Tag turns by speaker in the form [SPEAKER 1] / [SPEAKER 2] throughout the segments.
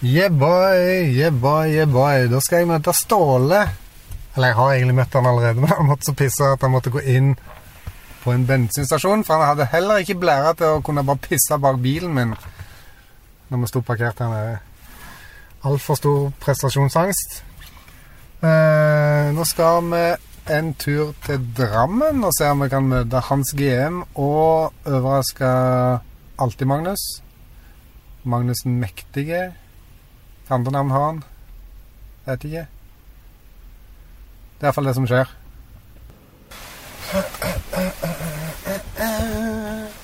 [SPEAKER 1] Yeah boy, yeah boy, yeah boy. Da skal jeg møte Ståle. Eller jeg har egentlig møtt han allerede, men han måtte så pisse at han måtte gå inn på en bensinstasjon, for han hadde heller ikke blæra til å kunne bare pisse bak bilen min når vi sto parkert her nede. Altfor stor prestasjonsangst. Eh, nå skal vi en tur til Drammen og se om vi kan møte Hans GM og overraske Alltid-Magnus. Magnus den mektige. Hva andre navn har han? Vet ikke. Det er iallfall det som skjer.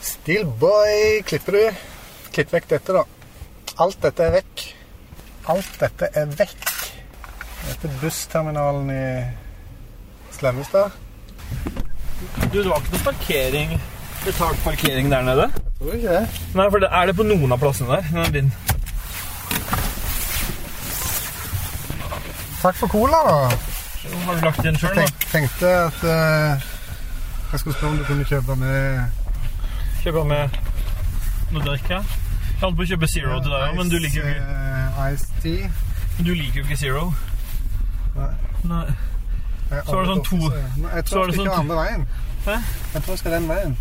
[SPEAKER 1] Steelboy klipper du. Klipp vekk dette, da. Alt dette er vekk. Alt dette er vekk. Dette er bussterminalen i Slemmestad.
[SPEAKER 2] Du, det var ikke noe parkering Betalt parkering der nede?
[SPEAKER 1] Tror ikke det.
[SPEAKER 2] Nei, for det, er det på noen av plassene der? Den er din.
[SPEAKER 1] Takk for cola, da.
[SPEAKER 2] Har du lagt den sjøl, da?
[SPEAKER 1] Tenk, tenkte at eh, jeg skulle spørre om du kunne kjøpe med
[SPEAKER 2] Kjøper med noe drikk her? Jeg holdt på å kjøpe Zero til deg òg, men du liker jo ikke,
[SPEAKER 1] eh, Iced tea.
[SPEAKER 2] men du liker jo ikke Zero.
[SPEAKER 1] Nei.
[SPEAKER 2] Nei.
[SPEAKER 1] Jeg
[SPEAKER 2] Så er det sånn
[SPEAKER 1] aldri
[SPEAKER 2] to-
[SPEAKER 1] borte, så- Nei, Jeg
[SPEAKER 2] så er
[SPEAKER 1] tror jeg skal
[SPEAKER 2] det sånn
[SPEAKER 1] ikke andre veien.
[SPEAKER 2] Hæ?
[SPEAKER 1] Jeg tror jeg skal den veien.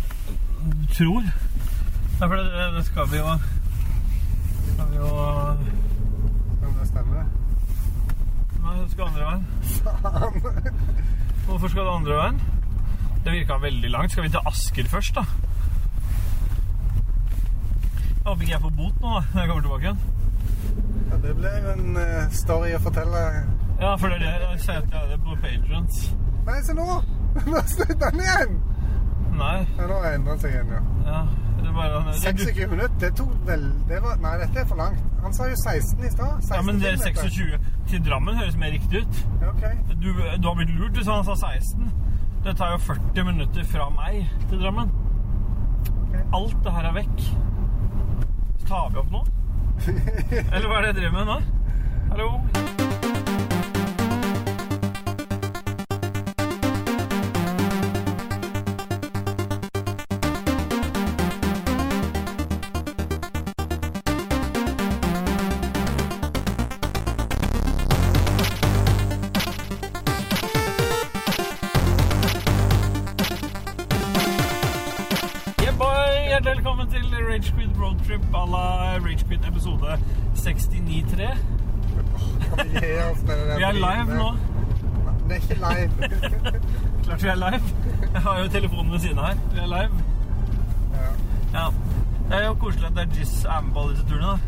[SPEAKER 2] Du tror? Nei, for det, det skal vi jo Skal vi jo Nei,
[SPEAKER 1] Om det stemmer.
[SPEAKER 2] det skal andre veien.
[SPEAKER 1] Faen.
[SPEAKER 2] Hvorfor skal det andre veien? Det virka veldig langt. Skal vi til Asker først, da? Jeg håper ikke jeg får bot nå, da, når jeg kommer tilbake igjen.
[SPEAKER 1] Ja, det ble jo en eh, story å fortelle.
[SPEAKER 2] Ja, for det er det jeg sier at jeg er på Patrons.
[SPEAKER 1] Nei, se nå! Nå slutter den igjen!
[SPEAKER 2] Nei.
[SPEAKER 1] Ja, nå har det endret seg igjen, ja.
[SPEAKER 2] Ja, det er bare det,
[SPEAKER 1] 26 minutter, det tok vel det var, Nei, dette er for langt. Han sa jo 16 i stad. 16
[SPEAKER 2] Ja, men det er
[SPEAKER 1] kilometer.
[SPEAKER 2] 26 til Drammen høres mer riktig ut.
[SPEAKER 1] Ja, ok.
[SPEAKER 2] Du, du har blitt lurt hvis han sa 16. Det tar jo 40 minutter fra meg til Drammen.
[SPEAKER 1] Ok.
[SPEAKER 2] Alt det her er vekk. Tar vi opp nå? Eller hva er det jeg driver med nå? Hallo? Yeah, boy! Hjertelig velkommen til Ragequid Roadtrip à la Ragequid episode 69.3.
[SPEAKER 1] Kan vi gi oss med det der
[SPEAKER 2] Vi er
[SPEAKER 1] driten
[SPEAKER 2] live
[SPEAKER 1] der?
[SPEAKER 2] nå.
[SPEAKER 1] Det er ikke live.
[SPEAKER 2] Klart vi er live. Jeg har jo telefonen ved siden av her. Vi er live.
[SPEAKER 1] ja.
[SPEAKER 2] Ja. Det er jo koselig at Dargis er med på alle disse turene. da.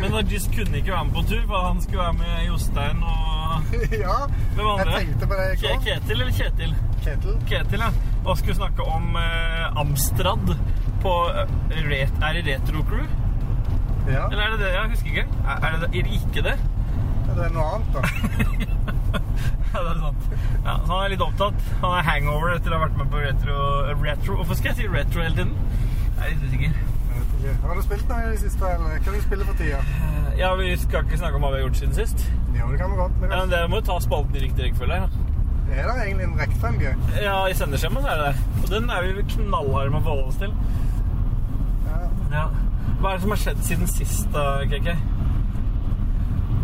[SPEAKER 2] Men Dargis kunne ikke være med på tur, for han skulle være med Jostein og
[SPEAKER 1] ja,
[SPEAKER 2] Hvem andre?
[SPEAKER 1] jeg tenkte på det i
[SPEAKER 2] Ke-
[SPEAKER 1] går.
[SPEAKER 2] Ketil eller Kjetil?
[SPEAKER 1] Ketil.
[SPEAKER 2] Ketil, ja. Og skulle snakke om eh, Amstrad på eh, ret, Er det Retro Crew?
[SPEAKER 1] Ja,
[SPEAKER 2] Eller er det det? Jeg husker ikke. Er, er, det, er det ikke det?
[SPEAKER 1] det er noe annet, da.
[SPEAKER 2] Ja, det er sant. Ja, så han er litt opptatt. Han er hangover etter å ha vært med på Retro... eh, retro. Hvorfor skal jeg si Retro hele tiden? Jeg er litt usikker.
[SPEAKER 1] Jeg vet ikke. Har du spilt noe i det siste, eller hva du spiller for tida?
[SPEAKER 2] Eh, Ja, vi skal ikke snakke om hva vi har gjort siden sist.
[SPEAKER 1] Jo, det kan vi godt. Men
[SPEAKER 2] Ja, men det må jo ta spalten i riktig rekkefølge. ja.
[SPEAKER 1] er det egentlig en rekkefølge?
[SPEAKER 2] Ja, i sendeskjemaet så er det det. Og den er vi knallharde med å forholde oss til.
[SPEAKER 1] Ja.
[SPEAKER 2] Ja. Hva er det som har skjedd siden sist, da, KK?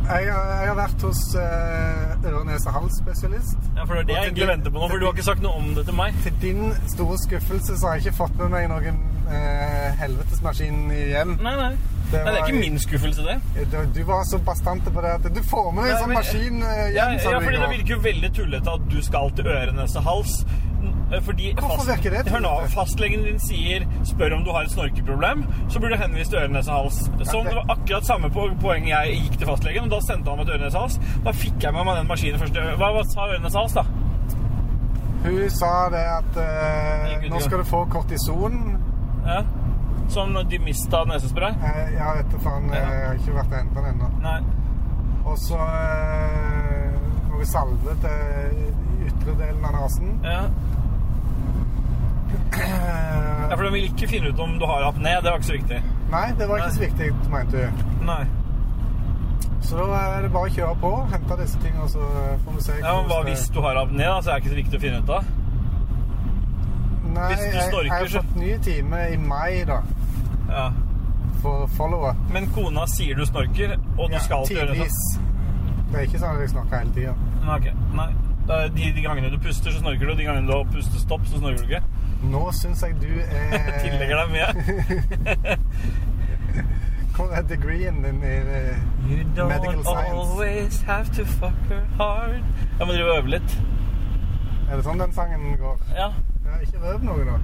[SPEAKER 1] Jeg, har- jeg har vært hos uh, øre-nese-hals-spesialist.
[SPEAKER 2] Ja, for det er det jeg egentlig venter på nå, for du har ikke sagt noe om det til meg.
[SPEAKER 1] Til din store skuffelse så har jeg ikke fått med meg noen eh, helvetesmaskin hjem.
[SPEAKER 2] Nei, nei. Det, nei, det er
[SPEAKER 1] var-
[SPEAKER 2] ikke min skuffelse, det.
[SPEAKER 1] Du, du var så bastante på det at du får med deg
[SPEAKER 2] Ja,
[SPEAKER 1] en sånn
[SPEAKER 2] men-
[SPEAKER 1] maskin eh,
[SPEAKER 2] Ja,
[SPEAKER 1] hjem. sa
[SPEAKER 2] ja,
[SPEAKER 1] du i
[SPEAKER 2] fordi det
[SPEAKER 1] går.
[SPEAKER 2] virker jo veldig tullete at du skal til øre, nese, hals. N- Fordi
[SPEAKER 1] Hvorfor virker det
[SPEAKER 2] Hør nå,
[SPEAKER 1] tullete?
[SPEAKER 2] fastlegen din sier 'spør om du har et snorkeproblem', så burde du henvise til øre, nese, hals. Som
[SPEAKER 1] det-
[SPEAKER 2] det var akkurat samme po- poeng jeg gikk til fastlegen, og da sendte han meg til øre, nese, hals. Da fikk jeg med meg den maskinen først. Hva, hva sa øre, nese, hals, da?
[SPEAKER 1] Hun sa det at eh,
[SPEAKER 2] Gikk ut i
[SPEAKER 1] nå
[SPEAKER 2] gang.
[SPEAKER 1] skal du få kortison.
[SPEAKER 2] Ja. Som de mista nesespray?
[SPEAKER 1] Eh, ja, vet du faen, eh, jeg har ikke vært og hentet den ennå.
[SPEAKER 2] Nei.
[SPEAKER 1] Og så eh, noe salve til ytre delen av nesen.
[SPEAKER 2] Ja.
[SPEAKER 1] Eh,
[SPEAKER 2] ja, for de vil ikke finne ut om du har apné. Det var ikke så viktig.
[SPEAKER 1] nei, det var
[SPEAKER 2] Nei.
[SPEAKER 1] ikke så viktig, mente hun.
[SPEAKER 2] Nei.
[SPEAKER 1] Så da er det bare å kjøre på, hente disse tingene, og så eh, får vi se
[SPEAKER 2] Ja, men Hva
[SPEAKER 1] hvordan det-
[SPEAKER 2] hvis du har apné, da? Så er det ikke så viktig å finne ut av.
[SPEAKER 1] Nei,
[SPEAKER 2] hvis du
[SPEAKER 1] jeg, jeg
[SPEAKER 2] snorker,
[SPEAKER 1] har
[SPEAKER 2] så-
[SPEAKER 1] fått ny time i mai, da.
[SPEAKER 2] Ja.
[SPEAKER 1] for followere.
[SPEAKER 2] Men kona sier du snorker, og du skal alltid gjøre det
[SPEAKER 1] Tidvis.
[SPEAKER 2] sånn.
[SPEAKER 1] Det er ikke sånn at jeg snakker hele tida.
[SPEAKER 2] Nei, ok. Nei. Det er de, de gangene du puster, så snorker du. og De gangene du har pustestopp, så snorker du ikke.
[SPEAKER 1] Nå syns jeg du
[SPEAKER 2] Jeg tillegger
[SPEAKER 1] er
[SPEAKER 2] deg mye.
[SPEAKER 1] Hvor er degreeen din i eh,
[SPEAKER 2] You
[SPEAKER 1] don't Medical science. always
[SPEAKER 2] have to fuck her hard. Jeg må drive og øve litt.
[SPEAKER 1] Er det sånn den sangen går?
[SPEAKER 2] Ja.
[SPEAKER 1] Ja, ikke røp noe, da.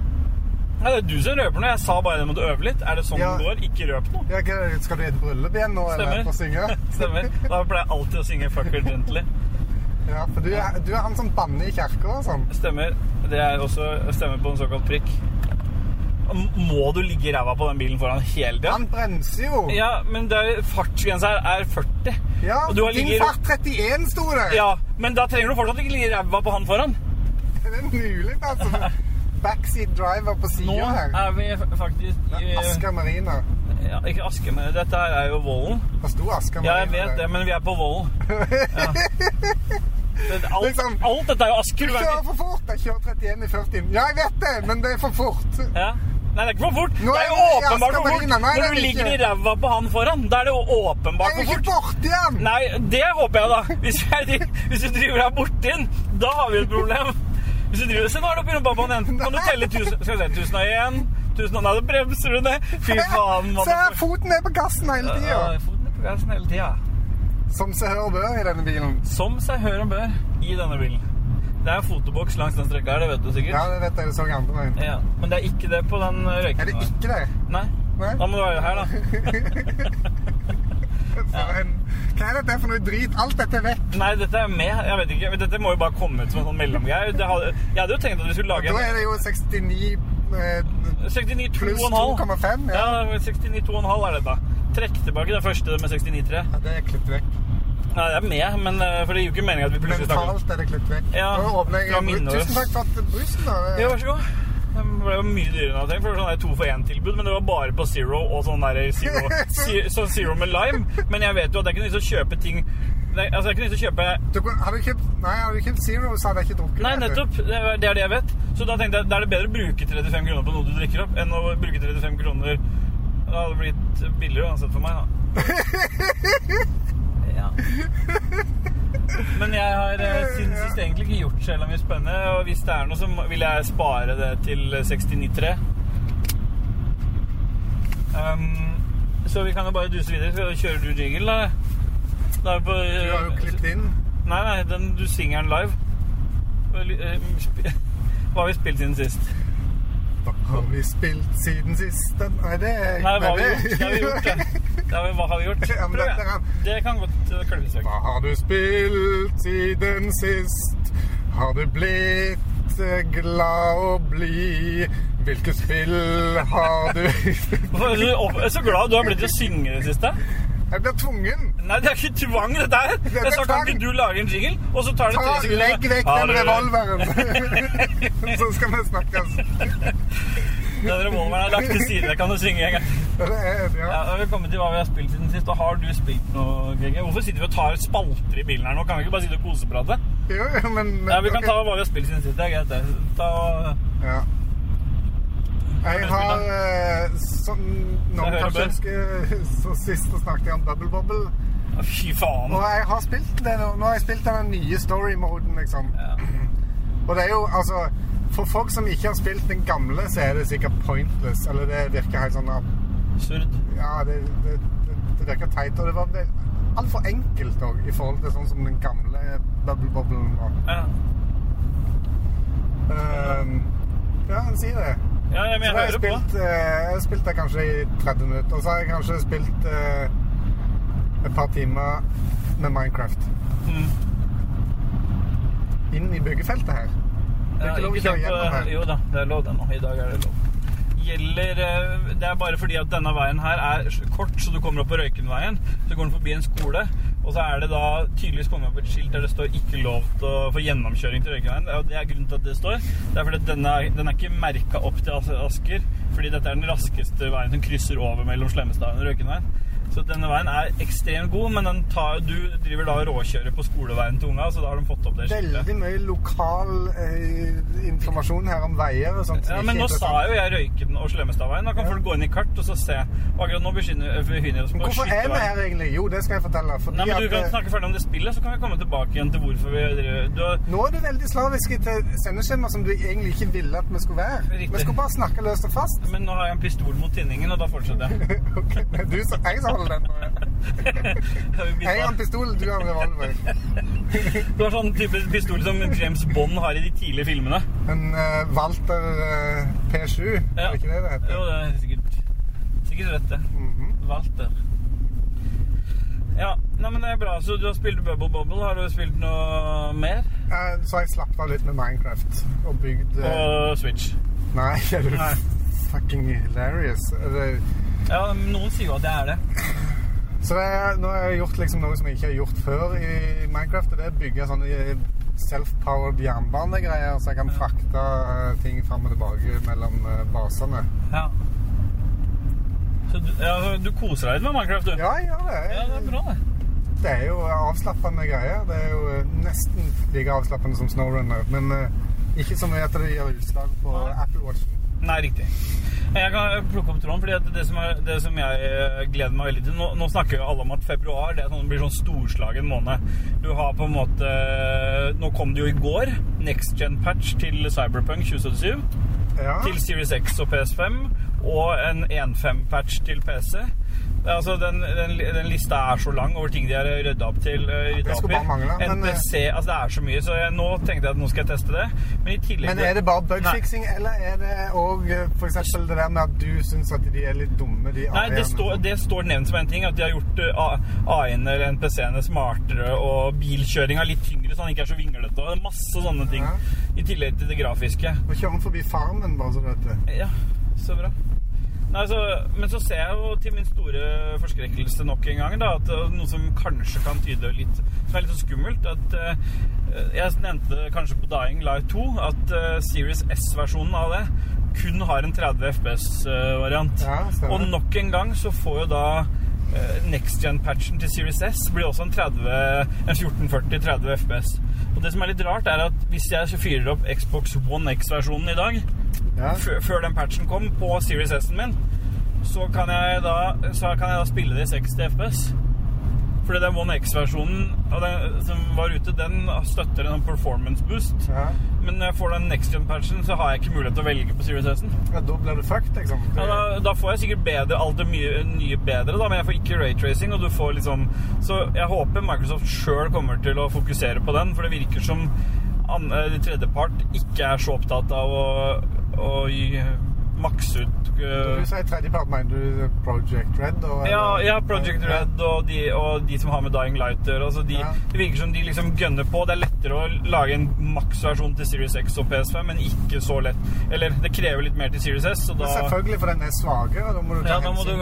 [SPEAKER 2] Nei, det er du som røper noe. Jeg sa bare det må du øve litt. Er det sånn
[SPEAKER 1] Ja.
[SPEAKER 2] det går? Ikke røp noe.
[SPEAKER 1] Ja, hva- skal du i et bryllup igjen nå, eller
[SPEAKER 2] Stemmer.
[SPEAKER 1] for å synge?
[SPEAKER 2] Stemmer. Da pleier jeg alltid å synge 'fuck her gently'.
[SPEAKER 1] Ja, for du er, du er han som banner i kirka og sånn.
[SPEAKER 2] Stemmer. Det er også stemmer på en såkalt prikk. M- Må du ligge i ræva på den bilen foran hele tida?
[SPEAKER 1] Han bremser jo.
[SPEAKER 2] Ja, men det er- fartsgrensa her er 40.
[SPEAKER 1] Ja,
[SPEAKER 2] og du har
[SPEAKER 1] din
[SPEAKER 2] ligger-
[SPEAKER 1] fart 31 sto det.
[SPEAKER 2] Ja, men da trenger du fortsatt ikke ligge i ræva på han foran.
[SPEAKER 1] Det er mulig, altså. Backseat driver på
[SPEAKER 2] Nå
[SPEAKER 1] sida her.
[SPEAKER 2] er eh, vi f- faktisk i
[SPEAKER 1] Asker Marina.
[SPEAKER 2] ja, Ikke Asker, men dette her er jo Vollen.
[SPEAKER 1] Det sto Asker
[SPEAKER 2] Ja,
[SPEAKER 1] Marina.
[SPEAKER 2] jeg
[SPEAKER 1] der.
[SPEAKER 2] vet det, men vi er på Vollen. Ja. Det- Alt,
[SPEAKER 1] Liksom-
[SPEAKER 2] alt dette er jo Asker.
[SPEAKER 1] Du
[SPEAKER 2] hva er
[SPEAKER 1] kjører
[SPEAKER 2] det?
[SPEAKER 1] for fort. Jeg kjører 31 i 40. Ja, jeg vet det, men det er for fort.
[SPEAKER 2] Ja. Nei, det er ikke for fort.
[SPEAKER 1] Nå
[SPEAKER 2] det er jo
[SPEAKER 1] er vi i
[SPEAKER 2] åpenbart
[SPEAKER 1] Asker
[SPEAKER 2] for fort.
[SPEAKER 1] Marina. Nei, det
[SPEAKER 2] Når
[SPEAKER 1] er
[SPEAKER 2] du
[SPEAKER 1] det
[SPEAKER 2] ligger i
[SPEAKER 1] ikke.
[SPEAKER 2] ræva på han foran, da er det jo åpenbart
[SPEAKER 1] Jeg er
[SPEAKER 2] for
[SPEAKER 1] ikke
[SPEAKER 2] fort.
[SPEAKER 1] borti den!
[SPEAKER 2] Nei, det håper jeg, da. Hvis, jeg, dri- hvis du driver deg borti den, da har vi et problem. Hvis du driver Se, nå er det oppi rumpa på den enten. Kan du telle tusen? Skal vi se, tusen og én? Tusen og Nei, da bremser du ned. Fy faen.
[SPEAKER 1] Se her, foten er på gassen hele tida!
[SPEAKER 2] Foten er på gassen hele tida.
[SPEAKER 1] Som seg hør og bør i denne bilen.
[SPEAKER 2] Som seg hør og bør i denne bilen. Det er en fotoboks langs den strekka her, det vet du
[SPEAKER 1] Ja,
[SPEAKER 2] sikkert.
[SPEAKER 1] det vet jeg. Det så jeg andre veien.
[SPEAKER 2] Ja. Men det er ikke det på den
[SPEAKER 1] Er det
[SPEAKER 2] røykende.
[SPEAKER 1] ikke det?
[SPEAKER 2] Nei.
[SPEAKER 1] Nei?
[SPEAKER 2] Da må du være her, da.
[SPEAKER 1] For en, hva er dette for noe drit? Alt dette er vekk.
[SPEAKER 2] Nei, dette er med. Jeg vet ikke. men Dette må jo bare komme ut som en sånn mellomgreie. Det hadde- Jeg hadde jo tenkt at vi skulle lage
[SPEAKER 1] Da
[SPEAKER 2] en
[SPEAKER 1] er det jo 69 eh, pluss
[SPEAKER 2] 69,2,5.
[SPEAKER 1] 2,5. Ja.
[SPEAKER 2] Ja, 62,5 er dette. Trekk tilbake den første med 69,3.
[SPEAKER 1] ja, det er klippet vekk.
[SPEAKER 2] Nei, det er med, men eh, for det gir jo ikke mening at vi plutselig snakker
[SPEAKER 1] Mentalt er det klippet vekk.
[SPEAKER 2] Ja,
[SPEAKER 1] Nå åpner
[SPEAKER 2] fra
[SPEAKER 1] jeg
[SPEAKER 2] minnet.
[SPEAKER 1] Tusen takk for at brusen, da.
[SPEAKER 2] Ja, vær så god. Det ble jo mye dyrere enn jeg hadde tenkt, for det var sånn der to for én-tilbud, men det var bare på Zero og sånn der Zero, si- sånn zero med lime. Men jeg vet jo at det er ikke noe vits å kjøpe ting det er, Altså, det er ikke noe vits å kjøpe
[SPEAKER 1] Du, hadde du kjøpt, nei, hadde du kjøpt Zero, så hadde jeg ikke drukket
[SPEAKER 2] Nei,
[SPEAKER 1] vet du.
[SPEAKER 2] nettopp. Det er det er det jeg vet. Så da tenkte jeg da er det bedre å bruke 35 kroner på noe du drikker opp, enn å bruke 35 kroner Det hadde blitt billigere uansett for meg, da. ja. Men jeg har eh, siden sist egentlig ikke gjort så veldig mye spennende. Og hvis det er noe, så må- vil jeg spare det til 69,3. Um, så vi kan jo bare duse videre. Skal- Kjører du jingle, da? da er vi på, eh,
[SPEAKER 1] Du har jo klippet inn.
[SPEAKER 2] Nei, nei, den, du synger den live. Vel, eh, sp- Hva har vi spilt inn sist?
[SPEAKER 1] Hva har vi spilt siden sist? Den- Nei, det er
[SPEAKER 2] Nei, hva har vi
[SPEAKER 1] det-
[SPEAKER 2] gjort? Det har vi gjort, det. det har vi, hva har vi gjort?
[SPEAKER 1] Ja, men
[SPEAKER 2] Prøv,
[SPEAKER 1] dette
[SPEAKER 2] ja.
[SPEAKER 1] er-
[SPEAKER 2] Det kan godt eh, klippes vekk.
[SPEAKER 1] Hva har du spilt siden sist? Har du blitt eh, glad å bli? Hvilke spill har du Jeg
[SPEAKER 2] Hvorfor er du opp- er så glad du har blitt til å synge i det siste?
[SPEAKER 1] blir tvungen.
[SPEAKER 2] Nei, det er ikke tvang, dette her.
[SPEAKER 1] er
[SPEAKER 2] Jeg sa kan
[SPEAKER 1] tvang.
[SPEAKER 2] ikke du lage en jingle, og så tar det
[SPEAKER 1] Ta,
[SPEAKER 2] tre sekunder.
[SPEAKER 1] legg vekk
[SPEAKER 2] Har
[SPEAKER 1] den
[SPEAKER 2] du-
[SPEAKER 1] revolveren, så skal vi snakkes.
[SPEAKER 2] Den revolveren er lagt til side. Det kan du synge en gang.
[SPEAKER 1] Det er, ja.
[SPEAKER 2] Ja, da er vi kommet til hva vi har spilt siden sist. Og har du spilt noe, Gregor? Hvorfor sitter vi og tar spalter i bilen her nå? Kan vi ikke bare sitte og koseprate?
[SPEAKER 1] Jo, jo, men
[SPEAKER 2] Ja, vi kan
[SPEAKER 1] ok.
[SPEAKER 2] ta hva vi har spilt siden sist. Det er greit, det. Ta
[SPEAKER 1] Ja. Jeg har eh, Som noen
[SPEAKER 2] Jeg hører
[SPEAKER 1] kanskje
[SPEAKER 2] det.
[SPEAKER 1] husker, så sist så snakket jeg om Bubble Bobble.
[SPEAKER 2] Å, Fy faen.
[SPEAKER 1] Og jeg har spilt det nå. Nå har jeg spilt den nye story-moden, liksom.
[SPEAKER 2] Ja.
[SPEAKER 1] Og det er jo, altså For folk som ikke har spilt den gamle, så er det sikkert pointless. Eller det virker helt sånn
[SPEAKER 2] Absurd.
[SPEAKER 1] Ja, det, det, det, det virker teit. Og det var det- altfor enkelt òg, i forhold til sånn som den gamle Bubble Bobble var.
[SPEAKER 2] Ja.
[SPEAKER 1] Ehm, ja, han sier det.
[SPEAKER 2] Ja, ja,
[SPEAKER 1] Så
[SPEAKER 2] men jeg
[SPEAKER 1] da har jeg
[SPEAKER 2] hører på.
[SPEAKER 1] spilt, eh, jeg har spilt det kanskje i 30 minutter, og så har jeg kanskje spilt eh, et par timer med Minecraft.
[SPEAKER 2] Mm.
[SPEAKER 1] Inn i byggefeltet her. Det er
[SPEAKER 2] Ja,
[SPEAKER 1] ikke lov å
[SPEAKER 2] ikke
[SPEAKER 1] kjøre
[SPEAKER 2] tenk på-
[SPEAKER 1] gjennom her.
[SPEAKER 2] Jo da, det er lov det nå. I dag er det lov. Gjelder eh, Det er bare fordi at denne veien her er s- kort, så du kommer opp på Røykenveien. Så går den forbi en skole, og så er det da tydeligvis kommet opp et skilt der det står 'ikke lov til å få gjennomkjøring til Røykenveien'. Og det er grunnen til at det står. Det er fordi at denne, den er ikke merka opp til As- Asker, fordi dette er den raskeste veien som krysser over mellom Slemmestad og Røykenveien. Så denne veien er ekstremt god, men den tar, du driver da og råkjører på skoleveien til unga, så da har de fått opp det skiltet.
[SPEAKER 1] Veldig mye lokal eh, informasjon her om veier og sånt. som
[SPEAKER 2] Ja,
[SPEAKER 1] ikke
[SPEAKER 2] men
[SPEAKER 1] er sånn.
[SPEAKER 2] nå sa
[SPEAKER 1] interessant.
[SPEAKER 2] jo jeg Røyken og Slemmestadveien. Da kan folk gå inn i kart og så se. Og akkurat nå befinner befinner vi oss på
[SPEAKER 1] Hvorfor er vi
[SPEAKER 2] skytterveien.
[SPEAKER 1] her egentlig? Jo, det skal jeg fortelle. Fordi
[SPEAKER 2] Nei, men Du
[SPEAKER 1] at,
[SPEAKER 2] kan
[SPEAKER 1] eh,
[SPEAKER 2] snakke ferdig om det spillet, så kan vi komme tilbake igjen til hvorfor vi driver du, har-
[SPEAKER 1] Nå er du veldig slavisk til sendeskjemaer som du egentlig ikke ville at vi skulle være.
[SPEAKER 2] Riktig.
[SPEAKER 1] Vi skulle bare snakke løst og fast.
[SPEAKER 2] Men nå har jeg en pistol mot tinningen, og da fortsetter jeg.
[SPEAKER 1] Ok, det er du som jeg som holder den. nå, ja.
[SPEAKER 2] Jeg vil
[SPEAKER 1] Jeg har en
[SPEAKER 2] begynne.
[SPEAKER 1] pistol, du har en revolver.
[SPEAKER 2] Du har sånn type pistol som James Bond har i de tidlige filmene.
[SPEAKER 1] En eh, Walter eh, P7,
[SPEAKER 2] Ja.
[SPEAKER 1] er ikke det det heter?
[SPEAKER 2] Jo, det er sikkert, sikkert rett, det.
[SPEAKER 1] Mhm.
[SPEAKER 2] Walter. Ja, nei, men det er bra. Så du har spilt Bubble Bubble. Har du spilt noe mer?
[SPEAKER 1] Eh, Så jeg slapp av litt med Minecraft og bygd
[SPEAKER 2] På
[SPEAKER 1] eh,
[SPEAKER 2] Switch.
[SPEAKER 1] Nei, er du
[SPEAKER 2] Nei.
[SPEAKER 1] fucking hilarious? Er det-
[SPEAKER 2] Ja, men noen sier jo at det er det.
[SPEAKER 1] Så det er, nå har jeg gjort liksom noe som jeg ikke har gjort før i Minecraft, og det er å bygge sånne eh, self-powered jernbanegreier, så jeg kan frakte eh, ting fram og tilbake mellom eh, basene.
[SPEAKER 2] Ja. Så du, ja, du koser deg litt med Minecraft, du?
[SPEAKER 1] Ja, jeg gjør det.
[SPEAKER 2] Ja, det er bra, det.
[SPEAKER 1] Det er jo avslappende greier. Det er jo eh, nesten like avslappende som snowrunner, men eh, ikke så mye at det gjør utslag på
[SPEAKER 2] Nei.
[SPEAKER 1] Apple Watchen.
[SPEAKER 2] Nei, riktig. Jeg kan plukke opp tråden, fordi at det som, er, det som jeg eh, gleder meg veldig til Nå, nå snakker jo alle om at februar det er sånn, blir sånn storslagen måned. Du har på en måte Nå kom det jo i går next gen-patch til Cyberpunk 2077.
[SPEAKER 1] Ja.
[SPEAKER 2] Til Series X og PS5. Og en 1.5-patch til PC. Det er Altså, den, den, den lista er så lang over ting de har rydda opp til. eh, ryddet
[SPEAKER 1] det skulle
[SPEAKER 2] opp i.
[SPEAKER 1] bare mangle, men, eh,
[SPEAKER 2] NTC, altså Det er så mye, så jeg, nå tenkte jeg at nå skal jeg teste det. Men i tillegg
[SPEAKER 1] Men er det bare
[SPEAKER 2] Nei.
[SPEAKER 1] bugfixing, eller er det òg f.eks. det der med at du syns at de er litt dumme, de
[SPEAKER 2] Nei, det
[SPEAKER 1] AI-ene?
[SPEAKER 2] står, det står nevnt som en ting at de har gjort eh, A- AI-ene eller NPC-ene smartere, og bilkjøringa litt tyngre, så han ikke er så vinglete. og det er Masse sånne ting.
[SPEAKER 1] Ja.
[SPEAKER 2] I tillegg til det grafiske.
[SPEAKER 1] Nå kjører vi forbi farmen, bare så du vet det.
[SPEAKER 2] Ja, så bra. Nei, så, men så ser jeg jo til min store forskrekkelse nok en gang da, at eh, noe som kanskje kan tyde litt Som er litt så skummelt, at eh, Jeg nevnte det kanskje på Dying Light 2 at eh, Series S-versjonen av det kun har en 30 FPS-variant.
[SPEAKER 1] Ja, stemmer.
[SPEAKER 2] og nok en gang så får jo da eh, Next gen-patchen til Series S blir også en, 30, en 1440-30 FPS. Og det som er litt rart, er at hvis jeg fyrer opp Xbox One X-versjonen i dag,
[SPEAKER 1] Ja.
[SPEAKER 2] før, før den patchen kom på Series S-en min, så kan jeg da, så kan jeg da spille det i 60 FPS. Fordi den One X-versjonen av den som var ute, den støtter en sånn performance boost.
[SPEAKER 1] Ja.
[SPEAKER 2] Men når jeg får den next gen-patchen, så har jeg ikke mulighet til å velge på Series S-en.
[SPEAKER 1] ja, da blir du fucked, liksom.
[SPEAKER 2] Ja, da, da får jeg sikkert bedre, alt det mye, nye bedre, da, men jeg får ikke raytracing. Og du får liksom Så jeg håper Microsoft sjøl kommer til å fokusere på den, for det virker som an- eh, tredjepart ikke er så opptatt av å, å gi, makse ut eh,
[SPEAKER 1] Du sier tredjepart, mener du Project Red? Og,
[SPEAKER 2] ja, ja, Project Red og de, og de som har med Dying Light å gjøre. Altså de,
[SPEAKER 1] Ja.
[SPEAKER 2] Det virker som de liksom gønner på. Det er lettere å lage en maksversjon til Series X og PS5, men ikke så lett. Eller det krever litt mer til Series S, så
[SPEAKER 1] Men
[SPEAKER 2] da
[SPEAKER 1] selvfølgelig, for den er svakere. Da må du ta
[SPEAKER 2] Ja, da må
[SPEAKER 1] hensyn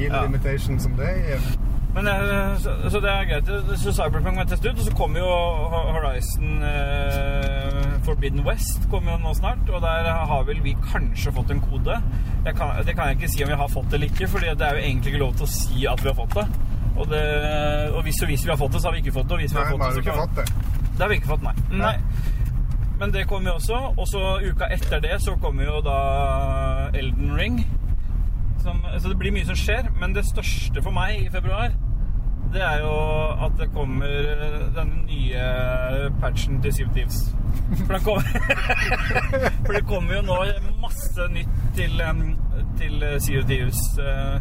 [SPEAKER 1] til de
[SPEAKER 2] Ja.
[SPEAKER 1] limitations som det gir.
[SPEAKER 2] Men eh, så, så det er greit. Så Cyberpunk må jeg teste ut. Og så kommer jo Ho- Horizon eh, Forbidden West kommer jo nå snart. Og der har vel vi kanskje fått en kode. Jeg kan, det kan jeg ikke si om vi har fått det eller ikke, Fordi det er jo egentlig ikke lov til å si at vi har fått det. Og, det, og hvis, og hvis vi har fått det, så har vi ikke fått det. Og hvis vi
[SPEAKER 1] Nei,
[SPEAKER 2] har
[SPEAKER 1] vi har
[SPEAKER 2] fått det,
[SPEAKER 1] jo
[SPEAKER 2] så
[SPEAKER 1] ikke
[SPEAKER 2] kan
[SPEAKER 1] fått det.
[SPEAKER 2] det har vi ikke fått, nei. nei.
[SPEAKER 1] Nei.
[SPEAKER 2] Men det kommer jo også. Og så uka etter det så kommer jo da Elden Ring. Som, så det blir mye som skjer. Men det største for meg i februar, det er jo at det kommer eh, denne nye patchen til Sea of Thieves. For, den kommer, for det kommer jo nå masse nytt til, em, til eh, Sea of Thieves. Eh,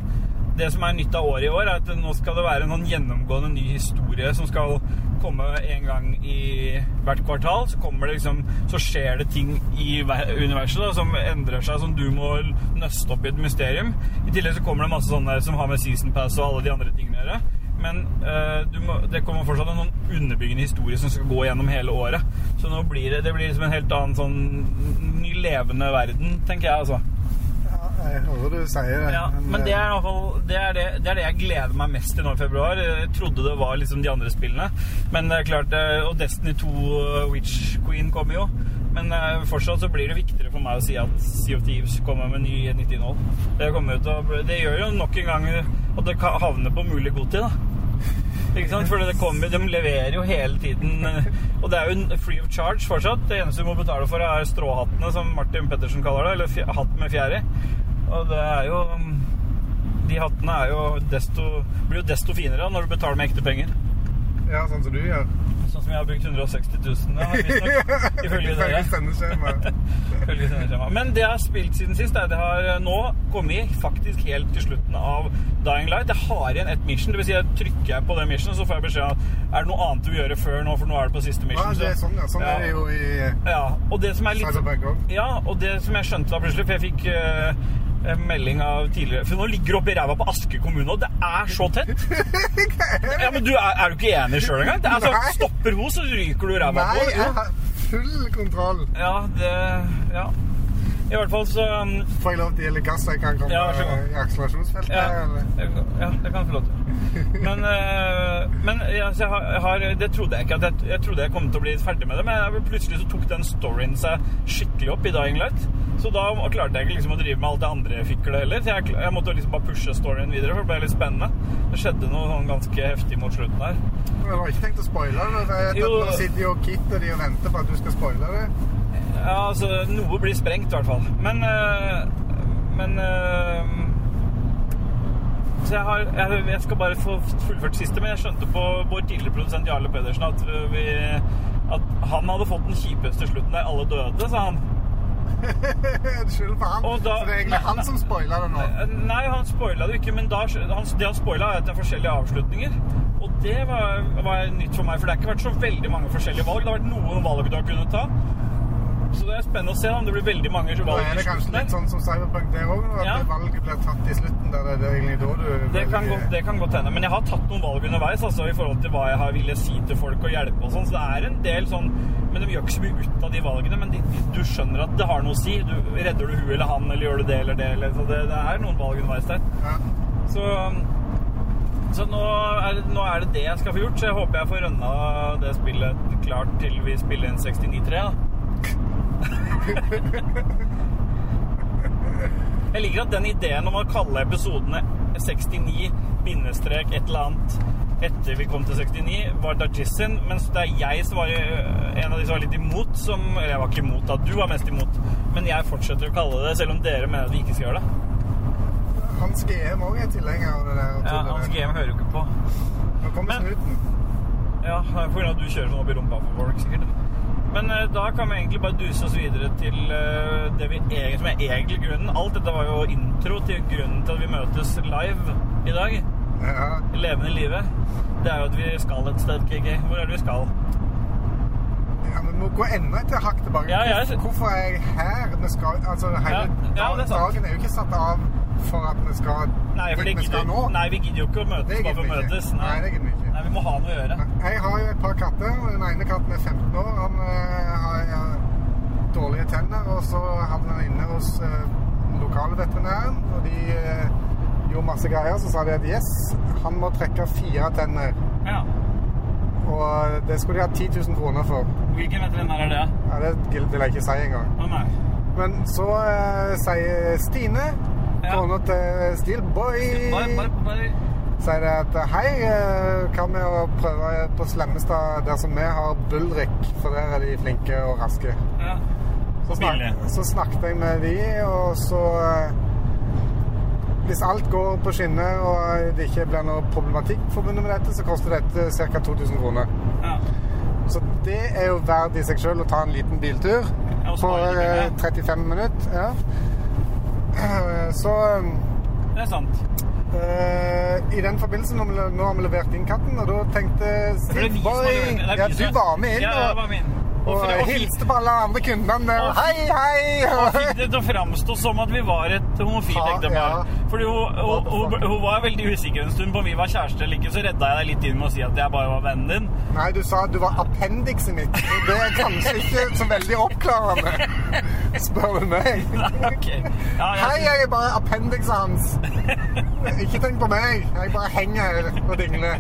[SPEAKER 2] Det som er nytt av året i år, er at nå skal det være en sånn gjennomgående ny historie som skal komme en gang i hvert kvartal. Så kommer det liksom Så skjer det ting i ver- universet da, som endrer seg, som du må nøste opp i et mysterium. I tillegg så kommer det masse sånne som har med season pass og alle de andre tingene å gjøre. Men eh, du må, det kommer fortsatt en sånn underbyggende historie som skal gå gjennom hele året. Så nå blir det, det blir liksom en helt annen sånn ny levende verden, tenker jeg, altså.
[SPEAKER 1] Ja, jeg hører du sier det.
[SPEAKER 2] Ja, men det er i hvert fall det, er det, det er det jeg gleder meg mest til nå i februar. Jeg trodde det var liksom de andre spillene, men det er klart eh, Og Destiny 2 eh, Witch Queen kommer jo. Men eh, fortsatt så blir det viktigere for E meg å si at Sea of Thieves kommer med ny, nytt innhold. Det, kommer jo til å, bli- det gjør jo nok en gang Og det ka- havner på mulig god tid, da. Ikke sant? For det kommer, de leverer jo hele tiden. eh, Og det er jo en free of charge fortsatt. Det eneste du må betale for, er stråhattene, som Martin Pettersen kaller det. Eller fj- hatt med fjær i. Og det er jo mm, De hattene er jo desto, blir jo desto finere når du betaler med ekte penger.
[SPEAKER 1] Ja, sånn som du gjør.
[SPEAKER 2] Sånn som jeg har brukt 160 000, ja, visstnok. Ifølge dere.
[SPEAKER 1] sendeskjemaet.
[SPEAKER 2] Veldig sendeskjema. Men det jeg har spilt siden sist, er at jeg har eh, nå kommet faktisk helt til slutten av Dying Light. Jeg har igjen ett mission. Det vil si, jeg trykker jeg på det missionet, så får jeg beskjed om er det noe annet du vil gjøre før nå, for nå er det på siste
[SPEAKER 1] Ja,
[SPEAKER 2] mission.
[SPEAKER 1] det er sånn, ja. Sånn
[SPEAKER 2] Ja.
[SPEAKER 1] er det jo i
[SPEAKER 2] Ja, og det som er litt sånn-
[SPEAKER 1] Cyberpunk òg.
[SPEAKER 2] ja, og det som jeg skjønte da plutselig, for jeg fikk eh, en melding av tidligere For nå ligger du oppi ræva på Aske kommune, og det er så tett! Ja, men du er, er du ikke enig sjøl engang? Det er
[SPEAKER 1] Nei.
[SPEAKER 2] sånn, Stopper hun, så ryker du ræva
[SPEAKER 1] Nei,
[SPEAKER 2] på.
[SPEAKER 1] jeg har full kontroll.
[SPEAKER 2] Ja, det Ja. I hvert fall så um,
[SPEAKER 1] Får jeg lov til å gjelde gass så jeg kan komme eh,
[SPEAKER 2] Ja, vær så god.
[SPEAKER 1] i akselerasjonsfeltet?
[SPEAKER 2] Ja,
[SPEAKER 1] eller?
[SPEAKER 2] jeg, ja, jeg kan få lov til. Men, eh, men ja, så jeg har, jeg har, det trodde jeg ikke. At jeg, jeg trodde jeg kom til å bli ferdig med det, men jeg, plutselig så tok den storyen seg skikkelig opp i Dying Light. Så da klarte jeg ikke liksom å drive med alt det andre fiklet heller. Så jeg, kl- jeg måtte liksom bare pushe storyen videre, for det ble litt spennende. Det skjedde noe sånn ganske heftig mot slutten her.
[SPEAKER 1] Jeg har ikke tenkt å spoile det. for jeg vet at
[SPEAKER 2] Jo.
[SPEAKER 1] Nå sitter jo Kit og de og venter på at du skal spoile det.
[SPEAKER 2] Ja, altså, noe blir sprengt i hvert fall. Men, eh, men eh, Så jeg, har, jeg, jeg skal bare få fullført siste, men jeg skjønte på vår tidligere produsent Jarle Pedersen at, vi, at han hadde fått den kjipeste slutten der alle døde, sa han.
[SPEAKER 1] Skylder på han.
[SPEAKER 2] Og da-
[SPEAKER 1] Så det er egentlig han som spoiler det nå.
[SPEAKER 2] Nei, han spoila det jo ikke, men da, han, det han spoila, er at det er forskjellige avslutninger. Og det var, var nytt for meg, for det har ikke vært så veldig mange forskjellige valg. Det har vært noen valg du har kunnet ta. Så det er spennende å se da, om det blir veldig mange
[SPEAKER 1] Da
[SPEAKER 2] valg.
[SPEAKER 1] er det
[SPEAKER 2] i
[SPEAKER 1] kanskje
[SPEAKER 2] slutten der.
[SPEAKER 1] litt sånn som Cyberpunk der òg, at
[SPEAKER 2] Ja.
[SPEAKER 1] det valget blir tatt i slutten. Der det er egentlig da du
[SPEAKER 2] Det kan,
[SPEAKER 1] velger-
[SPEAKER 2] godt, det kan godt hende. Men jeg har tatt noen valg underveis altså, i forhold til hva jeg har ville si til folk og hjelpe og sånn. Så det er en del sånn Men de gjør ikke så mye ut av de valgene. Men de, de, du skjønner at det har noe å si. Du, redder du hun eller han, eller gjør du det eller det? Eller, så det, det er noen valg underveis der.
[SPEAKER 1] Ja.
[SPEAKER 2] Så, um, så nå, er, det- nå er det det jeg skal få gjort. Så jeg håper jeg får rønna det spillet klart til vi spiller en 69-3, da. Jeg liker at den ideen om å kalle episodene 69 bindestrek et eller annet etter vi kom til 69, var Dargis sin, mens det er jeg som var øh, en av de som var litt imot, som Eller jeg var ikke imot, da. Du var mest imot. Men jeg fortsetter å kalle det, selv om dere mener at vi ikke skal gjøre det.
[SPEAKER 1] Hans GM òg er tilhenger av det der.
[SPEAKER 2] Ja,
[SPEAKER 1] tullet
[SPEAKER 2] Hans
[SPEAKER 1] der.
[SPEAKER 2] GM hører jo ikke på.
[SPEAKER 1] Nå kommer
[SPEAKER 2] Men-
[SPEAKER 1] snuten.
[SPEAKER 2] Ja, det er på grunn av at du kjører sånn opp i rumpa på folk, sikkert. Men eh, da kan vi egentlig bare duse oss videre til eh, det vi egentlig, som er egentlig grunnen. Alt dette var jo intro til grunnen til at vi møtes live i dag.
[SPEAKER 1] Ja.
[SPEAKER 2] Levende i livet. Det er jo at vi skal et sted, KK. Hvor er det vi skal?
[SPEAKER 1] ja, men vi må gå enda et hakk tilbake.
[SPEAKER 2] Ja, ja, jeg sy-
[SPEAKER 1] Hvorfor er jeg her? Vi skal, altså, hele
[SPEAKER 2] Ja, ja, det er sant.
[SPEAKER 1] dagen er jo ikke satt av for at vi skal
[SPEAKER 2] Nei, for det
[SPEAKER 1] dit vi skal
[SPEAKER 2] gidder,
[SPEAKER 1] nå.
[SPEAKER 2] nei vi gidder jo ikke å møtes
[SPEAKER 1] Det
[SPEAKER 2] bare for å
[SPEAKER 1] gidder vi ikke.
[SPEAKER 2] møtes.
[SPEAKER 1] Nei, det gidder vi ikke.
[SPEAKER 2] Nei, vi må ha noe å gjøre.
[SPEAKER 1] Jeg har jo et par katter. og Den ene katten er 15 år. Han eh, har eh, dårlige tenner, og så havnet han inne hos eh, lokale veterinæren. Og de eh, gjorde masse greier. Så sa de at yes, han må trekke fire tenner.
[SPEAKER 2] Ja.
[SPEAKER 1] Og eh, det skulle de ha 10 000 kroner for.
[SPEAKER 2] Hvilken veterinær er det?
[SPEAKER 1] Ja, det vil jeg ikke si engang.
[SPEAKER 2] Å nei.
[SPEAKER 1] Men så eh, sier Stine,
[SPEAKER 2] Ja.
[SPEAKER 1] kona til Steelboy
[SPEAKER 2] Bare, bare, bare.
[SPEAKER 1] sier det at hei, eh, hva med å prøve på Slemmestad der som vi har Bulrik, for der er de flinke og raske.
[SPEAKER 2] Ja.
[SPEAKER 1] Så,
[SPEAKER 2] Billig.
[SPEAKER 1] snak, så snakket jeg med de, og så eh, Hvis alt går på skinner og det ikke blir noe problematikk forbundet med dette, så koster dette ca. 2000 kroner.
[SPEAKER 2] Ja.
[SPEAKER 1] Så det er jo verdt i seg sjøl å ta en liten biltur
[SPEAKER 2] og
[SPEAKER 1] på
[SPEAKER 2] spare litt
[SPEAKER 1] eh,
[SPEAKER 2] penger.
[SPEAKER 1] 35 minutter. Ja. Eh, Så eh,
[SPEAKER 2] Det er sant.
[SPEAKER 1] Eh, I den forbindelse, nå, nå har vi levert inn katten, og da tenkte
[SPEAKER 2] For det er vi som har
[SPEAKER 1] Boy,
[SPEAKER 2] gjort det. Det er
[SPEAKER 1] ja,
[SPEAKER 2] vi
[SPEAKER 1] Du
[SPEAKER 2] som-
[SPEAKER 1] var med inn
[SPEAKER 2] Ja, jeg var
[SPEAKER 1] og,
[SPEAKER 2] med inn.
[SPEAKER 1] og,
[SPEAKER 2] for- og fikk-
[SPEAKER 1] hilste på alle andre kundene der.
[SPEAKER 2] Og-
[SPEAKER 1] Hei,
[SPEAKER 2] og
[SPEAKER 1] hei!
[SPEAKER 2] fikk det til å framstå som at vi var et homofilt
[SPEAKER 1] Ja,
[SPEAKER 2] ektepar.
[SPEAKER 1] ja.
[SPEAKER 2] Fordi hun, hun, hun, hun var veldig usikker en stund på om vi var kjærester eller ikke, så redda jeg deg litt inn med å si at jeg bare var vennen din.
[SPEAKER 1] Nei, du sa at du var appendikset mitt. og Det er kanskje ikke så veldig oppklarende, spør du meg.
[SPEAKER 2] Ok. Ja,
[SPEAKER 1] Hei,
[SPEAKER 2] jeg,
[SPEAKER 1] jeg er bare appendikset hans. Ikke tenk på meg. Jeg bare henger her og dingler.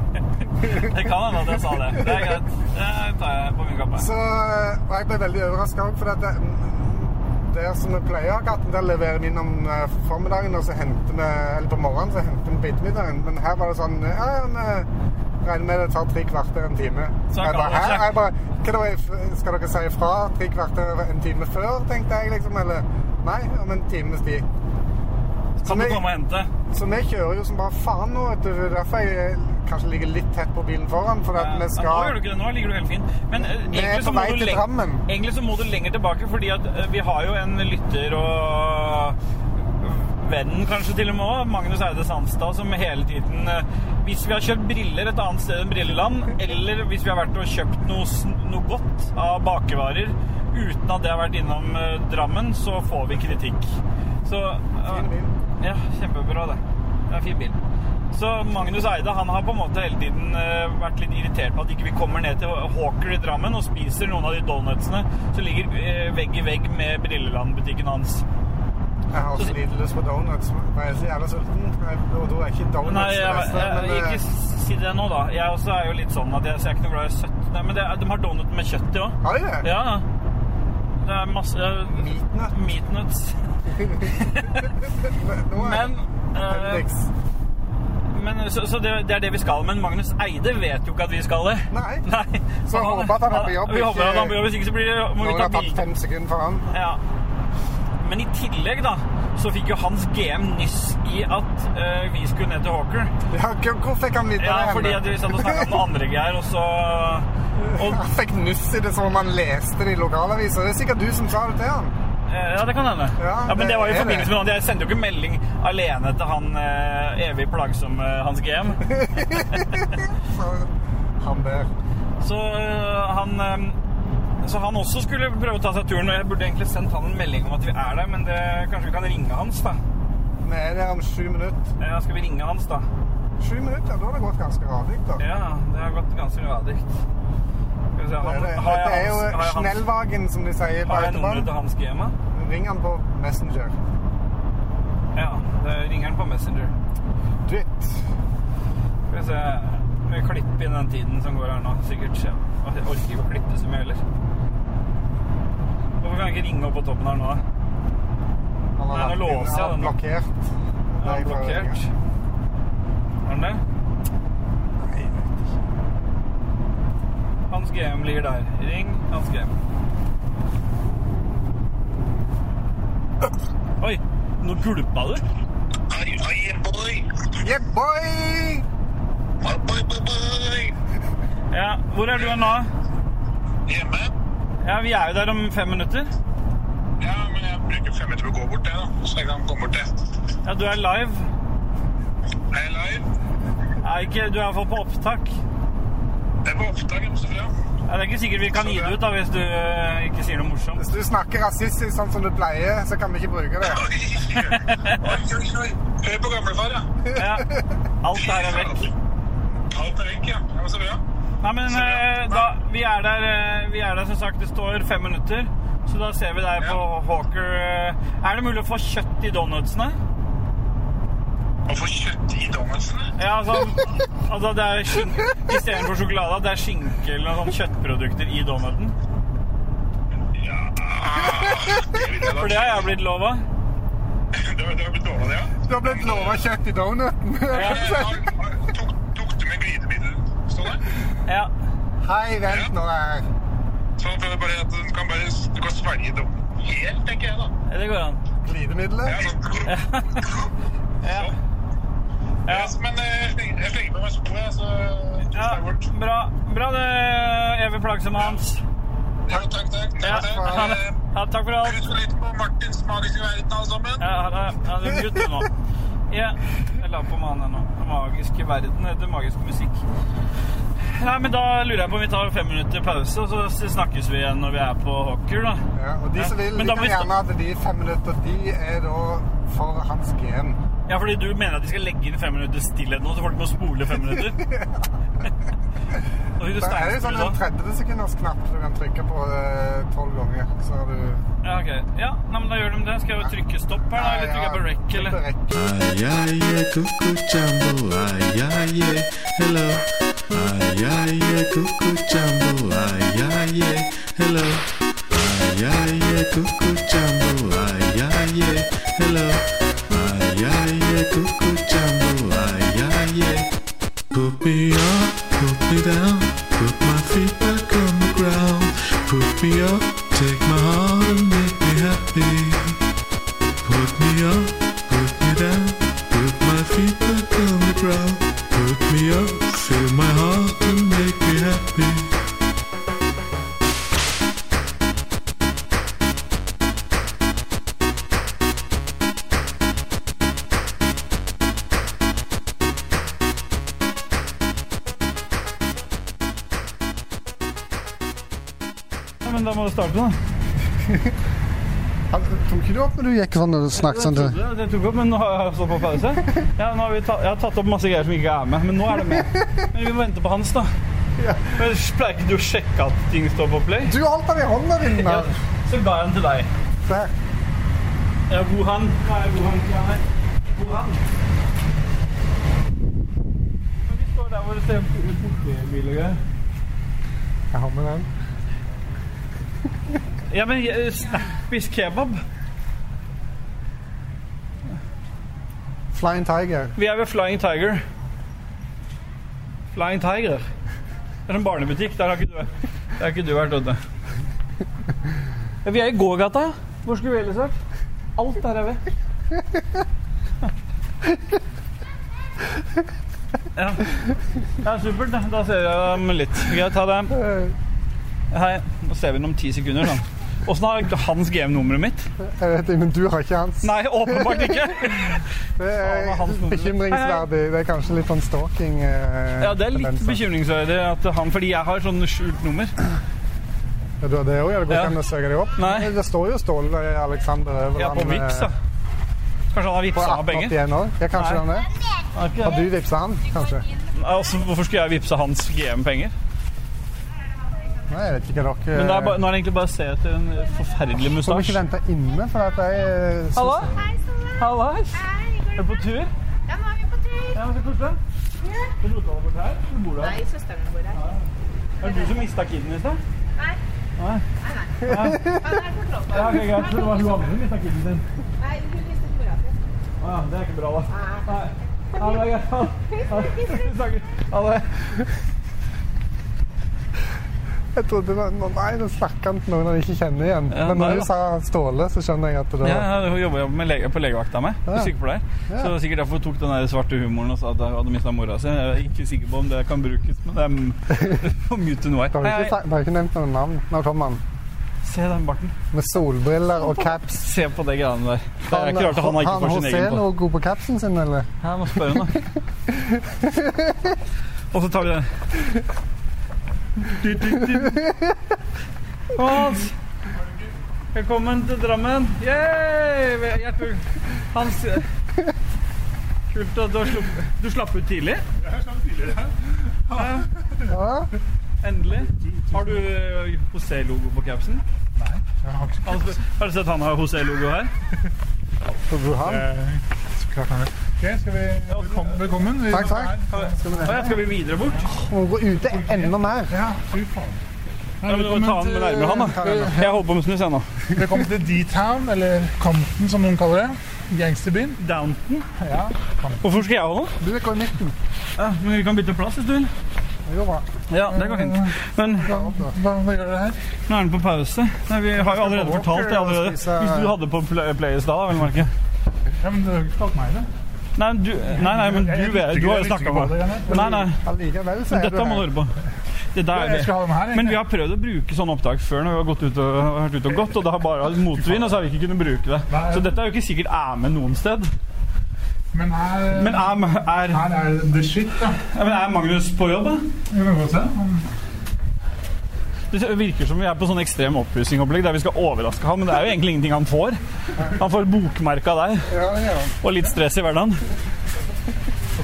[SPEAKER 2] det kan hende at jeg sa det. Det er greit. Det tar jeg på min kappe.
[SPEAKER 1] Så, og jeg ble veldig overraska òg, for at det, der som vi pleier. Katten der leverer vi innom eh, formiddagen, og så henter vi Eller på morgenen, så henter vi på ettermiddagen. Men her var det sånn Ja, ja, vi regner med det tar tre kvarter, en time.
[SPEAKER 2] Så
[SPEAKER 1] jeg
[SPEAKER 2] kan
[SPEAKER 1] bare,
[SPEAKER 2] man
[SPEAKER 1] Hæ?
[SPEAKER 2] sjekke.
[SPEAKER 1] Jeg bare Hva da, f- skal dere si fra tre kvarter, en time før, tenkte jeg liksom. Eller Nei, om en times tid. Så
[SPEAKER 2] Kan du
[SPEAKER 1] vi-
[SPEAKER 2] komme og hente?
[SPEAKER 1] så vi kjører jo som bare faen nå, vet du. Det er Derfor jeg eh, kanskje ligger litt tett på bilen foran. For at
[SPEAKER 2] Ja,
[SPEAKER 1] vi
[SPEAKER 2] men Nå gjør
[SPEAKER 1] skal
[SPEAKER 2] du ikke det, nå ligger du helt fint. Men eh,
[SPEAKER 1] er
[SPEAKER 2] egentlig
[SPEAKER 1] på
[SPEAKER 2] så, må
[SPEAKER 1] vei
[SPEAKER 2] du
[SPEAKER 1] til
[SPEAKER 2] leng-
[SPEAKER 1] Drammen.
[SPEAKER 2] egentlig så må du lenger tilbake, fordi at eh, vi har jo en lytter og venn kanskje til og med også, Magnus Eide Sandstad, som hele tiden eh, Hvis vi har kjøpt briller et annet sted enn Brilleland, eller hvis vi har vært og kjøpt noe, sn- noe godt av bakevarer uten at det har vært innom eh, Drammen, så får vi kritikk. Så eh,
[SPEAKER 1] Fin bil.
[SPEAKER 2] ja, kjempebra det. Det er en fin bil. Så Magnus Eide han har på en måte hele tiden eh, vært litt irritert på at ikke vi kommer ned til Hawker i Drammen og spiser noen av de donutsene som ligger eh, vegg i vegg med Brilleland-butikken hans.
[SPEAKER 1] Jeg har så lite lyst på donuts. men Jeg er så jævla sulten. Jeg- Og da er ikke donuts
[SPEAKER 2] Nei,
[SPEAKER 1] det
[SPEAKER 2] jeg,
[SPEAKER 1] beste.
[SPEAKER 2] jeg,
[SPEAKER 1] men, eh,
[SPEAKER 2] ikke si det nå, da. Jeg også er jo litt sånn at jeg, så jeg er ikke noe glad i søtt. Nei, men det, er- de har donut med kjøtt i òg.
[SPEAKER 1] Har de det?
[SPEAKER 2] Ja. Det er masse eh,
[SPEAKER 1] Meatnut.
[SPEAKER 2] Meatnuts.
[SPEAKER 1] Nå er
[SPEAKER 2] Men eh,
[SPEAKER 1] Appendix.
[SPEAKER 2] Men, så så det, det er det vi skal. Men Magnus Eide vet jo ikke at vi skal det.
[SPEAKER 1] Nei.
[SPEAKER 2] Nei.
[SPEAKER 1] Så jeg håper at han er på jobb,
[SPEAKER 2] Vi
[SPEAKER 1] ikke-
[SPEAKER 2] håper at han er på jobb, hvis ikke så blir det, må vi
[SPEAKER 1] Noen
[SPEAKER 2] ta
[SPEAKER 1] har tatt
[SPEAKER 2] bilde.
[SPEAKER 1] fem sekunder foran.
[SPEAKER 2] Ja. Men i tillegg da, så fikk jo hans GM nyss i at eh, vi skulle ned til Hawker.
[SPEAKER 1] Ja, hvor- hvor fikk han vite
[SPEAKER 2] Ja,
[SPEAKER 1] det?
[SPEAKER 2] fordi at vi satt og snakket om noen andre greier, og så... Og,
[SPEAKER 1] Han fikk nuss i det som om han leste det i lokalaviser. Det er sikkert du som sa det til han.
[SPEAKER 2] eh, ja, det kan hende.
[SPEAKER 1] Ja,
[SPEAKER 2] Ja, men
[SPEAKER 1] det
[SPEAKER 2] det var jo
[SPEAKER 1] er
[SPEAKER 2] i forbindelse
[SPEAKER 1] det.
[SPEAKER 2] med noe. Jeg sendte jo ikke melding alene til han eh, evig plagsomme hans GM.
[SPEAKER 1] Så han der.
[SPEAKER 2] Så øh, han øhm, så han også skulle prøve å ta seg turen, og jeg burde egentlig sendt han en melding om at vi er der, men det, kanskje vi kan ringe hans, da.
[SPEAKER 1] Vi er der om sju minutter.
[SPEAKER 2] Ja, skal vi ringe hans, da?
[SPEAKER 1] Sju minutter? Da har det gått ganske radig, da.
[SPEAKER 2] Ja, det har gått ganske radikt. Skal vi se, han,
[SPEAKER 1] Det er det.
[SPEAKER 2] har
[SPEAKER 1] Dette er
[SPEAKER 2] jeg
[SPEAKER 1] jo
[SPEAKER 2] hans, har jeg hans,
[SPEAKER 1] Snellvagen, som de sier på
[SPEAKER 2] har jeg nummeret
[SPEAKER 1] autobahn.
[SPEAKER 2] til hans GM? da?
[SPEAKER 1] Ring han på Messenger.
[SPEAKER 2] Ja, det ringer han på Messenger.
[SPEAKER 1] Dritt.
[SPEAKER 2] Skal vi se, vi klipper inn den tiden som går her nå, sikkert. Ja. Jeg orker ikke å klippe så mye heller. Hvorfor kan jeg ikke ringe opp på toppen her nå, da?
[SPEAKER 1] Han
[SPEAKER 2] Nei, nå
[SPEAKER 1] lagt inn-
[SPEAKER 2] låser jeg
[SPEAKER 1] han har
[SPEAKER 2] den.
[SPEAKER 1] blokkert.
[SPEAKER 2] Er
[SPEAKER 1] Nei,
[SPEAKER 2] han
[SPEAKER 1] for-
[SPEAKER 2] blokkert? Er han det?
[SPEAKER 1] Nei, jeg vet ikke.
[SPEAKER 2] Hans GM ligger der. Ring Hans GM. Oi, nå gulpa du.
[SPEAKER 3] Aye, aye, boy.
[SPEAKER 1] Yeah, boy!
[SPEAKER 3] Bye, bye, bye, bye.
[SPEAKER 2] Ja, Hvor er du hen nå?
[SPEAKER 3] Hjemme?
[SPEAKER 2] Ja, Vi er jo der om fem minutter.
[SPEAKER 3] Ja, men jeg bruker fem minutter på å gå bort, jeg, da. Så jeg kan komme bort, jeg.
[SPEAKER 2] Ja, Du er live.
[SPEAKER 3] Er jeg live?
[SPEAKER 2] Er ikke, du er iallfall på opptak.
[SPEAKER 3] Det er på opptak, jeg må stå frem.
[SPEAKER 2] Ja, det er ikke sikkert vi kan gi det ut da, hvis du eh, ikke sier noe morsomt.
[SPEAKER 1] Hvis du snakker rasistisk sånn som du pleier, så kan vi ikke bruke det.
[SPEAKER 3] Oi, oi, oi, oi. Hør på gamlefar, ja.
[SPEAKER 2] Ja, Alt det her er vekk.
[SPEAKER 3] Alt er vekk, ja. Ja, men så bra.
[SPEAKER 2] Nei, men eh, da, vi, er der, eh, vi er der, som sagt, det står fem minutter. Så da ser vi deg på Hawker. eh. Er det mulig å få kjøtt i donutsene?
[SPEAKER 3] Å få kjøtt i donutsene.
[SPEAKER 2] Ja, altså, altså det er skinke Istedenfor sjokolade, det er skinke eller noen sånne kjøttprodukter i donuten.
[SPEAKER 3] Ja, det vil jeg da.
[SPEAKER 2] For det har jeg blitt lova.
[SPEAKER 3] Det har- det har blitt dårlig, det, ja.
[SPEAKER 1] Du har blitt lova kjøtt i donuten.
[SPEAKER 3] Eh, har- har- Tok, tok du med glidemiddel? Står det?
[SPEAKER 2] Ja.
[SPEAKER 1] Hei, vent nå her.
[SPEAKER 3] Så det er bare at du kan bare du kan svelge dom. Helt, tenker jeg, da.
[SPEAKER 2] Det går an.
[SPEAKER 3] Ja,
[SPEAKER 1] Glidemiddelet?
[SPEAKER 3] sånn.
[SPEAKER 2] Ja.
[SPEAKER 3] Ja.
[SPEAKER 2] Ja.
[SPEAKER 3] men eh, jeg slenger- jeg slenger på meg skoene, så
[SPEAKER 2] ja.
[SPEAKER 3] tar jeg bort.
[SPEAKER 2] Bra, bra det, evig plagsomme Hans.
[SPEAKER 3] Ja, takk, takk.
[SPEAKER 2] Ja.
[SPEAKER 3] takk.
[SPEAKER 2] Ha det. Ja, takk for alt.
[SPEAKER 3] Husk litt på Martins magiske verden, alle sammen.
[SPEAKER 2] Ja, ha det. Ja, det er gutt nå. Ja. Jeg la på med han her nå. Den magiske verden heter magisk musikk. Nei, men Da lurer jeg på om vi tar fem minutter pause, og så snakkes vi igjen når vi er på Hawker. da.
[SPEAKER 1] Ja, og de som vil,
[SPEAKER 2] Men
[SPEAKER 1] de
[SPEAKER 2] da
[SPEAKER 1] kan
[SPEAKER 2] må vi stå-
[SPEAKER 1] gjerne at de fem minutter, de er da for hans gen.
[SPEAKER 2] Ja, fordi du mener at de skal legge inn fem minutter stillhet nå, så folk må spole fem minutter? Da fikk du
[SPEAKER 1] Da er det sånn
[SPEAKER 2] steinspole
[SPEAKER 1] en
[SPEAKER 2] da.
[SPEAKER 1] 30 sekunders knapp du kan trykke på eh, tolv ganger. Så har du
[SPEAKER 2] Ja, ok. Ja, nei, men da gjør de det. Skal jeg jo trykke stopp her, da? Eller trykke på rec,
[SPEAKER 1] Trykker
[SPEAKER 2] eller?
[SPEAKER 1] rec.
[SPEAKER 4] Ay, ay, yeah, cuckoo jumbo, ay, ay, yeah, hello. Ay, ay, yeah, cuckoo jumbo, ay, ay, yeah, hello. Ay, ay, yeah, cuckoo jumbo, Put me up, put me down, put my feet back on the ground. Put me up, take my heart and make me happy. Put me up, put me down, put my feet back on the ground. Put me up, fill my heart and make me happy.
[SPEAKER 2] Men da må du starte, da.
[SPEAKER 1] Han, tok ikke du opp når du gikk sånn og snakket sånn? til-
[SPEAKER 2] Jeg trodde det, det tok opp, men nå har jeg stått på pause. Ja, nå har vi ta, jeg har tatt opp masse greier som ikke er med, men nå er det med. Men vi må vente på hans, da. Men Ellers pleier ikke du å sjekke at ting står på play?
[SPEAKER 1] Du holdt den i hånda di! den
[SPEAKER 2] Ja,
[SPEAKER 1] der.
[SPEAKER 2] så ga jeg den til deg.
[SPEAKER 1] Der.
[SPEAKER 2] Ja, hvor han? Hva er hvor han? Hvor han? er? Hvor han? Men vi står der hvor det ser portebil og greier.
[SPEAKER 1] Jeg har med den.
[SPEAKER 2] Ja, men eh, Snappis kebab?
[SPEAKER 1] Flying Tiger.
[SPEAKER 2] Vi er ved Flying Tiger. Flying Tiger. Det er en barnebutikk. Der har ikke du, der har ikke du vært, Odde. Ja, vi er i gågata. Hvor skulle vi ellers vært? Alt der er ved. Ja. ja, supert. da. Da ser jeg dem litt. Greit, ta det.
[SPEAKER 1] Eh,
[SPEAKER 2] Hei. Nå ser vi den om ti sekunder. sånn. Åssen har hans GM-nummeret mitt?
[SPEAKER 1] Jeg vet ikke, men du har ikke hans.
[SPEAKER 2] Nei, åpenbart ikke.
[SPEAKER 1] Det
[SPEAKER 2] Faen,
[SPEAKER 1] er
[SPEAKER 2] hans nummer.
[SPEAKER 1] bekymringsverdig. Det er kanskje litt sånn stalking. eh,
[SPEAKER 2] Ja, Det er litt
[SPEAKER 1] tendenser.
[SPEAKER 2] bekymringsverdig at han Fordi jeg har sånn skjult nummer.
[SPEAKER 1] Ja, du har det òg? Ja, det går
[SPEAKER 2] Ja.
[SPEAKER 1] ikke an å søke det opp?
[SPEAKER 2] Nei.
[SPEAKER 1] Det står jo Ståle Alexander over
[SPEAKER 2] Ja, på
[SPEAKER 1] han, eh,
[SPEAKER 2] Vipps, da. Kanskje han har
[SPEAKER 1] På
[SPEAKER 2] vippsa meg penger?
[SPEAKER 1] 1881 òg? Ja, kanskje
[SPEAKER 2] Nei.
[SPEAKER 1] han er. Har du vippsa han, kanskje?
[SPEAKER 2] Altså, hvorfor skulle jeg vippse hans GM-penger?
[SPEAKER 1] Nei, jeg vet ikke hva dere
[SPEAKER 2] Men det er bare, nå er det egentlig bare å se etter en forferdelig
[SPEAKER 1] Skal vi
[SPEAKER 2] mustasje.
[SPEAKER 1] ikke vente inne, for at jeg eh, synes-
[SPEAKER 2] Hallo?
[SPEAKER 5] Hei, Ståle.
[SPEAKER 2] Hallais!
[SPEAKER 5] Hei,
[SPEAKER 2] Er du
[SPEAKER 5] går det
[SPEAKER 2] på tur?
[SPEAKER 5] bra? Ja, nå er vi på tur.
[SPEAKER 2] Ja, men så koselig.
[SPEAKER 5] Ja.
[SPEAKER 2] Du rotet deg bort her. Du bor der.
[SPEAKER 5] Nei, søsteren min bor her.
[SPEAKER 2] Er det du som mista kiden i sted?
[SPEAKER 5] Nei.
[SPEAKER 2] Nei.
[SPEAKER 5] Nei, nei. Han er på Trondheim.
[SPEAKER 2] Ja, okay, greit. Så det var hun andre som mista kiden sin.
[SPEAKER 5] Nei, hun visste ikke mora si.
[SPEAKER 2] Å ja, det er ikke bra, da.
[SPEAKER 5] Nei.
[SPEAKER 2] Nei. Ja, det er greit. Ha det. Vi snakkes. Ha det.
[SPEAKER 1] Jeg trodde det- Nei, nå snakker han til noen han ikke kjenner igjen.
[SPEAKER 2] Ja,
[SPEAKER 1] Men når
[SPEAKER 2] nei
[SPEAKER 1] du
[SPEAKER 2] da.
[SPEAKER 1] sa Ståle, så skjønner jeg at det
[SPEAKER 2] Ja, ja, hun jobber jo med lege, på legevakta med.
[SPEAKER 1] Ja.
[SPEAKER 2] Sykepleier. Så det var sikkert derfor hun tok den der svarte humoren og sa at hun hadde mista mora si. Jeg er ikke sikker på om det kan brukes, men det er m- for mye til noe
[SPEAKER 1] Du har
[SPEAKER 2] her.
[SPEAKER 1] ikke,
[SPEAKER 2] Hei,
[SPEAKER 1] sagt- du har ikke nevnt noen navn. Nå kommer han.
[SPEAKER 2] hei. Se den barten.
[SPEAKER 1] Med solbriller og caps.
[SPEAKER 2] Se på det greiene der. Det er ikke rart at han ikke får sin
[SPEAKER 1] José
[SPEAKER 2] egen på.
[SPEAKER 1] noe god på capsen sin, eller?
[SPEAKER 2] Ja, nå spør hun, da. Og så tar vi den. Du, du, du. Hans! Velkommen til Drammen. Yay! Vel- Hjertelig. Hans Kult at du har sluppet Du slapp ut tidlig?
[SPEAKER 1] Ja.
[SPEAKER 2] Endelig. Har du José-logo på capsen? Hans, har du sett han har José-logo her?
[SPEAKER 1] Så du har han.
[SPEAKER 6] Eh, Ok, skal vi... Velkommen. velkommen. Vi-
[SPEAKER 1] Takk, takk. Skal vi
[SPEAKER 2] Å ja, skal vi videre bort?
[SPEAKER 1] Må gå ute enda mer.
[SPEAKER 6] Ja, fy faen. Nei,
[SPEAKER 2] Ja, men du må ta han
[SPEAKER 6] til-
[SPEAKER 2] nærmere han, da. Jeg holder på med snus, jeg nå.
[SPEAKER 6] Velkommen til D-Town, eller Compton, som noen kaller det. Gangsterbyen.
[SPEAKER 2] Downton.
[SPEAKER 6] Ja.
[SPEAKER 2] Hvorfor skal jeg holde?
[SPEAKER 1] Du går i midten.
[SPEAKER 2] Ja, men Vi kan bytte plass hvis du vil.
[SPEAKER 1] Det går bra.
[SPEAKER 2] Ja, det går fint. Men
[SPEAKER 6] Hva, hva, hva gjør dere her?
[SPEAKER 2] nå er den på pause. Nei, Vi har jo allerede fortalt det. allerede. Hvis du hadde på Play- Players da, vel merke.
[SPEAKER 6] Ja, men du har jo ikke kalt meg det.
[SPEAKER 2] Nei, du, nei, nei, men du, vet- du har jo snakka med Nei, nei,
[SPEAKER 1] Allikevel så er
[SPEAKER 2] dette
[SPEAKER 1] du
[SPEAKER 2] må du
[SPEAKER 1] her.
[SPEAKER 2] høre på. Det der
[SPEAKER 6] Jeg
[SPEAKER 2] er
[SPEAKER 6] skulle
[SPEAKER 2] det.
[SPEAKER 6] ha den her,
[SPEAKER 2] Men vi har prøvd å bruke sånne opptak før når vi har gått ut og, vært ute og gått, og det har bare hatt motvind, og så har vi ikke kunnet bruke det. Så dette er jo ikke sikkert er med noen sted.
[SPEAKER 6] Men her,
[SPEAKER 2] Men er, er,
[SPEAKER 6] her er det the shit, da.
[SPEAKER 2] ja, men er Magnus på jobb, da?
[SPEAKER 6] Vi kan gå og se. om-
[SPEAKER 2] Det virker som vi er på sånn ekstrem oppussingopplegg der vi skal overraske ham, men det er jo egentlig ingenting han får. Han får bokmerka der.
[SPEAKER 1] Ja, ja.
[SPEAKER 2] Og litt stress i hverdagen.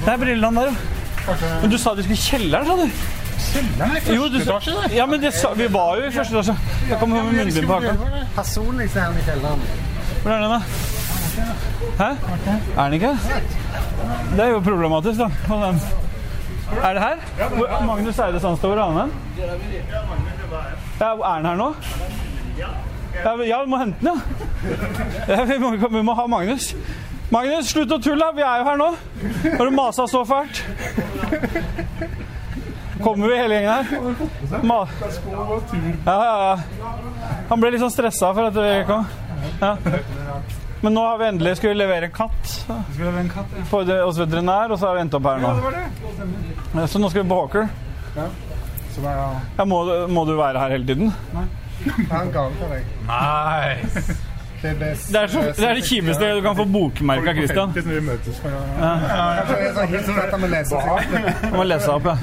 [SPEAKER 2] Det er brillene der, ja. Men du sa du skulle i kjelleren, sa du?
[SPEAKER 6] Kjelleren er
[SPEAKER 2] Jo, du
[SPEAKER 6] første
[SPEAKER 2] sa-
[SPEAKER 6] etasje, det.
[SPEAKER 2] Ja, men det sa, vi var jo i første etasje. Da kom hun med munnbind på haka.
[SPEAKER 1] Personlig så er han i kjelleren.
[SPEAKER 2] Hvor er den, da? Hæ? Er den ikke? Det er jo problematisk, da. Hold den. Er det her? Hvor, Magnus Eide Sandstad, hvor er han hen? Ja, er den her nå? Ja, vi- ja vi må hente den, ja. ja vi, må, vi må ha Magnus. Magnus, slutt å tulle! da. Vi er jo her nå. Har du masa så fælt? Kommer vi hele gjengen her? Ma ja, ja, ja. Han ble litt sånn stressa for at vi ikke kom. Ja. Men nå har vi endelig skulle levere en katt
[SPEAKER 6] Skulle en katt, ja.
[SPEAKER 2] på det- hos veterinær, og så har vi endt opp her nå.
[SPEAKER 6] Det var det.
[SPEAKER 2] Ja, Så nå skal vi på Hawker.
[SPEAKER 6] Så det er
[SPEAKER 2] Ja, må, du- må du være her hele tiden?
[SPEAKER 1] Jeg har en gave til deg.
[SPEAKER 2] Nei!
[SPEAKER 1] Det er det, s-
[SPEAKER 2] Det er, så, det er det kjipeste du kan få bokmerka, Christian.
[SPEAKER 6] Hvis vi møtes for å
[SPEAKER 1] Kanskje det er sånn hilsen dette med lesesikten.
[SPEAKER 2] Du må lese opp, ja.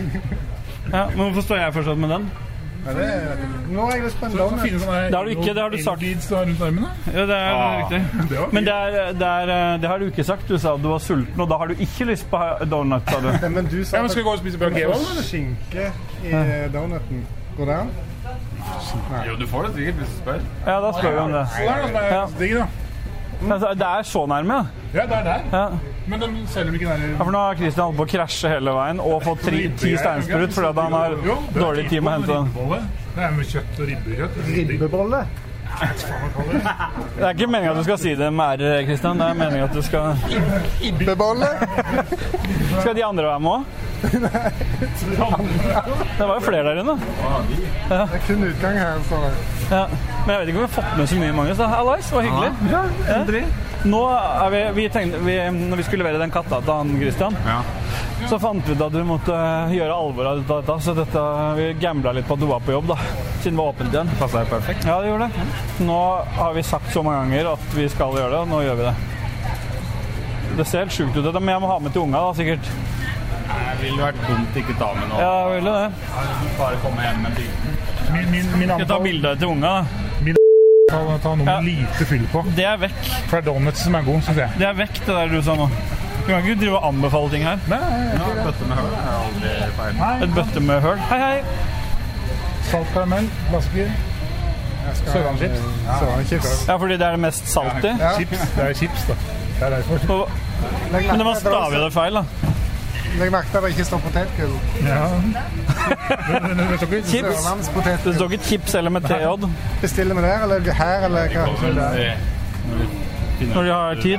[SPEAKER 2] ja. Men hvorfor står jeg fortsatt med den?
[SPEAKER 1] Ja, det er- Nå har jeg lyst på en
[SPEAKER 6] Så
[SPEAKER 1] donut.
[SPEAKER 6] fine sånne
[SPEAKER 2] Det har du ikke, det har du sagt.
[SPEAKER 6] Elgids du har rundt armene.
[SPEAKER 2] Ja, det er riktig.
[SPEAKER 6] Ah, Det var
[SPEAKER 2] Men det, er, det, er, eh, det har du ikke sagt. Du sa du var sulten, og da har du ikke lyst på ha- donut, sa du.
[SPEAKER 1] Ja, Men du sa
[SPEAKER 6] Ja, men skal vi gå og spise
[SPEAKER 1] det
[SPEAKER 6] bøker?
[SPEAKER 1] var skinke i eh, donuten. Går det an?
[SPEAKER 7] Jo, du får det sikkert hvis du spør.
[SPEAKER 2] Ja, da spør vi om det.
[SPEAKER 6] Det er noe som er
[SPEAKER 2] Ja.
[SPEAKER 6] digg, da.
[SPEAKER 2] Altså, Det er så nærme, ja.
[SPEAKER 6] Ja, det er der.
[SPEAKER 2] ja.
[SPEAKER 6] Men de selger dem ikke der.
[SPEAKER 2] Ja, For nå har Christian holdt på å krasje hele veien og fått tri, ti steinsprut fordi at han har dårlig tid med å hente den.
[SPEAKER 6] den. Det er med kjøtt og ribbekjøtt.
[SPEAKER 1] Ribbebolle?
[SPEAKER 2] Det er ikke meninga at du skal si det med r, Christian. Det er meninga at du skal
[SPEAKER 1] Ribbebolle?
[SPEAKER 2] Skal de andre være med òg? Det var jo flere der inne.
[SPEAKER 1] Det er kun utgang her, står det.
[SPEAKER 2] Ja. Men jeg vet ikke om vi har fått med så mye, Magnus. da. Hallais, det var hyggelig. Ja. Nå er vi, vi tenkte, vi, når vi skulle levere den katta til han Christian, så fant vi ut at vi måtte eh, gjøre alvor av dette. Så dette, vi gambla litt på at du var på jobb, da. Siden det var åpent igjen. Passa jo perfekt. Ja, det gjorde det. Nå har vi sagt så mange ganger at vi skal gjøre det, og nå gjør vi det. Det ser helt sjukt ut, dette, men jeg må ha med til unga, da, sikkert.
[SPEAKER 7] Det ville vært dumt ikke ta med noe.
[SPEAKER 2] Ja, jeg ville det.
[SPEAKER 7] Bare komme hjem med ting.
[SPEAKER 6] Min, min, min
[SPEAKER 2] Skal ta
[SPEAKER 6] anbefaling
[SPEAKER 2] bilde til unga. da.
[SPEAKER 6] er å ta noe
[SPEAKER 2] Ja.
[SPEAKER 6] med lite fyll på.
[SPEAKER 2] Det er vekk.
[SPEAKER 6] For det er donuts som er god, syns jeg.
[SPEAKER 2] Det er vekk, det der du sa nå. Du kan ikke drive og anbefale ting her.
[SPEAKER 6] Nei, nei,
[SPEAKER 7] Ja, bøtte med høl er aldri feil.
[SPEAKER 2] Et bøtte med høl. Hei, hei.
[SPEAKER 6] Salt karamell, glassbier. Sørlandschips.
[SPEAKER 1] Sørlandschips.
[SPEAKER 2] Ja, fordi det er det mest salte.
[SPEAKER 6] Chips. Det er chips, da. Det er derfor.
[SPEAKER 2] Og- Men det var stavet det feil, da.
[SPEAKER 1] Legg merke til at det ikke står potetgull.
[SPEAKER 6] Ja. Men- men- men det står
[SPEAKER 2] Chips.
[SPEAKER 6] ikke-
[SPEAKER 2] Det
[SPEAKER 1] Sørlandspotetgull.
[SPEAKER 2] står ikke chips eller med TJ
[SPEAKER 1] Bestiller vi der, eller her, eller hva?
[SPEAKER 2] når de har tid.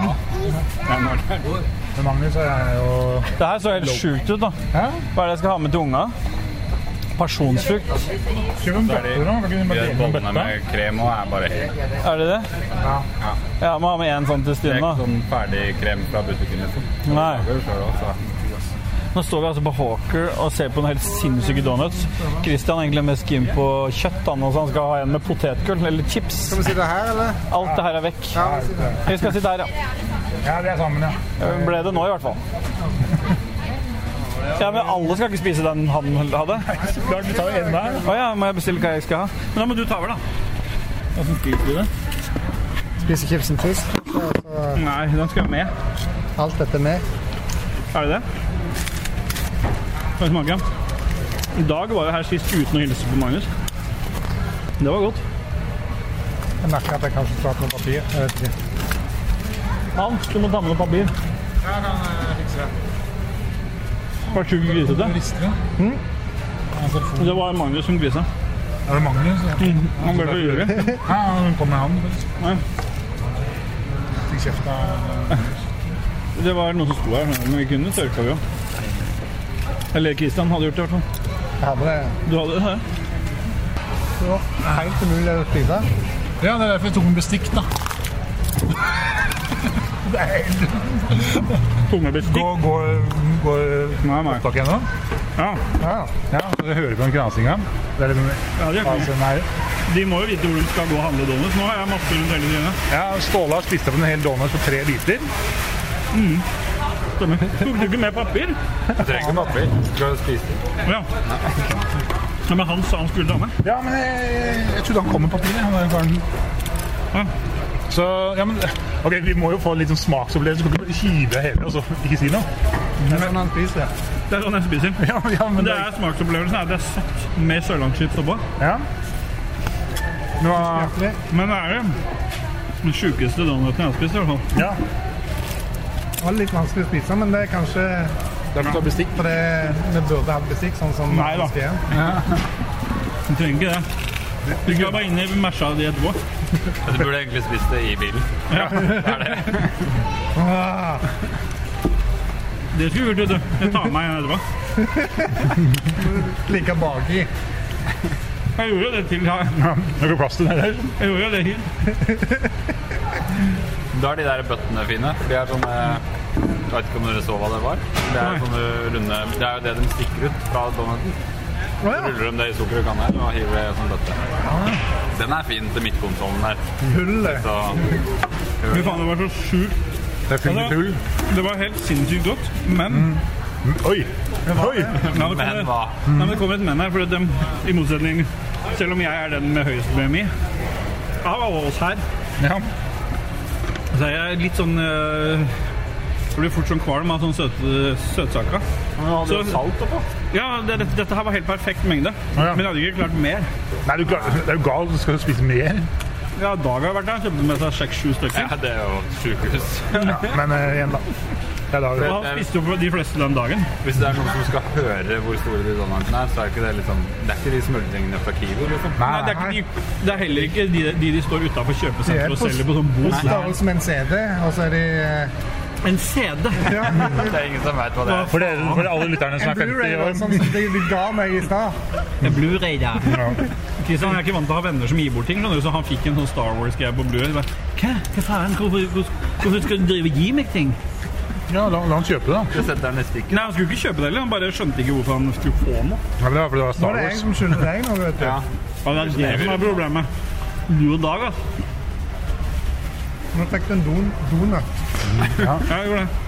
[SPEAKER 6] Men Magnus og jeg er jo
[SPEAKER 2] Det her så helt sjukt ut, da.
[SPEAKER 6] Hæ?
[SPEAKER 2] Hva er det jeg skal ha med til unga? Pasjonsfrukt.
[SPEAKER 6] Kjøp en bøtte, da. Kan ikke du bare
[SPEAKER 7] De
[SPEAKER 6] dele en
[SPEAKER 7] bollene
[SPEAKER 6] bøtte?
[SPEAKER 7] med krem og er bare helt
[SPEAKER 2] Er det det? Ja, jeg må ha med en sånn til
[SPEAKER 7] Det er
[SPEAKER 2] Stine.
[SPEAKER 7] ikke
[SPEAKER 2] da.
[SPEAKER 7] sånn ferdig krem fra butikken, liksom.
[SPEAKER 2] Nei.
[SPEAKER 7] Det er jo selv
[SPEAKER 6] altså.
[SPEAKER 7] også.
[SPEAKER 2] Nå står vi altså på Hawker og ser på noen helt sinnssyke donuts. Christian er egentlig mest keen på kjøtt, han, og så han skal ha en med potetgull eller chips.
[SPEAKER 1] Skal vi sitte her, eller?
[SPEAKER 2] Alt det her er vekk.
[SPEAKER 1] Ja, vi sitter her.
[SPEAKER 2] Vi skal sitte her, ja.
[SPEAKER 6] Ja, det er sammen, ja.
[SPEAKER 2] Ble det nå, i hvert fall. Ja, men Alle skal ikke spise den han hadde.
[SPEAKER 6] Klart vi tar en hver.
[SPEAKER 2] Å ja, må jeg bestille hva jeg skal ha? Men da må du ta over, da.
[SPEAKER 6] Hvordan spiser vi det?
[SPEAKER 1] Spise chipsen først.
[SPEAKER 2] Nei, den skal med.
[SPEAKER 1] Alt dette med.
[SPEAKER 2] Er det det? Skal vi smake? Dag var jo her sist uten å hilse på Magnus. Det var godt.
[SPEAKER 6] Jeg merker at jeg kanskje klarte noe papir. Jeg vet ikke.
[SPEAKER 2] Hans, du må ta med noe papir.
[SPEAKER 6] eh,
[SPEAKER 2] Var sjukt grisete. Hmm?
[SPEAKER 6] Rister det? Altså, f-
[SPEAKER 2] Det var Magnus som grisa. Mm.
[SPEAKER 6] er det Magnus? Ja,
[SPEAKER 2] Han ble så ivrig.
[SPEAKER 6] Ja, hun kom med han. faktisk.
[SPEAKER 2] Nei.
[SPEAKER 6] Fikk kjeft av
[SPEAKER 2] Det var noen som sto her, men vi kunne tørka vi jo. Eller Christian hadde gjort det, i hvert fall.
[SPEAKER 1] Jeg hadde det.
[SPEAKER 2] Du hadde det?
[SPEAKER 1] Det var helt umulig å spise.
[SPEAKER 6] Ja, det er derfor jeg tok en bestikk, da.
[SPEAKER 2] Tungebestikk.
[SPEAKER 6] Går, går, går
[SPEAKER 2] Nei, nei.
[SPEAKER 6] opptaket ennå?
[SPEAKER 2] Ja.
[SPEAKER 6] Ja. ja. Så dere hører på den krasinga? Det er liksom
[SPEAKER 2] Ja, de, er
[SPEAKER 6] altså,
[SPEAKER 2] fine.
[SPEAKER 6] nei.
[SPEAKER 2] de må jo vite hvor de skal gå og handle donuts. Nå har jeg masse rundt hele tiden.
[SPEAKER 6] Ja, Ståle har spist opp en hel donut på tre biter.
[SPEAKER 2] Stemmer. Tok du ikke med papir?
[SPEAKER 7] Du trenger ikke papir. Du skal spise det.
[SPEAKER 2] Ja. ja men han sa han skulle ta med.
[SPEAKER 6] Ja, men jeg, jeg trodde han kom med papir. Han der karen.
[SPEAKER 2] Ja.
[SPEAKER 6] Så, ja, men Ok, vi må jo få en litt sånn smaksopplevelse. Du kan ikke bare hive hele og så ikke si noe.
[SPEAKER 1] Det er sånn han spiser.
[SPEAKER 2] Det er sånn jeg spiser.
[SPEAKER 6] Ja, ja, men
[SPEAKER 2] Det er smaksopplevelsen er at det er satt med sørlandschips oppå.
[SPEAKER 6] Ja. Nå,
[SPEAKER 2] Men det er det den sjukeste donuten jeg har spist, i hvert fall.
[SPEAKER 6] ja.
[SPEAKER 1] Det var litt vanskelig å spise, men det er kanskje
[SPEAKER 6] Derfor tar bestikk.
[SPEAKER 1] fordi vi burde hatt bestikk, sånn som
[SPEAKER 2] Nei da.
[SPEAKER 1] Skien.
[SPEAKER 2] Du trenger ikke det.
[SPEAKER 7] Du skal bare inn i mersa di etterpå.
[SPEAKER 3] Du burde egentlig spist det i bilen.
[SPEAKER 7] Det skulle vi gjort, vet du. Jeg tar med meg en etterpå.
[SPEAKER 1] Like baki.
[SPEAKER 7] Jeg gjorde jo det til her.
[SPEAKER 6] Det er ikke plass til det der. liksom?
[SPEAKER 7] Jeg gjorde jo det hit.
[SPEAKER 3] Da er de der bøttene fine. for De er sånne Jeg vet ikke om dere så hva det var. Det er sånne runde Det er jo det de stikker ut fra donuten. Så ruller de det i sukker og kanel og hiver det i en sånn bøtte. Den er fin til midtkontrollen der.
[SPEAKER 1] Hullet.
[SPEAKER 3] Så
[SPEAKER 7] Fy faen, det var så sjukt.
[SPEAKER 6] Det er
[SPEAKER 7] Ja,
[SPEAKER 6] fint med
[SPEAKER 7] det-
[SPEAKER 6] hull.
[SPEAKER 7] Det var helt sinnssykt godt, men
[SPEAKER 6] Oi! Oi!
[SPEAKER 7] Nei, det
[SPEAKER 3] Men
[SPEAKER 7] kommer,
[SPEAKER 3] hva?
[SPEAKER 7] nei, men det kommer et men her, for at dem, i motsetning Selv om jeg er den med høyest BMI av alle oss her,
[SPEAKER 6] Ja.
[SPEAKER 7] så er jeg litt sånn øh, Jeg blir fort sånn kvalm av sånn søte, søtsaker.
[SPEAKER 6] Men hva hadde
[SPEAKER 7] Så-
[SPEAKER 6] du salt oppå?
[SPEAKER 7] Ja, det, dette- dette her var helt perfekt mengde,
[SPEAKER 6] Å, ja.
[SPEAKER 7] men jeg hadde ikke klart mer.
[SPEAKER 6] Nei, du klarer, det er jo galt. Du skal jo spise mer.
[SPEAKER 7] Ja, Dag har vært der, kjøpte med seg seks-sju stykker.
[SPEAKER 3] Ja, det er jo et sjukehus.
[SPEAKER 6] Ja, men eh, igjen, da. Det er da
[SPEAKER 7] Og han spiste opp de fleste den dagen.
[SPEAKER 3] Hvis det er noen som skal høre hvor store de donutene er, så er ikke det liksom Det er ikke de smultringene fra Kiwi, liksom.
[SPEAKER 7] Nei, det, er ikke, de- det er heller ikke de de, de står utafor
[SPEAKER 1] De er
[SPEAKER 7] kjøpesenteret og
[SPEAKER 1] på-
[SPEAKER 7] selger på sånn bod.
[SPEAKER 1] Størrelse med en CD, og så er de eh,
[SPEAKER 7] En CD!
[SPEAKER 3] Det er ingen som veit hva det er.
[SPEAKER 6] For, dere, for alle lytterne som
[SPEAKER 1] En
[SPEAKER 6] er
[SPEAKER 1] Blu-ray
[SPEAKER 6] 50
[SPEAKER 1] var
[SPEAKER 6] år
[SPEAKER 1] sånn som de, de ga meg i stad.
[SPEAKER 7] En Blu-ray, da.
[SPEAKER 6] Ja.
[SPEAKER 7] Kristian er ikke vant til å ha venner som gir bort ting, skjønner du, så han fikk en sånn Star Wars-greie på Blu-ray. Bare, Hva? Hva faen? Hvorfor, hvorfor, hvorfor skal du drive og gi meg ting?
[SPEAKER 6] Ja, la, la han kjøpe det, da.
[SPEAKER 3] Du setter den i stikk.
[SPEAKER 7] Nei, han skulle ikke kjøpe det heller, han bare skjønte ikke hvorfor han skulle få noe.
[SPEAKER 6] Ja, men det var fordi det var
[SPEAKER 1] Nå
[SPEAKER 6] Star
[SPEAKER 1] er det jeg
[SPEAKER 6] Wars.
[SPEAKER 1] som skylder deg noe, vet du.
[SPEAKER 3] Ja.
[SPEAKER 7] Ja, det er det som er problemet. Du og Dag, ass.
[SPEAKER 1] Nå fikk du en don donut.
[SPEAKER 7] Ja, jeg gjorde det.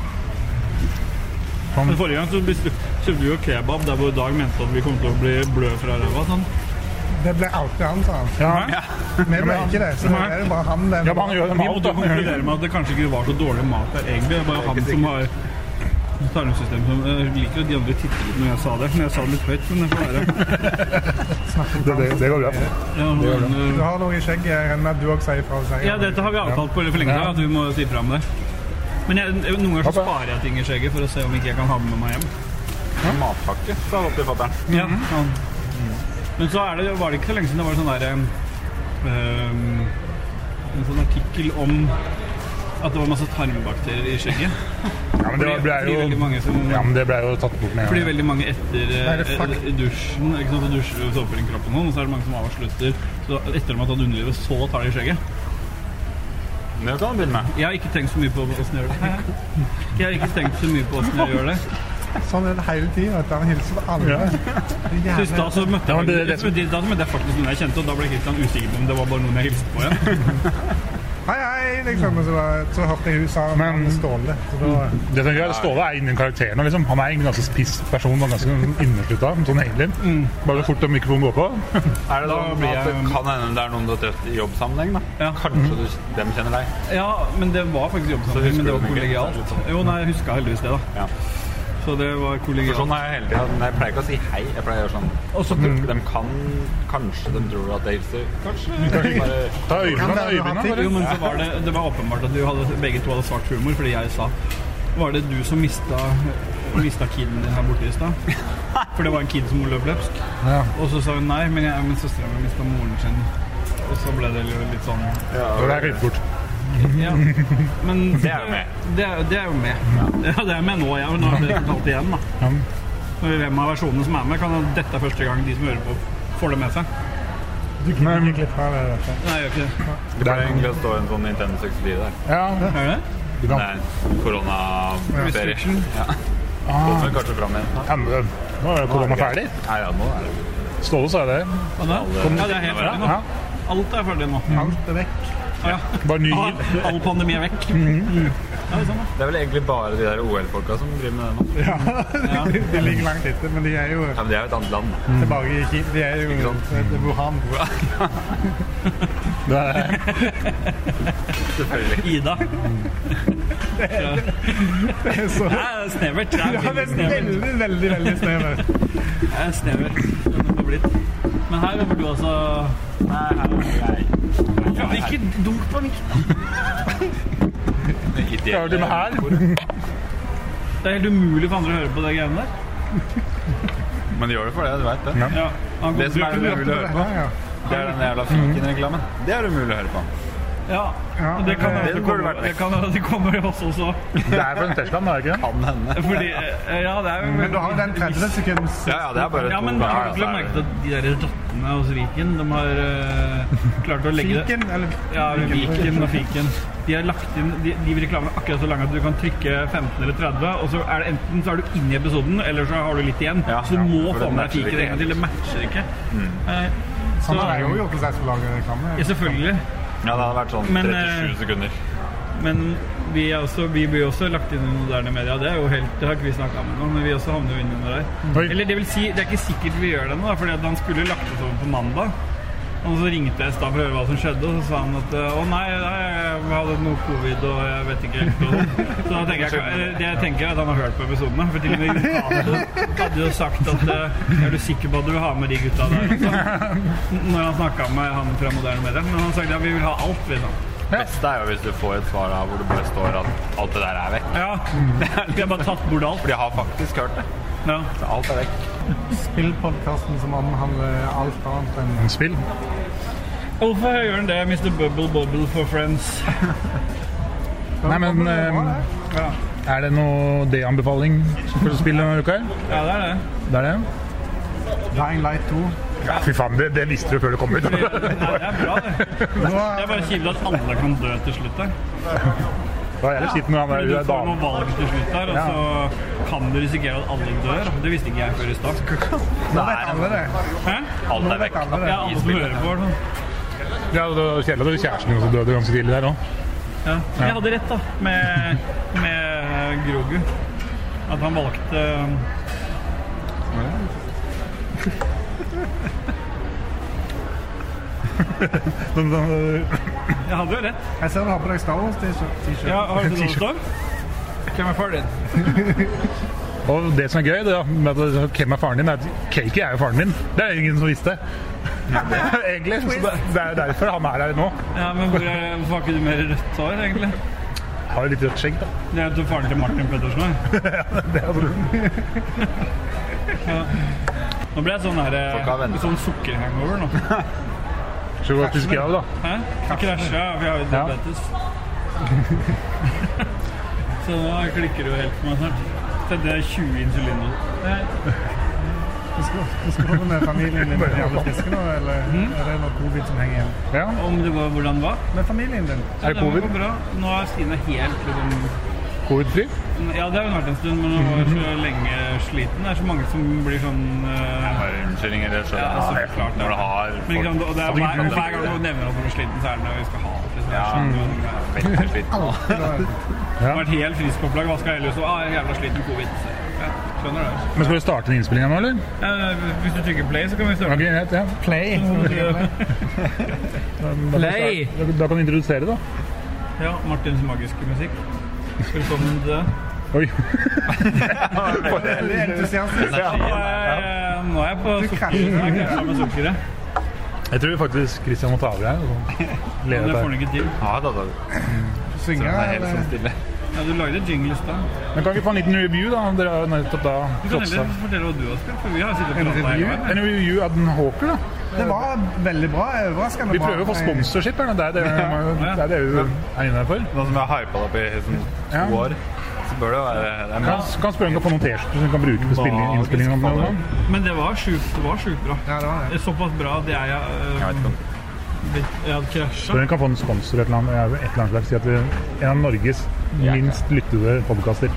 [SPEAKER 7] Men forrige gang så bestilte- kjøpte vi jo kebab der hvor Dag mente at vi kom til å bli blø fra ræva. Sånn.
[SPEAKER 1] Det ble alltid han, sa han.
[SPEAKER 6] Ja.
[SPEAKER 1] Vi ble ikke det, så nå er det bare han. Den.
[SPEAKER 6] ja, men han gjør det
[SPEAKER 7] Vi
[SPEAKER 6] med alt,
[SPEAKER 7] måtte jo
[SPEAKER 6] da.
[SPEAKER 7] konkludere med at det kanskje ikke var så dårlig mat der egentlig. Det er bare han som har tarmsystem som Jeg liker at de andre titter litt når jeg sa det, men jeg sa det litt høyt. Men det får være.
[SPEAKER 6] Det, det, det går bra.
[SPEAKER 7] Ja, men,
[SPEAKER 1] Du har noe i skjegget. Jeg regner med at du også sier fra. og sier.
[SPEAKER 7] Ja, dette har vi avtalt på for lenge siden, at vi må si fra om det. Men jeg, jeg- noen ganger så
[SPEAKER 6] Hoppa.
[SPEAKER 7] sparer jeg ting i skjegget for å se om ikke jeg kan ha det med meg hjem.
[SPEAKER 3] En matpakke sa han opp til fatter'n. Mhm.
[SPEAKER 7] Ja. ja. Men så er det, var det ikke så lenge siden det var sånn der, ehm, en sånn artikkel om at det var masse tarmbakterier i skjegget.
[SPEAKER 6] Ja, men det
[SPEAKER 7] Fordi-
[SPEAKER 6] ble
[SPEAKER 7] fordi veldig
[SPEAKER 6] jo,
[SPEAKER 7] mange som...
[SPEAKER 6] ja, men det ble jo tatt bort med
[SPEAKER 7] Fordi
[SPEAKER 6] en gang.
[SPEAKER 7] veldig mange etter eh,
[SPEAKER 1] det fuck?
[SPEAKER 7] eh, dusjen ikke sant, så dusjer du såper inn kroppen og sånn, og så er det mange som avslutter så etter de har tatt underlivet, så tar de skjegget.
[SPEAKER 3] Det kan du begynne med.
[SPEAKER 7] Jeg har ikke tenkt så mye på åssen jeg gjør det. Jeg har ikke tenkt så mye på åssen jeg gjør det.
[SPEAKER 1] Sånn er det hele tiden. vet du. Han hilser på alle. Det er
[SPEAKER 7] Sist da
[SPEAKER 1] jævlig.
[SPEAKER 7] så møtte jeg,
[SPEAKER 6] men det er det
[SPEAKER 7] faktisk- da så møtte jeg faktisk noen jeg kjente, og da ble Kristian usikker på om det var bare noen jeg hilste på igjen.
[SPEAKER 1] Hei, hei, liksom. Og så, bare- så hørte jeg hun sa men Ståle. Så da
[SPEAKER 6] Det som er gøy, er at Ståle er innen karakteren. Liksom. Han er egentlig en ganske spiss person. Og ganske inneslutta, sånn egentlig. Bare så fort den mikrofonen går på.
[SPEAKER 3] Er det
[SPEAKER 7] Da
[SPEAKER 3] sånn
[SPEAKER 7] blir
[SPEAKER 3] at det
[SPEAKER 7] jeg-
[SPEAKER 3] kan hende det er noen du har truffet i jobbsammenheng, da?
[SPEAKER 7] Ja.
[SPEAKER 3] Kanskje du, dem kjenner deg.
[SPEAKER 7] Ja, men det var faktisk
[SPEAKER 3] Så
[SPEAKER 7] jobbsammenheng,
[SPEAKER 3] husker
[SPEAKER 7] men det
[SPEAKER 3] du
[SPEAKER 7] var
[SPEAKER 3] den ikke?
[SPEAKER 7] kollegialt. Jo, nei, jeg huska heldigvis det, da.
[SPEAKER 3] Ja.
[SPEAKER 7] Så det var
[SPEAKER 3] For sånn
[SPEAKER 7] kollegialt.
[SPEAKER 3] er jeg hele tida. Men Jeg pleier ikke å si hei. Jeg pleier å gjøre sånn
[SPEAKER 7] Og så
[SPEAKER 3] De kan Kanskje de tror at det hilser. Kanskje. Bare,
[SPEAKER 6] Ta
[SPEAKER 1] Kan
[SPEAKER 6] øyebind, da.
[SPEAKER 1] det være
[SPEAKER 6] Øyebind,
[SPEAKER 1] noe
[SPEAKER 6] da.
[SPEAKER 7] Jo, men så var det, det var åpenbart at du hadde, begge to hadde svart humor, fordi jeg sa Var det du som mista, mista kiden din her borte i stad? For det var en kid som løp løpsk.
[SPEAKER 1] Ja.
[SPEAKER 7] Og så sa hun nei, men, jeg- men søstera mi mista moren sin. Og så ble det jo litt sånn
[SPEAKER 6] Og Det er klippet bort.
[SPEAKER 7] Ja. Men
[SPEAKER 3] Det er jo med.
[SPEAKER 7] Det er, det er jo med. Ja, det er med nå. Ja. Nå har det fortalt igjen, da. Men Hvem av versjonene som er med, kan dette er første gang de som hører på, får det med seg.
[SPEAKER 1] Du kunne ikke klippe av det. dette.
[SPEAKER 7] Nei, jeg gjør ikke det.
[SPEAKER 3] det pleier egentlig å stå en sånn Nintendo 64 der.
[SPEAKER 6] Ja,
[SPEAKER 7] Gjør det?
[SPEAKER 3] Det er en koronaferie.
[SPEAKER 7] Restriction.
[SPEAKER 3] Ja. Kommer vel kanskje fram igjen.
[SPEAKER 6] ja, men det- Nå er korona ferdig.
[SPEAKER 3] Nei, ja, nå er det
[SPEAKER 6] Ståle sa det.
[SPEAKER 7] Hva da? Ja, det er helt ferdig nå.
[SPEAKER 6] Ja.
[SPEAKER 7] Alt er ferdig nå.
[SPEAKER 1] Alt er vekk.
[SPEAKER 7] Ja.
[SPEAKER 6] Bare ny
[SPEAKER 7] All, all pandemi er vekk. Ja, det er sånn, da.
[SPEAKER 3] Det er vel egentlig bare de der OL-folka som driver med det nå.
[SPEAKER 1] Ja. De ligger langt etter, men de er jo
[SPEAKER 3] Ja, men det er jo et annet land.
[SPEAKER 1] tilbake i Kina. De er jo det er Wuhan.
[SPEAKER 6] Det er
[SPEAKER 3] Selvfølgelig.
[SPEAKER 7] Ida.
[SPEAKER 1] Så,
[SPEAKER 7] Det er snevert. Det
[SPEAKER 1] ja,
[SPEAKER 7] er
[SPEAKER 1] det
[SPEAKER 7] veldig
[SPEAKER 1] er
[SPEAKER 7] snevert.
[SPEAKER 1] veldig, veldig veldig snevert.
[SPEAKER 7] Det er snevert. som det har blitt. Men her jobber du altså
[SPEAKER 3] Nei, her er jeg.
[SPEAKER 7] ja, Ikke dunk på mikten.
[SPEAKER 3] Ideelle-
[SPEAKER 6] Klarer du med her?
[SPEAKER 7] Det er helt umulig for andre å høre på det greiene der.
[SPEAKER 3] Men de gjør det for det, du vet det.
[SPEAKER 7] Ja, han
[SPEAKER 3] Det som
[SPEAKER 7] kommer
[SPEAKER 3] er
[SPEAKER 7] til å
[SPEAKER 3] det du vil høre på.
[SPEAKER 1] Ja, ja.
[SPEAKER 3] Det er den jævla fiken-reklamen. Det er umulig å høre på.
[SPEAKER 7] Ja, og det kan
[SPEAKER 6] det
[SPEAKER 7] hende det
[SPEAKER 3] burde
[SPEAKER 7] kommer,
[SPEAKER 3] vært
[SPEAKER 7] det kan hende det kommer i oss også.
[SPEAKER 6] Det er fra en Teslaen, er det ikke det?
[SPEAKER 3] Kan hende.
[SPEAKER 7] Fordi, eh, ja, det er jo
[SPEAKER 1] Men du har jo den 30 sekunds
[SPEAKER 3] Ja, ja, det er bare
[SPEAKER 7] Ja,
[SPEAKER 3] to-
[SPEAKER 7] men
[SPEAKER 3] Ja,
[SPEAKER 7] har
[SPEAKER 3] ja,
[SPEAKER 7] du ikke
[SPEAKER 3] det er-
[SPEAKER 7] merket at de der rottene hos Viken, de har eh, klart å legge det
[SPEAKER 1] fiken, eller
[SPEAKER 7] Ja, Viken og Fiken. De har lagt inn de, de reklamene akkurat så lang at du kan trykke 15 eller 30, og så er det enten så er du inne i episoden, eller så har du litt igjen.
[SPEAKER 3] Ja,
[SPEAKER 7] så du
[SPEAKER 3] ja,
[SPEAKER 7] må
[SPEAKER 3] for det
[SPEAKER 7] få med deg
[SPEAKER 3] matcher ikke Mm.
[SPEAKER 7] Fiken en gang til. Det matcher ikke. Eh,
[SPEAKER 1] Sånn
[SPEAKER 7] så-
[SPEAKER 1] har jeg jo gjort hvis jeg skulle lage reklame.
[SPEAKER 7] ja, selvfølgelig.
[SPEAKER 3] Ja, det hadde vært sånn
[SPEAKER 7] Men,
[SPEAKER 3] 37
[SPEAKER 7] eh,
[SPEAKER 3] sekunder.
[SPEAKER 7] Men vi, er også, vi blir også lagt inn i moderne media. Det, er jo helt, det har ikke vi snakka om ennå, men vi også havner jo innunder der.
[SPEAKER 6] Oi.
[SPEAKER 7] Eller det vil si, det er ikke sikkert vi gjør det nå, for han skulle lagt oss over på mandag. Og så ringte jeg i stad for å høre hva som skjedde, og så sa han at å nei, nei jeg hadde noe covid og jeg vet ikke helt og sånn. Så da tenker jeg, eh, det jeg tenker er at han har hørt på episodene. For til og med Ricardo hadde jo sagt at eh, er du sikker på at du vil ha med de gutta der også? Når han snakka med han fra Moderne Medier. Men han sa ja, vi vil ha alt, liksom.
[SPEAKER 3] Beste er jo hvis du får et svar der hvor det bare står at alt det der er vekk.
[SPEAKER 7] Ja. Vi har bare tatt bort alt.
[SPEAKER 3] For de har faktisk hørt det.
[SPEAKER 7] Ja.
[SPEAKER 3] Så Alt er vekk.
[SPEAKER 1] Spillpodkasten som omhandler alt annet enn
[SPEAKER 6] En spill.
[SPEAKER 7] Hvorfor gjør han det, Mr. Bubble Bubble for Friends?
[SPEAKER 6] Nei, men
[SPEAKER 1] Bra,
[SPEAKER 6] eh, er det noe D-anbefaling for spill denne uka? her?
[SPEAKER 7] Ja, det er det.
[SPEAKER 6] Det er det?
[SPEAKER 1] det. Dying Light 2.
[SPEAKER 6] Ja, fy faen, det, det visste du før det kom ut.
[SPEAKER 7] Nei, det er bra, det.
[SPEAKER 1] Nå er
[SPEAKER 7] Det er bare kjipt at alle kan dø til slutt her.
[SPEAKER 6] Det var jævlig kjipt når han
[SPEAKER 7] Men Du
[SPEAKER 6] der hun er
[SPEAKER 7] får
[SPEAKER 6] dame.
[SPEAKER 7] noe valg til slutt her, og så kan du risikere at alle dør. Det visste ikke jeg før i stad.
[SPEAKER 1] nå vet alle det.
[SPEAKER 7] Hæ?
[SPEAKER 3] Alt er vekk.
[SPEAKER 1] Vet alle
[SPEAKER 7] Ja,
[SPEAKER 1] det.
[SPEAKER 7] alle som hører på. sånn.
[SPEAKER 6] Ja, det var kjedelig at det var kjæresten din som døde ganske tidlig der òg.
[SPEAKER 7] Ja. Men Jeg hadde rett, da, med, med Grogu. At han valgte Jeg hadde jo rett.
[SPEAKER 1] Jeg ser du har på deg Star Wars-t-shirt.
[SPEAKER 7] Ja, har du noe står? Hvem er faren din?
[SPEAKER 6] Og det som er gøy, det er med at det- hvem er faren din, er at Cakey er jo faren din. Det er ingen som visste. Egentlig. Så det, det er jo derfor han er her nå.
[SPEAKER 7] Ja, men hvor er, Hvorfor har ikke du mer rødt hår, egentlig?
[SPEAKER 6] Har jo litt rødt skjegg, da.
[SPEAKER 7] Det er jo faren til Martin Pettersen her.
[SPEAKER 6] Det er sånn.
[SPEAKER 7] Nå ble jeg sånn her eh,
[SPEAKER 3] Folk har venner.
[SPEAKER 7] Sånn sukkerhangover nå.
[SPEAKER 6] Skal vi gå og spise kebab, da?
[SPEAKER 7] Hæ? Jeg krasja, ja, for jeg har jo
[SPEAKER 6] Ja.
[SPEAKER 7] diabetes. Så nå klikker det jo helt for meg snart. Sendte jeg 20 insulindoser.
[SPEAKER 1] Skål med familien din med de alle fiskene, eller er det noe covid som henger igjen?
[SPEAKER 6] Ja.
[SPEAKER 7] Om det var hvordan det var?
[SPEAKER 1] Med familien din.
[SPEAKER 6] Er det
[SPEAKER 7] Ja, men
[SPEAKER 6] covid?
[SPEAKER 7] går bra. Nå er Stine helt liksom
[SPEAKER 6] Covid-fri?
[SPEAKER 7] Ja, det har hun vært en stund, men hun var så lenge sliten. Det er så mange som blir sånn eh,
[SPEAKER 3] Bare unnskyldninger. Det skjønner
[SPEAKER 7] Ja,
[SPEAKER 3] jeg.
[SPEAKER 7] så klart det.
[SPEAKER 3] Når du har
[SPEAKER 7] men ikke sant, og det er hver,
[SPEAKER 3] folk-
[SPEAKER 7] hver gang hun nevner at hun er sliten, så er det når vi skal ha det. Liksom.
[SPEAKER 3] Ja.
[SPEAKER 7] Ja.
[SPEAKER 3] Veldig slitt.
[SPEAKER 7] Vært helt frisk opplag, vaska hele huset. Ah, jeg er jævla sliten covid. Så, Ja, skjønner det.
[SPEAKER 6] Men skal vi starte den innspillinga nå, eller?
[SPEAKER 7] Eh, hvis du trykker play, så kan vi
[SPEAKER 6] Ok,
[SPEAKER 7] starte.
[SPEAKER 6] greit, ja.
[SPEAKER 1] Play.
[SPEAKER 7] Play!
[SPEAKER 6] Da, da kan du introdusere, da.
[SPEAKER 7] Ja, Martins magiske musikk. Velkommen til det.
[SPEAKER 6] Oi.
[SPEAKER 1] Veldig entusiastisk.
[SPEAKER 7] Ja, eh, nå er jeg på sukker.
[SPEAKER 1] krasjer.
[SPEAKER 7] Nå er Jeg krasja med sukkeret.
[SPEAKER 6] Jeg tror faktisk Christian må ta over her. og
[SPEAKER 7] Men
[SPEAKER 6] lede
[SPEAKER 7] det får han
[SPEAKER 6] dette.
[SPEAKER 7] ikke til.
[SPEAKER 3] Ja, da, da.
[SPEAKER 1] Synge,
[SPEAKER 3] Det er helt sånn
[SPEAKER 1] eller?
[SPEAKER 3] stille.
[SPEAKER 7] Ja, du lagde jingle i stad.
[SPEAKER 6] Men kan vi få en liten review, da? Dere har jo nettopp da
[SPEAKER 7] Du kan
[SPEAKER 6] kloksa.
[SPEAKER 7] heller fortelle hva du har spilt, for vi har sittet og
[SPEAKER 1] En
[SPEAKER 7] pratet hele
[SPEAKER 1] review?
[SPEAKER 7] veien.
[SPEAKER 6] En review av den Hawker, da.
[SPEAKER 1] Det var veldig bra. Overraskende
[SPEAKER 6] Vi
[SPEAKER 1] bra.
[SPEAKER 6] prøver å få sponsorship, her, da. det er det, det, er det vi er inne her for.
[SPEAKER 3] Nå som jeg har hypa det opp i sånn to
[SPEAKER 6] Ja.
[SPEAKER 3] år, så bør det jo være det er
[SPEAKER 6] Kan,
[SPEAKER 3] mye.
[SPEAKER 6] kan spørre om du kan få noen T-skjorter som du kan bruke på spille- innspillingen. av den.
[SPEAKER 7] Men det var sjukt det var sjukt bra.
[SPEAKER 1] Ja, det var det.
[SPEAKER 7] Det er Såpass bra at jeg, eh,
[SPEAKER 3] Jeg vet ikke om
[SPEAKER 7] blitt- jeg hadde
[SPEAKER 6] Så
[SPEAKER 7] krasja.
[SPEAKER 6] vi kan få en sponsor et eller annet, et eller annet slags. Si at vi er en av Norges minst lyttede podkaster.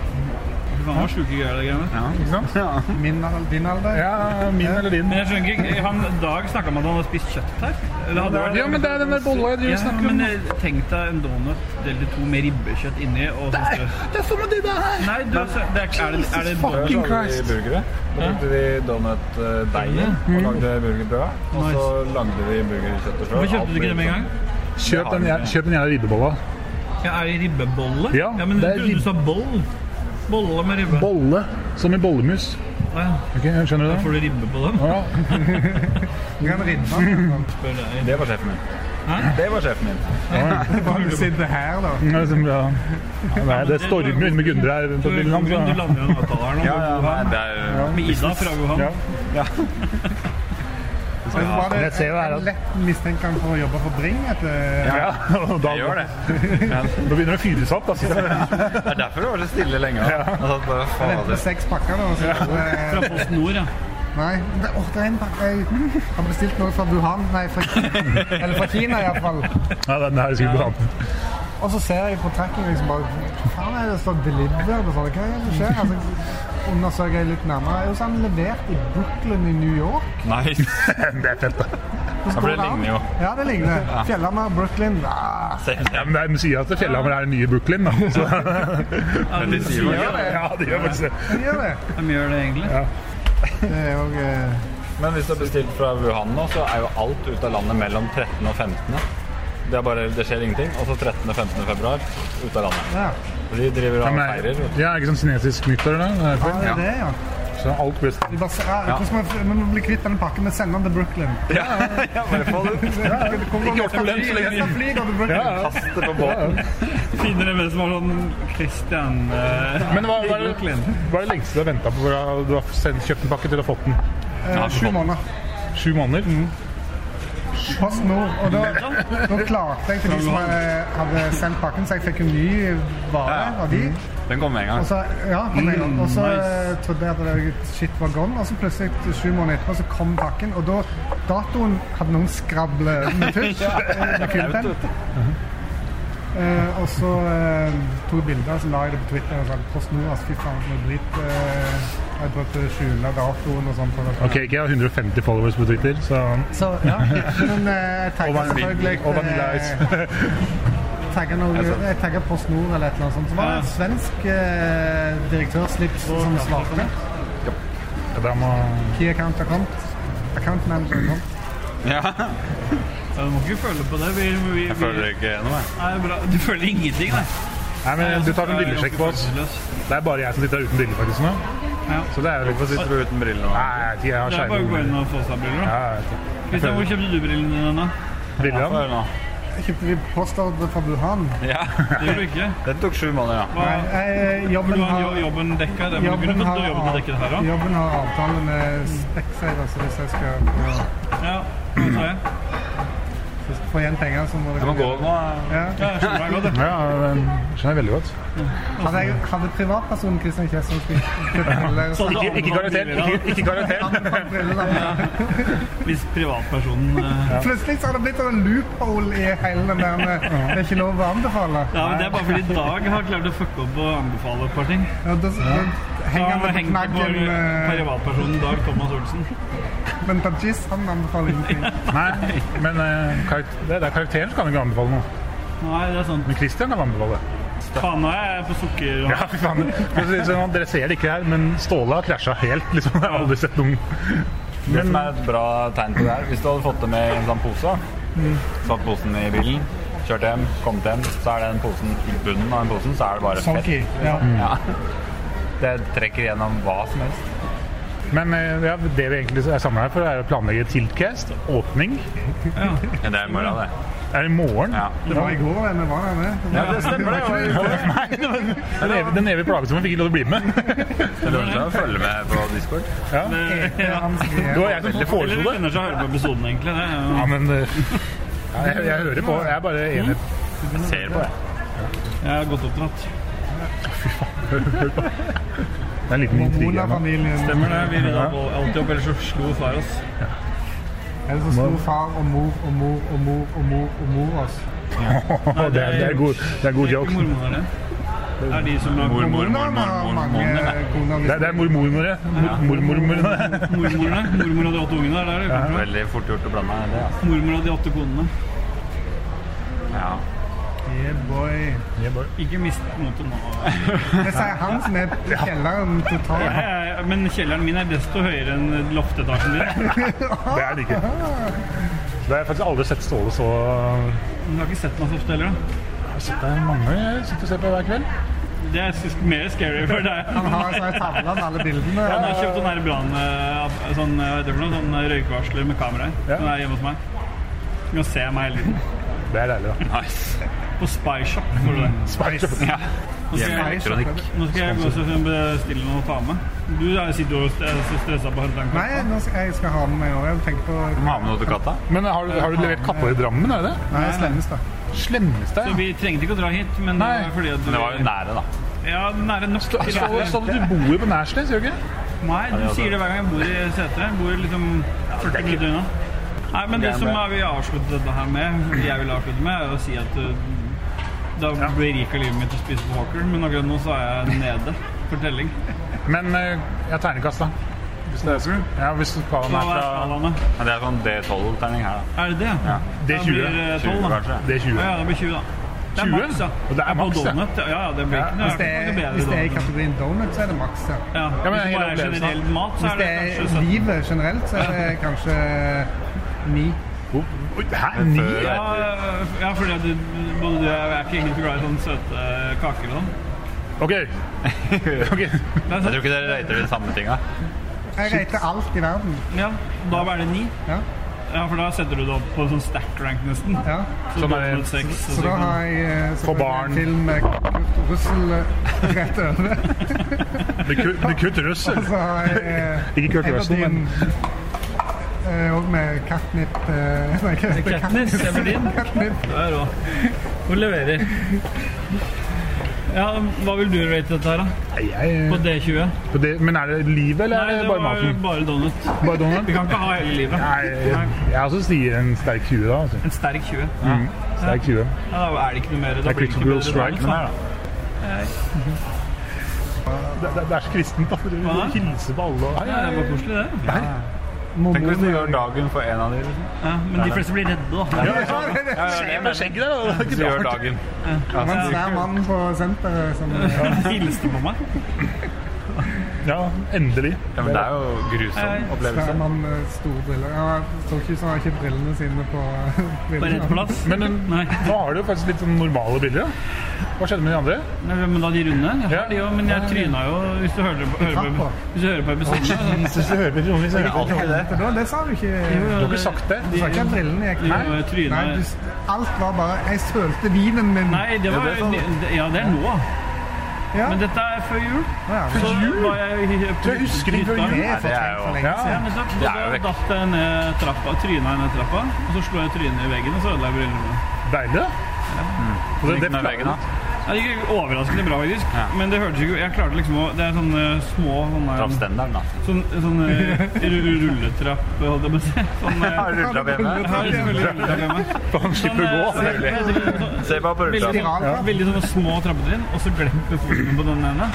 [SPEAKER 7] Det var sjuke greier, det greiene.
[SPEAKER 1] Min alder, din alder.
[SPEAKER 6] Ja, min eller din.
[SPEAKER 7] Men jeg skjønner ikke, han Dag snakka om at han hadde spist kjøtt her. Eller hadde vært-
[SPEAKER 6] Ja, men det er den der bolla jeg driver og
[SPEAKER 7] Ja,
[SPEAKER 6] snakker om.
[SPEAKER 7] men eh, tenk deg en donut delt i to med ribbekjøtt inni og sånn strø.
[SPEAKER 6] Det er som det der!
[SPEAKER 7] Nei, du, altså, det er, ikke- er det, er det
[SPEAKER 6] fuck.
[SPEAKER 7] donut?
[SPEAKER 6] King
[SPEAKER 3] Da lagde
[SPEAKER 6] Christ.
[SPEAKER 3] vi burgere. Da brukte vi donutdeigen og
[SPEAKER 6] Mm.
[SPEAKER 3] lagde burgerbrød. Og så lagde vi burgerkjøttet sjøl.
[SPEAKER 7] Hvorfor kjøpte du ikke det med en
[SPEAKER 3] sånn.
[SPEAKER 7] gang?
[SPEAKER 6] Kjøp den, jæ- kjøp den jævla ribbebolla.
[SPEAKER 7] Ja, er det ribbebolle?
[SPEAKER 6] Ja,
[SPEAKER 7] men
[SPEAKER 6] det
[SPEAKER 7] du,
[SPEAKER 6] er
[SPEAKER 7] du
[SPEAKER 6] rib-
[SPEAKER 7] sa boll. Bolle med ribbe.
[SPEAKER 6] Bolle, som i bollemus.
[SPEAKER 7] Å ja.
[SPEAKER 6] Ok, skjønner du
[SPEAKER 7] Får
[SPEAKER 6] det?
[SPEAKER 7] du ribbe på den?
[SPEAKER 6] Å, Ja.
[SPEAKER 1] Du kan ridde.
[SPEAKER 7] Spør deg.
[SPEAKER 3] Det var sjefen min. Det var sjefen min.
[SPEAKER 6] Mm.
[SPEAKER 1] Bare du sitter her, da.
[SPEAKER 6] Det er liksom, ja. Nei, det stormer under Gundre her. altså. rundt
[SPEAKER 7] Du, Jon,
[SPEAKER 6] omkring i land,
[SPEAKER 7] du
[SPEAKER 6] så-
[SPEAKER 7] lander jo en avtale her nå.
[SPEAKER 3] Ja, ja,
[SPEAKER 7] med
[SPEAKER 3] nei,
[SPEAKER 7] Wuhan.
[SPEAKER 3] det er
[SPEAKER 7] Med Ida fra Wuhan.
[SPEAKER 6] Ja.
[SPEAKER 1] Men så var det,
[SPEAKER 6] Men jeg ser jo her at-
[SPEAKER 1] lett mistenker han for å jobbe for Bring. eh, Etter,
[SPEAKER 6] Ja, og da,
[SPEAKER 3] Jeg gjør det.
[SPEAKER 6] Da begynner det å fyres opp. Altså.
[SPEAKER 3] Det er derfor det var så stille lenge. da. Jeg satt bare,
[SPEAKER 1] Han hentet
[SPEAKER 3] fader.
[SPEAKER 1] seks pakker. Da, og så,
[SPEAKER 7] Fra Post Nord, ja.
[SPEAKER 1] Nei, det, åh, det er en pakke. Jeg har bestilt noe fra Wuhan. Nei, fra, eller fra Kina iallfall.
[SPEAKER 6] Ja, den her er sikkert på tampen.
[SPEAKER 1] Og så ser jeg på tracking liksom bare Hva faen er det som står 'delivered' og sånn? Hva er det som skjer? Altså, undersøker jeg litt nærmere. Jo, så er den levert i Brooklyn i New York.
[SPEAKER 3] Nice.
[SPEAKER 6] Det er fett, da.
[SPEAKER 1] Så
[SPEAKER 3] for det
[SPEAKER 1] står
[SPEAKER 3] ligner jo.
[SPEAKER 1] Ja, det ligner. Fjellhammer, Brooklyn ah,
[SPEAKER 6] Ja, men De sier at Fjellhammer er den nye Brooklyn. Da. Så,
[SPEAKER 3] Men de sier jo
[SPEAKER 1] det.
[SPEAKER 6] ja, det gjør faktisk det.
[SPEAKER 1] De gjør det.
[SPEAKER 7] De gjør det egentlig.
[SPEAKER 1] Det er jo eh,
[SPEAKER 3] Men hvis du har bestilt fra Wuhan nå, så er jo alt ut av landet mellom 13. og 15. Det, er bare, det skjer ingenting. Og så 13. og 15. februar ut av landet.
[SPEAKER 1] Ja,
[SPEAKER 3] For De driver
[SPEAKER 6] Ja,
[SPEAKER 3] og
[SPEAKER 6] men,
[SPEAKER 3] feirer. vet du.
[SPEAKER 6] ja, ikke sånn kinesisk nyttår, da? det er
[SPEAKER 1] ja, det
[SPEAKER 6] derfor.
[SPEAKER 1] er det, ja.
[SPEAKER 6] Så alt blir
[SPEAKER 1] Vi, bare, ser- ja, hvordan må vi- vi må bli kvitt denne pakken. Vi sender den til Brooklyn.
[SPEAKER 3] Ja, ja, bare få det ut.
[SPEAKER 1] Ikke
[SPEAKER 3] noe problem så lenge de-
[SPEAKER 6] ja, ja.
[SPEAKER 3] Kast det på båten.
[SPEAKER 7] Finner det med som var sånn Christian eh,
[SPEAKER 6] Men hva hva er det,
[SPEAKER 7] Brooklyn.
[SPEAKER 6] hva er det lengste du har venta på hvor du har sendt, kjøpt en pakke til å ha fått den?
[SPEAKER 1] Eh, Sju måneder.
[SPEAKER 6] Sju måneder?
[SPEAKER 3] Mm.
[SPEAKER 1] Post Nord. Og da, da klarte jeg til de som eh, hadde sendt pakken, så jeg fikk en ny vare
[SPEAKER 3] Ja, ja.
[SPEAKER 1] av de.
[SPEAKER 3] Den kom med en gang.
[SPEAKER 1] Og så, ja, på den gangen. og så
[SPEAKER 7] nice.
[SPEAKER 1] eh, trodde jeg at det shit var gone, og så plutselig sju måneder etterpå så kom pakken, og da datoen hadde noen skrable med tusj. eh, med
[SPEAKER 3] Flaut,
[SPEAKER 1] filmpenn.
[SPEAKER 3] vet du.
[SPEAKER 1] Eh, og så eh, tok jeg bilder og så la jeg det på Twitter. og sa Post Nord, altså, fy faen, for noe dritt. Eh, jeg prøvde å skjule datoen og sånn. for det.
[SPEAKER 6] Ok, ikke jeg har 150 followers på Twitter, så
[SPEAKER 1] Så, ja. Men eh, jeg
[SPEAKER 6] Og
[SPEAKER 1] tagget
[SPEAKER 6] vanilla-
[SPEAKER 1] selvfølgelig eh,
[SPEAKER 6] og Vanilla Ice.
[SPEAKER 1] tagget noe,
[SPEAKER 7] Altså-
[SPEAKER 1] jeg tagget Post Nord eller et eller annet sånt. Så var det en svensk eh, direktørslips som svarte.
[SPEAKER 6] Ja, da må
[SPEAKER 1] Key account account. Account manager account.
[SPEAKER 3] Ja.
[SPEAKER 7] Ja, du må ikke føle på det. Vi, vi,
[SPEAKER 3] Jeg
[SPEAKER 7] vi,
[SPEAKER 3] føler ikke noe, jeg.
[SPEAKER 7] Nei, bra. Du føler ingenting, nei.
[SPEAKER 6] Nei, men du tar en
[SPEAKER 7] Jeg er
[SPEAKER 6] brillesjekk på oss.
[SPEAKER 7] ganske følelsesløs.
[SPEAKER 6] Det er bare jeg som sitter her uten briller faktisk nå.
[SPEAKER 7] Ja.
[SPEAKER 6] Så det er jo litt
[SPEAKER 3] Hvorfor sitter du uten briller nå?
[SPEAKER 6] Nei, jeg vet ikke, jeg har
[SPEAKER 7] Det er bare å gå
[SPEAKER 6] skjermen.
[SPEAKER 7] inn og få seg briller. da.
[SPEAKER 6] Ja, jeg vet ikke.
[SPEAKER 7] Christian, hvor kjøpte du brillene dine? da?
[SPEAKER 6] Briller han?
[SPEAKER 3] Hør nå.
[SPEAKER 1] Kjøpte vi postordre fra Wuhan?
[SPEAKER 3] Ja.
[SPEAKER 7] Det gjorde du ikke.
[SPEAKER 3] Den tok sju måneder, ja.
[SPEAKER 7] Hva,
[SPEAKER 1] Eh, jobben
[SPEAKER 7] du
[SPEAKER 1] har
[SPEAKER 7] har jobben dekka? Det, men du
[SPEAKER 1] Jobben
[SPEAKER 7] kunne
[SPEAKER 1] har,
[SPEAKER 7] fått jobben til å dekke det her
[SPEAKER 1] av-
[SPEAKER 7] òg.
[SPEAKER 1] jobben har avtale med Specside, så hvis jeg skal få,
[SPEAKER 7] Ja, hva sa jeg?
[SPEAKER 1] få igjen penger, så må det
[SPEAKER 3] Jeg må gå nå.
[SPEAKER 1] Ja.
[SPEAKER 7] Ja, jeg skjønner deg godt. jeg.
[SPEAKER 6] Ja, den skjønner jeg veldig godt.
[SPEAKER 1] Hadde, Altså, jeg, hadde privatpersonen Kristian Kjessel skulle kjøpt briller så-
[SPEAKER 7] Sånn,
[SPEAKER 6] Ikke, ikke karakter. Ikke, ikke karakter.
[SPEAKER 1] fant briller, da.
[SPEAKER 7] Hvis privatpersonen eh,
[SPEAKER 1] Plutselig så har det blitt en loophole i hele den der med det er ikke lov å anbefale.
[SPEAKER 7] Ja, men Det er bare fordi Dag har klart å fucke opp og anbefale et par ting.
[SPEAKER 1] Ja, da, da
[SPEAKER 7] Da
[SPEAKER 1] henger
[SPEAKER 7] har han
[SPEAKER 1] han på
[SPEAKER 7] hengt på
[SPEAKER 1] knaggen eh,
[SPEAKER 7] privatpersonen Dag Thomas Olsen.
[SPEAKER 1] Men Tajis han anbefaler ingenting.
[SPEAKER 6] Nei, men eh, karak- det det er karakteren som kan ikke anbefale noe.
[SPEAKER 7] Nei, det er sant.
[SPEAKER 6] Men Christian kan anbefale.
[SPEAKER 7] Faen, nå er jeg på sukker...
[SPEAKER 6] Ja, fy faen. Men så- så Han dresserer ikke her, men Ståle har krasja helt. liksom. Jeg har aldri sett noen
[SPEAKER 3] Det som er et bra tegn på det her, hvis du hadde fått det med i en sånn pose,
[SPEAKER 6] Mm.
[SPEAKER 3] satt posen i bilen, kjørt hjem, kommet hjem, så er den posen i bunnen av den posen, så er det bare fett.
[SPEAKER 1] Sonky. Ja.
[SPEAKER 3] Ja. Det trekker gjennom hva som helst.
[SPEAKER 6] Men eh, ja, det vi egentlig er samla her for, er å planlegge Tiltcast. Åpning
[SPEAKER 3] Ja, det er i morgen, det.
[SPEAKER 6] er i morgen.
[SPEAKER 3] Ja.
[SPEAKER 1] Det var i går, det. Vi var der, det.
[SPEAKER 3] Ja, det stemmer, det.
[SPEAKER 6] Nei, det var- den evige- den evige plagesommeren fikk ikke lov til å bli med.
[SPEAKER 3] Det lønner seg å følge med på Discord.
[SPEAKER 1] Ja, han skrev-
[SPEAKER 6] Det var jeg som
[SPEAKER 7] Eller
[SPEAKER 6] foreslo
[SPEAKER 7] det
[SPEAKER 6] det.
[SPEAKER 7] lønner seg å høre på episoden, egentlig. Det. er jo-
[SPEAKER 6] Ja, men eh, ja, jeg, jeg hører på. Jeg er bare enig.
[SPEAKER 3] Jeg ser på det.
[SPEAKER 7] Jeg er godt oppdratt.
[SPEAKER 6] Det er en liten intrige. her nå.
[SPEAKER 1] Mona-familien.
[SPEAKER 7] Stemmer det. Vi rydda på- alltid opp, ellers så slo far oss.
[SPEAKER 1] Eller så slo far og mor og mor og mor og mor og mor oss.
[SPEAKER 6] Det er, det er god, det er god
[SPEAKER 7] Det er
[SPEAKER 6] joke.
[SPEAKER 7] ikke mormonere. Det er de som lager
[SPEAKER 3] Mormor,
[SPEAKER 1] Mormonen
[SPEAKER 3] mormor,
[SPEAKER 1] har mange
[SPEAKER 3] mormor.
[SPEAKER 1] koner.
[SPEAKER 6] Det er, det er mormormere. Mormormormorene.
[SPEAKER 7] mormorene. Mormor og de åtte ungene. Der, der, der.
[SPEAKER 3] Veldig fort gjort å blande det, altså.
[SPEAKER 7] Mormor og de åtte konene.
[SPEAKER 3] Ja.
[SPEAKER 1] Yeah, boy.
[SPEAKER 7] Ikke mist motet nå.
[SPEAKER 1] Det sier han som er i kjelleren totalt.
[SPEAKER 7] Jeg er- Men kjelleren min er desto høyere enn loftetasjen din.
[SPEAKER 6] Det er det ikke. Det har jeg faktisk aldri sett Ståle så
[SPEAKER 7] Du har ikke sett meg så ofte heller? da.
[SPEAKER 6] Jeg har sett deg mange ganger. Jeg sitter og ser på hver kveld.
[SPEAKER 7] Det er s- mer scary for deg.
[SPEAKER 1] Han har en sånn tavle med alle bildene.
[SPEAKER 7] Han har kjøpt sånn her brann... eh, ab- Sånn, eh, hva heter det for noe? Sånn eh, røykvarsler med kamera i.
[SPEAKER 6] Ja.
[SPEAKER 7] Den er hjemme hos meg. Du kan se meg hele tiden.
[SPEAKER 6] Det er deilig, da.
[SPEAKER 3] Nice.
[SPEAKER 7] På Spyshop får du det.
[SPEAKER 6] Spice.
[SPEAKER 3] Ja.
[SPEAKER 7] Nå skal jeg,
[SPEAKER 3] Hjemme elektronikk.
[SPEAKER 7] nå skal jeg gå og bestille noe å ta med. Du er- sitter jo og st- er så stressa på å hente en
[SPEAKER 1] Nei,
[SPEAKER 7] katt.
[SPEAKER 1] nå skal, jeg skal ha den med i år. Jeg tenker på
[SPEAKER 3] Du må ha med noe til katta.
[SPEAKER 6] Men har, du- har du levert kapper i Drammen, er det det?
[SPEAKER 1] Nei, slemmest, da.
[SPEAKER 6] Slemmeste?
[SPEAKER 7] Så vi trengte ikke å dra hit, men det
[SPEAKER 6] Nei.
[SPEAKER 7] var fordi at du
[SPEAKER 3] Men det var jo nære, da.
[SPEAKER 7] Ja, nære nok. til
[SPEAKER 6] Så
[SPEAKER 7] Setre.
[SPEAKER 6] sånn at du bor jo på Nærsnes, gjør du ikke?
[SPEAKER 7] Nei, du
[SPEAKER 3] det er
[SPEAKER 7] sier det hver gang jeg bor i Setre. Jeg Bor liksom 40 minutter unna. Nei, men det
[SPEAKER 3] Gamle.
[SPEAKER 7] som er vi avslutter dette her med, jeg vil avslutte med, er å si at uh, da berika livet mitt å spise på Hawker, men akkurat nå så er jeg nede for telling.
[SPEAKER 6] Men eh, jeg har terningkast, da. Hvis det er sånn. Ja, hvis skalaen
[SPEAKER 7] Hva
[SPEAKER 6] er
[SPEAKER 7] er
[SPEAKER 6] fra
[SPEAKER 7] skalaene?
[SPEAKER 3] Men det er sånn D12-terning her, da.
[SPEAKER 7] Er det det?
[SPEAKER 3] Ja.
[SPEAKER 6] Det er
[SPEAKER 7] eh, Da blir det
[SPEAKER 3] 20,
[SPEAKER 7] 12, da.
[SPEAKER 3] kanskje.
[SPEAKER 6] Det er
[SPEAKER 7] Å
[SPEAKER 6] 20.
[SPEAKER 7] ja, det blir 20, da. Det er
[SPEAKER 6] 20?
[SPEAKER 7] maks, ja.
[SPEAKER 6] Og det er maks, ja.
[SPEAKER 7] ja. Ja, ja, det blir
[SPEAKER 6] Ja,
[SPEAKER 7] ikke
[SPEAKER 1] Hvis det er,
[SPEAKER 7] det er ikke noe
[SPEAKER 1] hvis det er i
[SPEAKER 7] bedre donut.
[SPEAKER 1] kategorien donut, så er det maks. Ja.
[SPEAKER 7] Ja,
[SPEAKER 6] Ja, men
[SPEAKER 7] hvis det
[SPEAKER 6] hele
[SPEAKER 7] bare er
[SPEAKER 6] opplevelsen, da.
[SPEAKER 7] generell mat, så
[SPEAKER 1] Hvis
[SPEAKER 7] er
[SPEAKER 1] det
[SPEAKER 7] det kanskje
[SPEAKER 1] er
[SPEAKER 7] 17.
[SPEAKER 1] livet generelt, så er det kanskje ni.
[SPEAKER 6] Oi, Hæ? Ni?
[SPEAKER 3] Før-
[SPEAKER 7] Ja, ja, fordi at du- både du og jeg er ikke egentlig så glad i sånne søte kaker og sånn.
[SPEAKER 6] OK. ok.
[SPEAKER 7] Det er
[SPEAKER 3] Jeg
[SPEAKER 7] sant.
[SPEAKER 3] tror ikke dere rater de samme tinga.
[SPEAKER 1] Jeg rater alt i verden.
[SPEAKER 7] Ja, da er det ni.
[SPEAKER 1] Ja,
[SPEAKER 7] Ja, for da setter du det opp på en sånn stack rank nesten.
[SPEAKER 1] ja.
[SPEAKER 7] Så
[SPEAKER 6] Sånn er det.
[SPEAKER 7] dobbelt seks. og
[SPEAKER 1] Så da
[SPEAKER 7] sånn.
[SPEAKER 1] har jeg eh,
[SPEAKER 6] For barn.
[SPEAKER 1] en film med Kurt Russell eh, rett over.
[SPEAKER 6] Det er kutt- det er kutt russel.
[SPEAKER 1] Så har jeg eh,
[SPEAKER 6] Ikke Kurt
[SPEAKER 1] en av
[SPEAKER 6] Russell,
[SPEAKER 1] din,
[SPEAKER 6] men-
[SPEAKER 1] eh, Og med Katnip eh, Nei, hva heter det?
[SPEAKER 7] Katniss, Everdeen.
[SPEAKER 1] Katnip.
[SPEAKER 7] Det er rå. Hun leverer. Ja, hva vil du rate dette her, da?
[SPEAKER 6] Nei, jeg-
[SPEAKER 7] På D20?
[SPEAKER 6] på det- Men er det livet, eller
[SPEAKER 7] Nei,
[SPEAKER 6] er
[SPEAKER 7] det
[SPEAKER 6] det bare
[SPEAKER 7] var jo
[SPEAKER 6] maten?
[SPEAKER 7] bare donut.
[SPEAKER 6] Bare
[SPEAKER 7] Vi
[SPEAKER 6] donut?
[SPEAKER 7] kan ikke ha hele livet.
[SPEAKER 6] Nei, jeg, jeg også sier en sterk 20, da. Altså.
[SPEAKER 7] En sterk 20.
[SPEAKER 6] Mm, sterk 20.
[SPEAKER 7] Ja, da er det ikke noe mer.
[SPEAKER 6] Det
[SPEAKER 7] Da
[SPEAKER 6] er
[SPEAKER 7] blir det ikke
[SPEAKER 6] Critical
[SPEAKER 7] bedre
[SPEAKER 6] Strike,
[SPEAKER 7] donut,
[SPEAKER 6] den
[SPEAKER 7] da.
[SPEAKER 6] her, da. Det, det, det er så kristent, da. for Du
[SPEAKER 7] Hva da?
[SPEAKER 6] hilser på alle. og-
[SPEAKER 7] Ja, det var koselig, det.
[SPEAKER 3] Tenk hvis du gjør dagen for en av de. liksom.
[SPEAKER 7] Ja, men de fleste blir redde, da.
[SPEAKER 6] Ja, Skje med skjegget der, da. Det er
[SPEAKER 3] Hvis
[SPEAKER 6] ikke
[SPEAKER 3] du
[SPEAKER 6] bra.
[SPEAKER 3] gjør dagen. altså,
[SPEAKER 1] Det var en svær mann på senteret som eh,
[SPEAKER 7] De hilste på meg.
[SPEAKER 6] Ja, endelig.
[SPEAKER 3] Ja, men det er jo grusom opplevelse.
[SPEAKER 1] svær mann med store briller. Han så ikke ut som han har kjøpt brillene sine på
[SPEAKER 7] På rett plass.
[SPEAKER 6] Men den-
[SPEAKER 7] Nei,
[SPEAKER 6] nå har du jo faktisk litt sånn normale briller. da. Hva skjedde med de andre?
[SPEAKER 7] Nei, men da de runde? Jeg
[SPEAKER 6] Ja.
[SPEAKER 7] har de jo, men jeg tryna jo hvis du hører på, hører på, hvis du hører på episoden.
[SPEAKER 6] Jesus, du hører på Trond, hvis jeg hører på Trond.
[SPEAKER 3] Alltid det.
[SPEAKER 1] Da, det sa du ikke.
[SPEAKER 6] Du har ikke sagt det.
[SPEAKER 1] Du sa ikke at brillene gikk
[SPEAKER 7] Jo, jeg tryna.
[SPEAKER 1] Nei, du, alt var bare Jeg sølte vinen min.
[SPEAKER 7] Nei, det var
[SPEAKER 3] det sa du.
[SPEAKER 7] det- Ja, det er nå.
[SPEAKER 1] Ja.
[SPEAKER 7] Men dette er før jul.
[SPEAKER 1] Ja,
[SPEAKER 7] Så
[SPEAKER 1] men-
[SPEAKER 7] var jeg på
[SPEAKER 6] Jeg husker
[SPEAKER 1] det er fortrengt
[SPEAKER 3] det er jo-
[SPEAKER 7] hytta.
[SPEAKER 6] det før jul.
[SPEAKER 1] for lenge
[SPEAKER 6] Ja.
[SPEAKER 7] Ja,
[SPEAKER 1] siden.
[SPEAKER 7] men så,
[SPEAKER 3] Det er jo
[SPEAKER 7] da
[SPEAKER 3] vekk.
[SPEAKER 7] datt jeg ned trappa, tryna jeg ned trappa, og så slo jeg trynet i veggen, og så ødela jeg brillene mine.
[SPEAKER 6] Deilig, da. Og det- det-
[SPEAKER 3] Med veggen, da.
[SPEAKER 7] Ja, Det gikk overraskende bra, faktisk.
[SPEAKER 3] Ja.
[SPEAKER 7] Men det hørtes ikke Jeg klarte liksom å Det er sånne små sånne,
[SPEAKER 3] Traff standarden, da.
[SPEAKER 7] sånn, sånne ru- rulletrapp, holdt jeg på å si. Sånn, eh,
[SPEAKER 3] Har du rullet opp hjemme?
[SPEAKER 7] ja, selvfølgelig rulletrapp hjemme.
[SPEAKER 6] Han slipper å gå.
[SPEAKER 7] Sånn, eh, sånn-
[SPEAKER 3] Se på
[SPEAKER 7] Veldig,
[SPEAKER 3] rulletrappa.
[SPEAKER 7] ja. veldig sånne små trappetrinn, og så glemmer foten min på den ene.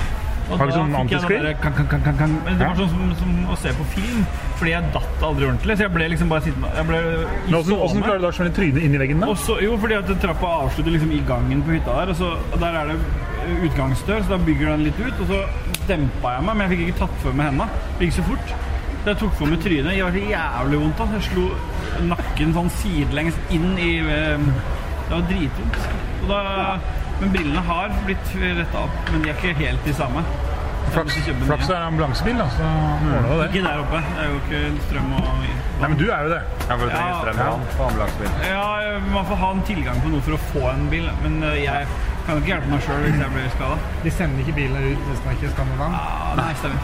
[SPEAKER 7] Og
[SPEAKER 6] Har du
[SPEAKER 7] da
[SPEAKER 6] sånn
[SPEAKER 7] fikk jeg den
[SPEAKER 6] antisklir?
[SPEAKER 7] der kan, kan, kan, kan, kan. Men Det var sånn som, som å se på film, fordi jeg datt aldri ordentlig. Så jeg ble liksom bare sittende Jeg ble
[SPEAKER 6] Men Hvordan, hvordan klarer du da å smelle trynet inn i veggen, da?
[SPEAKER 7] Og så- jo, fordi at trappa avslutter liksom i gangen på hytta her, og så og der er det eh, utgangsdør, så da bygger den litt ut, og så dempa jeg meg, men jeg fikk ikke tatt for meg henda. Det gikk så fort. Så jeg tok for meg trynet. Det gjør så jævlig vondt. Altså. Jeg slo nakken sånn sidelengs inn i eh, Det var dritvondt. Og da- Men brillene har blitt retta opp, men de er ikke helt de samme. Jeg
[SPEAKER 6] Flaks,
[SPEAKER 7] måtte kjøpe nye.
[SPEAKER 6] flaks det er ambulansebil, da. Så ordner du det.
[SPEAKER 7] Ikke der oppe. Det er jo ikke strøm og
[SPEAKER 6] Nei, men du er jo det.
[SPEAKER 3] Ja, for du trenger strøm i vann på ambulansebil.
[SPEAKER 7] Ja, man får ha en tilgang på noe for å få en bil, men eh, jeg kan ikke hjelpe meg sjøl hvis jeg blir skada.
[SPEAKER 1] De sender ikke biler ut hvis det ikke stammer vann.
[SPEAKER 7] Ah, nei, stemmer.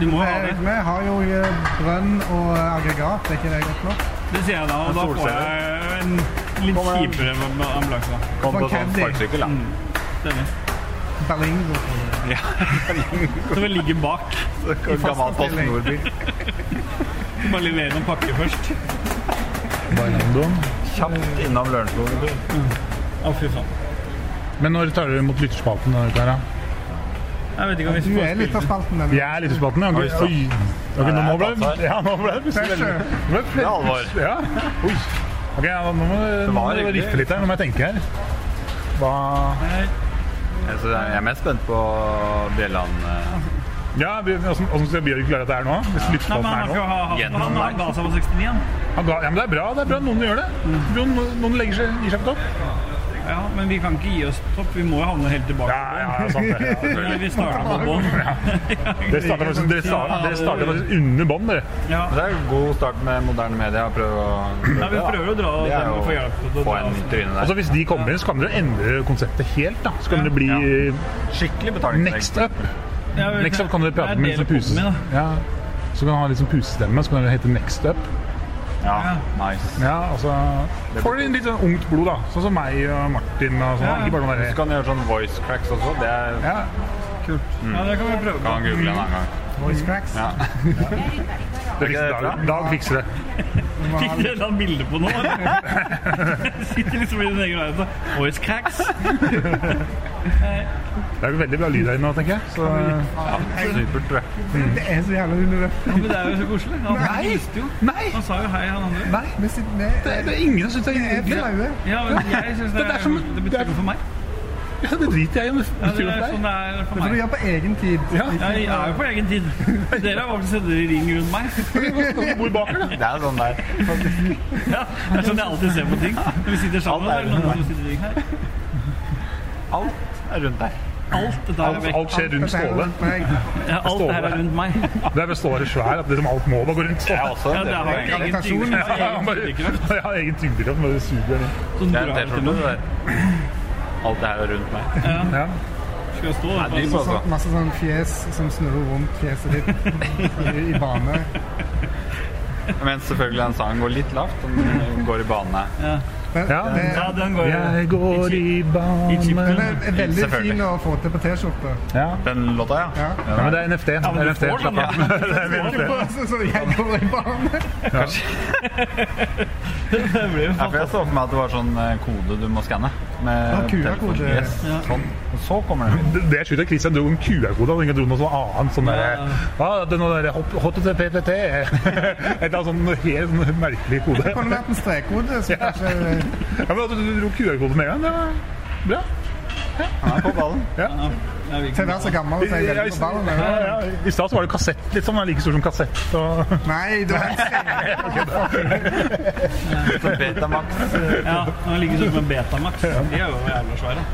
[SPEAKER 7] Du må jo ha
[SPEAKER 1] Eh,
[SPEAKER 7] det.
[SPEAKER 1] Vi har jo eh, brønn og eh, aggregat, er ikke det godt nok?
[SPEAKER 7] Det sier jeg da, og da får jeg en litt kjipere amb- ambulanse. da.
[SPEAKER 3] Kom på
[SPEAKER 1] For
[SPEAKER 3] sånn
[SPEAKER 1] Candy.
[SPEAKER 3] sparkesykkel, da.
[SPEAKER 7] Stemmer.
[SPEAKER 1] Berlingo.
[SPEAKER 7] Så vi ligger bak.
[SPEAKER 3] Gammel Post Nordbil.
[SPEAKER 7] Bare levere noen pakker først.
[SPEAKER 3] Kjapt innom Lørenskog.
[SPEAKER 7] Å, fy faen.
[SPEAKER 6] Men når tar du imot lytterspalten? da, Kara?
[SPEAKER 7] Jeg vet ikke om vi
[SPEAKER 1] Du
[SPEAKER 7] får
[SPEAKER 1] er litt av
[SPEAKER 7] spille.
[SPEAKER 1] spalten
[SPEAKER 6] Vi
[SPEAKER 1] denne.
[SPEAKER 6] er lytterspalten, ja.
[SPEAKER 3] Oi,
[SPEAKER 6] Ok,
[SPEAKER 3] sant.
[SPEAKER 6] Oi. Ok, nå må ble
[SPEAKER 3] det er
[SPEAKER 6] Ja, nå ble det plutselig
[SPEAKER 1] Pressure.
[SPEAKER 6] veldig- nå ble det
[SPEAKER 3] Det er alvor.
[SPEAKER 6] Ja. Oi. Ok, ja, nå må nå må
[SPEAKER 3] var
[SPEAKER 6] du
[SPEAKER 3] hyggelig.
[SPEAKER 6] riffe litt her. Nå må jeg tenke her. Hva
[SPEAKER 3] Altså, jeg er mest spent på Bjelland. eh,
[SPEAKER 6] Ja, vi- hvordan hvordan skal Bjørg klare dette her nå? Hvis
[SPEAKER 7] Nei, men
[SPEAKER 6] lytterspalten
[SPEAKER 7] han,
[SPEAKER 6] er
[SPEAKER 7] skal
[SPEAKER 6] nå?
[SPEAKER 7] ha, han, han, han ga seg på 69 igjen.
[SPEAKER 6] Han ga, ja, men det er bra. det er bra Noen gjør det. Noen, noen legger seg, gir seg på topp.
[SPEAKER 7] Ja, men vi kan ikke gi oss topp. Vi må jo havne helt tilbake.
[SPEAKER 6] Ja, ja, sant det. Ja,
[SPEAKER 7] Ja,
[SPEAKER 6] selvfølgelig.
[SPEAKER 7] vi starter på bånn.
[SPEAKER 6] Dere starter faktisk- dere starter- dere starter faktisk under bånd, dere.
[SPEAKER 7] Ja.
[SPEAKER 3] Det er en god start med moderne media. Prøv å
[SPEAKER 7] Nei, vi prøver å dra
[SPEAKER 3] Det er
[SPEAKER 7] dem og få
[SPEAKER 3] jo
[SPEAKER 7] hjelp. til å
[SPEAKER 3] å få
[SPEAKER 7] dra
[SPEAKER 3] en
[SPEAKER 7] oss.
[SPEAKER 3] tryne
[SPEAKER 6] Altså
[SPEAKER 3] der.
[SPEAKER 6] Hvis de kommer inn, så kan dere endre konseptet helt. da Så kan det bli eh,
[SPEAKER 3] Skikkelig betalingsvegg.
[SPEAKER 6] next up.
[SPEAKER 7] Ja, vel,
[SPEAKER 6] Next Up kan dere
[SPEAKER 7] det er
[SPEAKER 6] prate med
[SPEAKER 7] del
[SPEAKER 6] liksom
[SPEAKER 7] av koden
[SPEAKER 6] puse...
[SPEAKER 7] min, da.
[SPEAKER 6] Ja. Så kan du ha litt sånn pusestemme, så kan det hete Next Up.
[SPEAKER 3] Ja, nice.
[SPEAKER 6] Ja, altså Får du inn litt sånn ungt blod, da. Sånn som meg og Martin og sånn.
[SPEAKER 7] Ja.
[SPEAKER 6] Ikke bare
[SPEAKER 3] Så
[SPEAKER 6] noen der.
[SPEAKER 3] kan du gjøre sånn voice cracks også. Det er,
[SPEAKER 6] Ja.
[SPEAKER 7] Ja, det kan vi prøve på.
[SPEAKER 3] kan man google en annen gang.
[SPEAKER 1] Voice cracks.
[SPEAKER 3] Ja.
[SPEAKER 6] Det fikser
[SPEAKER 3] det
[SPEAKER 6] Dag, Dag fikser det.
[SPEAKER 7] Fikk dere et eller annet bilde på noe? eller? Sitter liksom i din egen verden. Voice cracks.
[SPEAKER 6] Det er jo veldig bra lyd her inne nå, tenker jeg. Så
[SPEAKER 3] Ja, supert, tror jeg.
[SPEAKER 1] Det er så jævla unødvendig.
[SPEAKER 7] Men det er jo så koselig. Han
[SPEAKER 1] Nei.
[SPEAKER 7] hilste jo.
[SPEAKER 6] Nei!
[SPEAKER 7] Han sa jo hei, han andre.
[SPEAKER 6] Nei!
[SPEAKER 1] Vi sitter ned.
[SPEAKER 6] Det er, det er ingen som syns det er
[SPEAKER 1] Jeg er
[SPEAKER 6] hyggelig.
[SPEAKER 1] flaue.
[SPEAKER 7] Ja, men jeg synes det,
[SPEAKER 6] Det er
[SPEAKER 7] er,
[SPEAKER 6] som-
[SPEAKER 7] det
[SPEAKER 6] det
[SPEAKER 7] betyr
[SPEAKER 6] er-
[SPEAKER 7] noe for meg.
[SPEAKER 6] Ja, det driter jeg i. om Det
[SPEAKER 7] Ja,
[SPEAKER 6] betyr
[SPEAKER 7] det er
[SPEAKER 6] noe for
[SPEAKER 7] sånn
[SPEAKER 6] deg.
[SPEAKER 7] det er for
[SPEAKER 1] Det får du
[SPEAKER 7] meg.
[SPEAKER 1] gjøre på egen tid.
[SPEAKER 6] Ja.
[SPEAKER 1] Ikke-
[SPEAKER 7] Jeg er jo på egen tid. Dere har valgt å sette dere i ring rundt meg.
[SPEAKER 6] Hvor baker, da?
[SPEAKER 3] Det er sånn der.
[SPEAKER 7] Ja, det er sånn jeg alltid ser på ting. Når vi sitter sammen,
[SPEAKER 3] Alt
[SPEAKER 7] er
[SPEAKER 3] er
[SPEAKER 7] det noen som sitter i ring her.
[SPEAKER 3] Alt er rundt der.
[SPEAKER 7] Alt dette her er
[SPEAKER 6] Alt,
[SPEAKER 7] vekk.
[SPEAKER 6] alt skjer rundt
[SPEAKER 1] Dette er jo
[SPEAKER 6] Ståle.
[SPEAKER 1] rundt meg.
[SPEAKER 7] Ja, alt det her er rundt meg.
[SPEAKER 6] Det er vel Ståle svær at liksom alt må bare gå rundt
[SPEAKER 3] Det er
[SPEAKER 6] Ståle.
[SPEAKER 3] også
[SPEAKER 7] Ja, altså.
[SPEAKER 3] en
[SPEAKER 7] det har
[SPEAKER 3] del
[SPEAKER 7] jo
[SPEAKER 3] av
[SPEAKER 7] egen
[SPEAKER 1] Personen.
[SPEAKER 7] tyngde.
[SPEAKER 6] Ja, han bare- jeg har egen tyngdekraft, bare suger den inn.
[SPEAKER 7] Sånn
[SPEAKER 3] Det er en
[SPEAKER 7] drar til noe.
[SPEAKER 3] T-skjorte. det der. Alt det her er rundt meg.
[SPEAKER 7] Ja,
[SPEAKER 6] Ja.
[SPEAKER 7] skal jeg stå
[SPEAKER 3] Det er
[SPEAKER 7] der.
[SPEAKER 3] dyp, altså.
[SPEAKER 1] Sånn, masse sånn fjes som snurrer rundt fjeset ditt i, i bane.
[SPEAKER 3] Men selvfølgelig den sangen går litt lavt. Den går i bane.
[SPEAKER 1] Men,
[SPEAKER 6] Ja.
[SPEAKER 1] det,
[SPEAKER 7] Ja, den går jo.
[SPEAKER 6] Jeg går i bane
[SPEAKER 1] men det er veldig
[SPEAKER 3] Selvfølgelig.
[SPEAKER 1] fin å få til på T-skjorte.
[SPEAKER 6] ja.
[SPEAKER 3] Den låta, ja.
[SPEAKER 1] Ja.
[SPEAKER 6] ja, men det er NFT.
[SPEAKER 7] men du
[SPEAKER 6] NFT.
[SPEAKER 7] får den,
[SPEAKER 6] Slapp av.
[SPEAKER 7] ja.
[SPEAKER 6] Det er
[SPEAKER 1] Ikke
[SPEAKER 6] NFT.
[SPEAKER 1] bare sånn som jeg går i bane.
[SPEAKER 7] Det blir jo
[SPEAKER 3] Ja, for jeg så for meg at det var sånn eh, kode du må skanne. Med
[SPEAKER 1] QR -kode.
[SPEAKER 3] telefonen. Yes,
[SPEAKER 7] Ja.
[SPEAKER 3] sånn. Og så kommer den.
[SPEAKER 6] Det- Det er sjukt at Christian dro en QR-kode og ingen dro noe sånn annet. Sånn der,
[SPEAKER 7] Ja.
[SPEAKER 6] ah, det er noe der hot- HTTPTT Et eller annet sånn helt sånn merkelig kode.
[SPEAKER 1] Det kunne vært en strekkode, så kanskje
[SPEAKER 6] Ja, men at du dro QR-koden med en gang, det var bra.
[SPEAKER 3] Han er på ballen.
[SPEAKER 1] til å være så gammel så er jeg veldig på ballen.
[SPEAKER 6] Ja,
[SPEAKER 1] eller?
[SPEAKER 6] ja. I stad så var det kassett, liksom. Den er like stor som kassett. Og...
[SPEAKER 1] Nei, du er
[SPEAKER 3] Så Betamax.
[SPEAKER 7] Ja, den ligger sånn som en Betamax. De er jo jævla svære.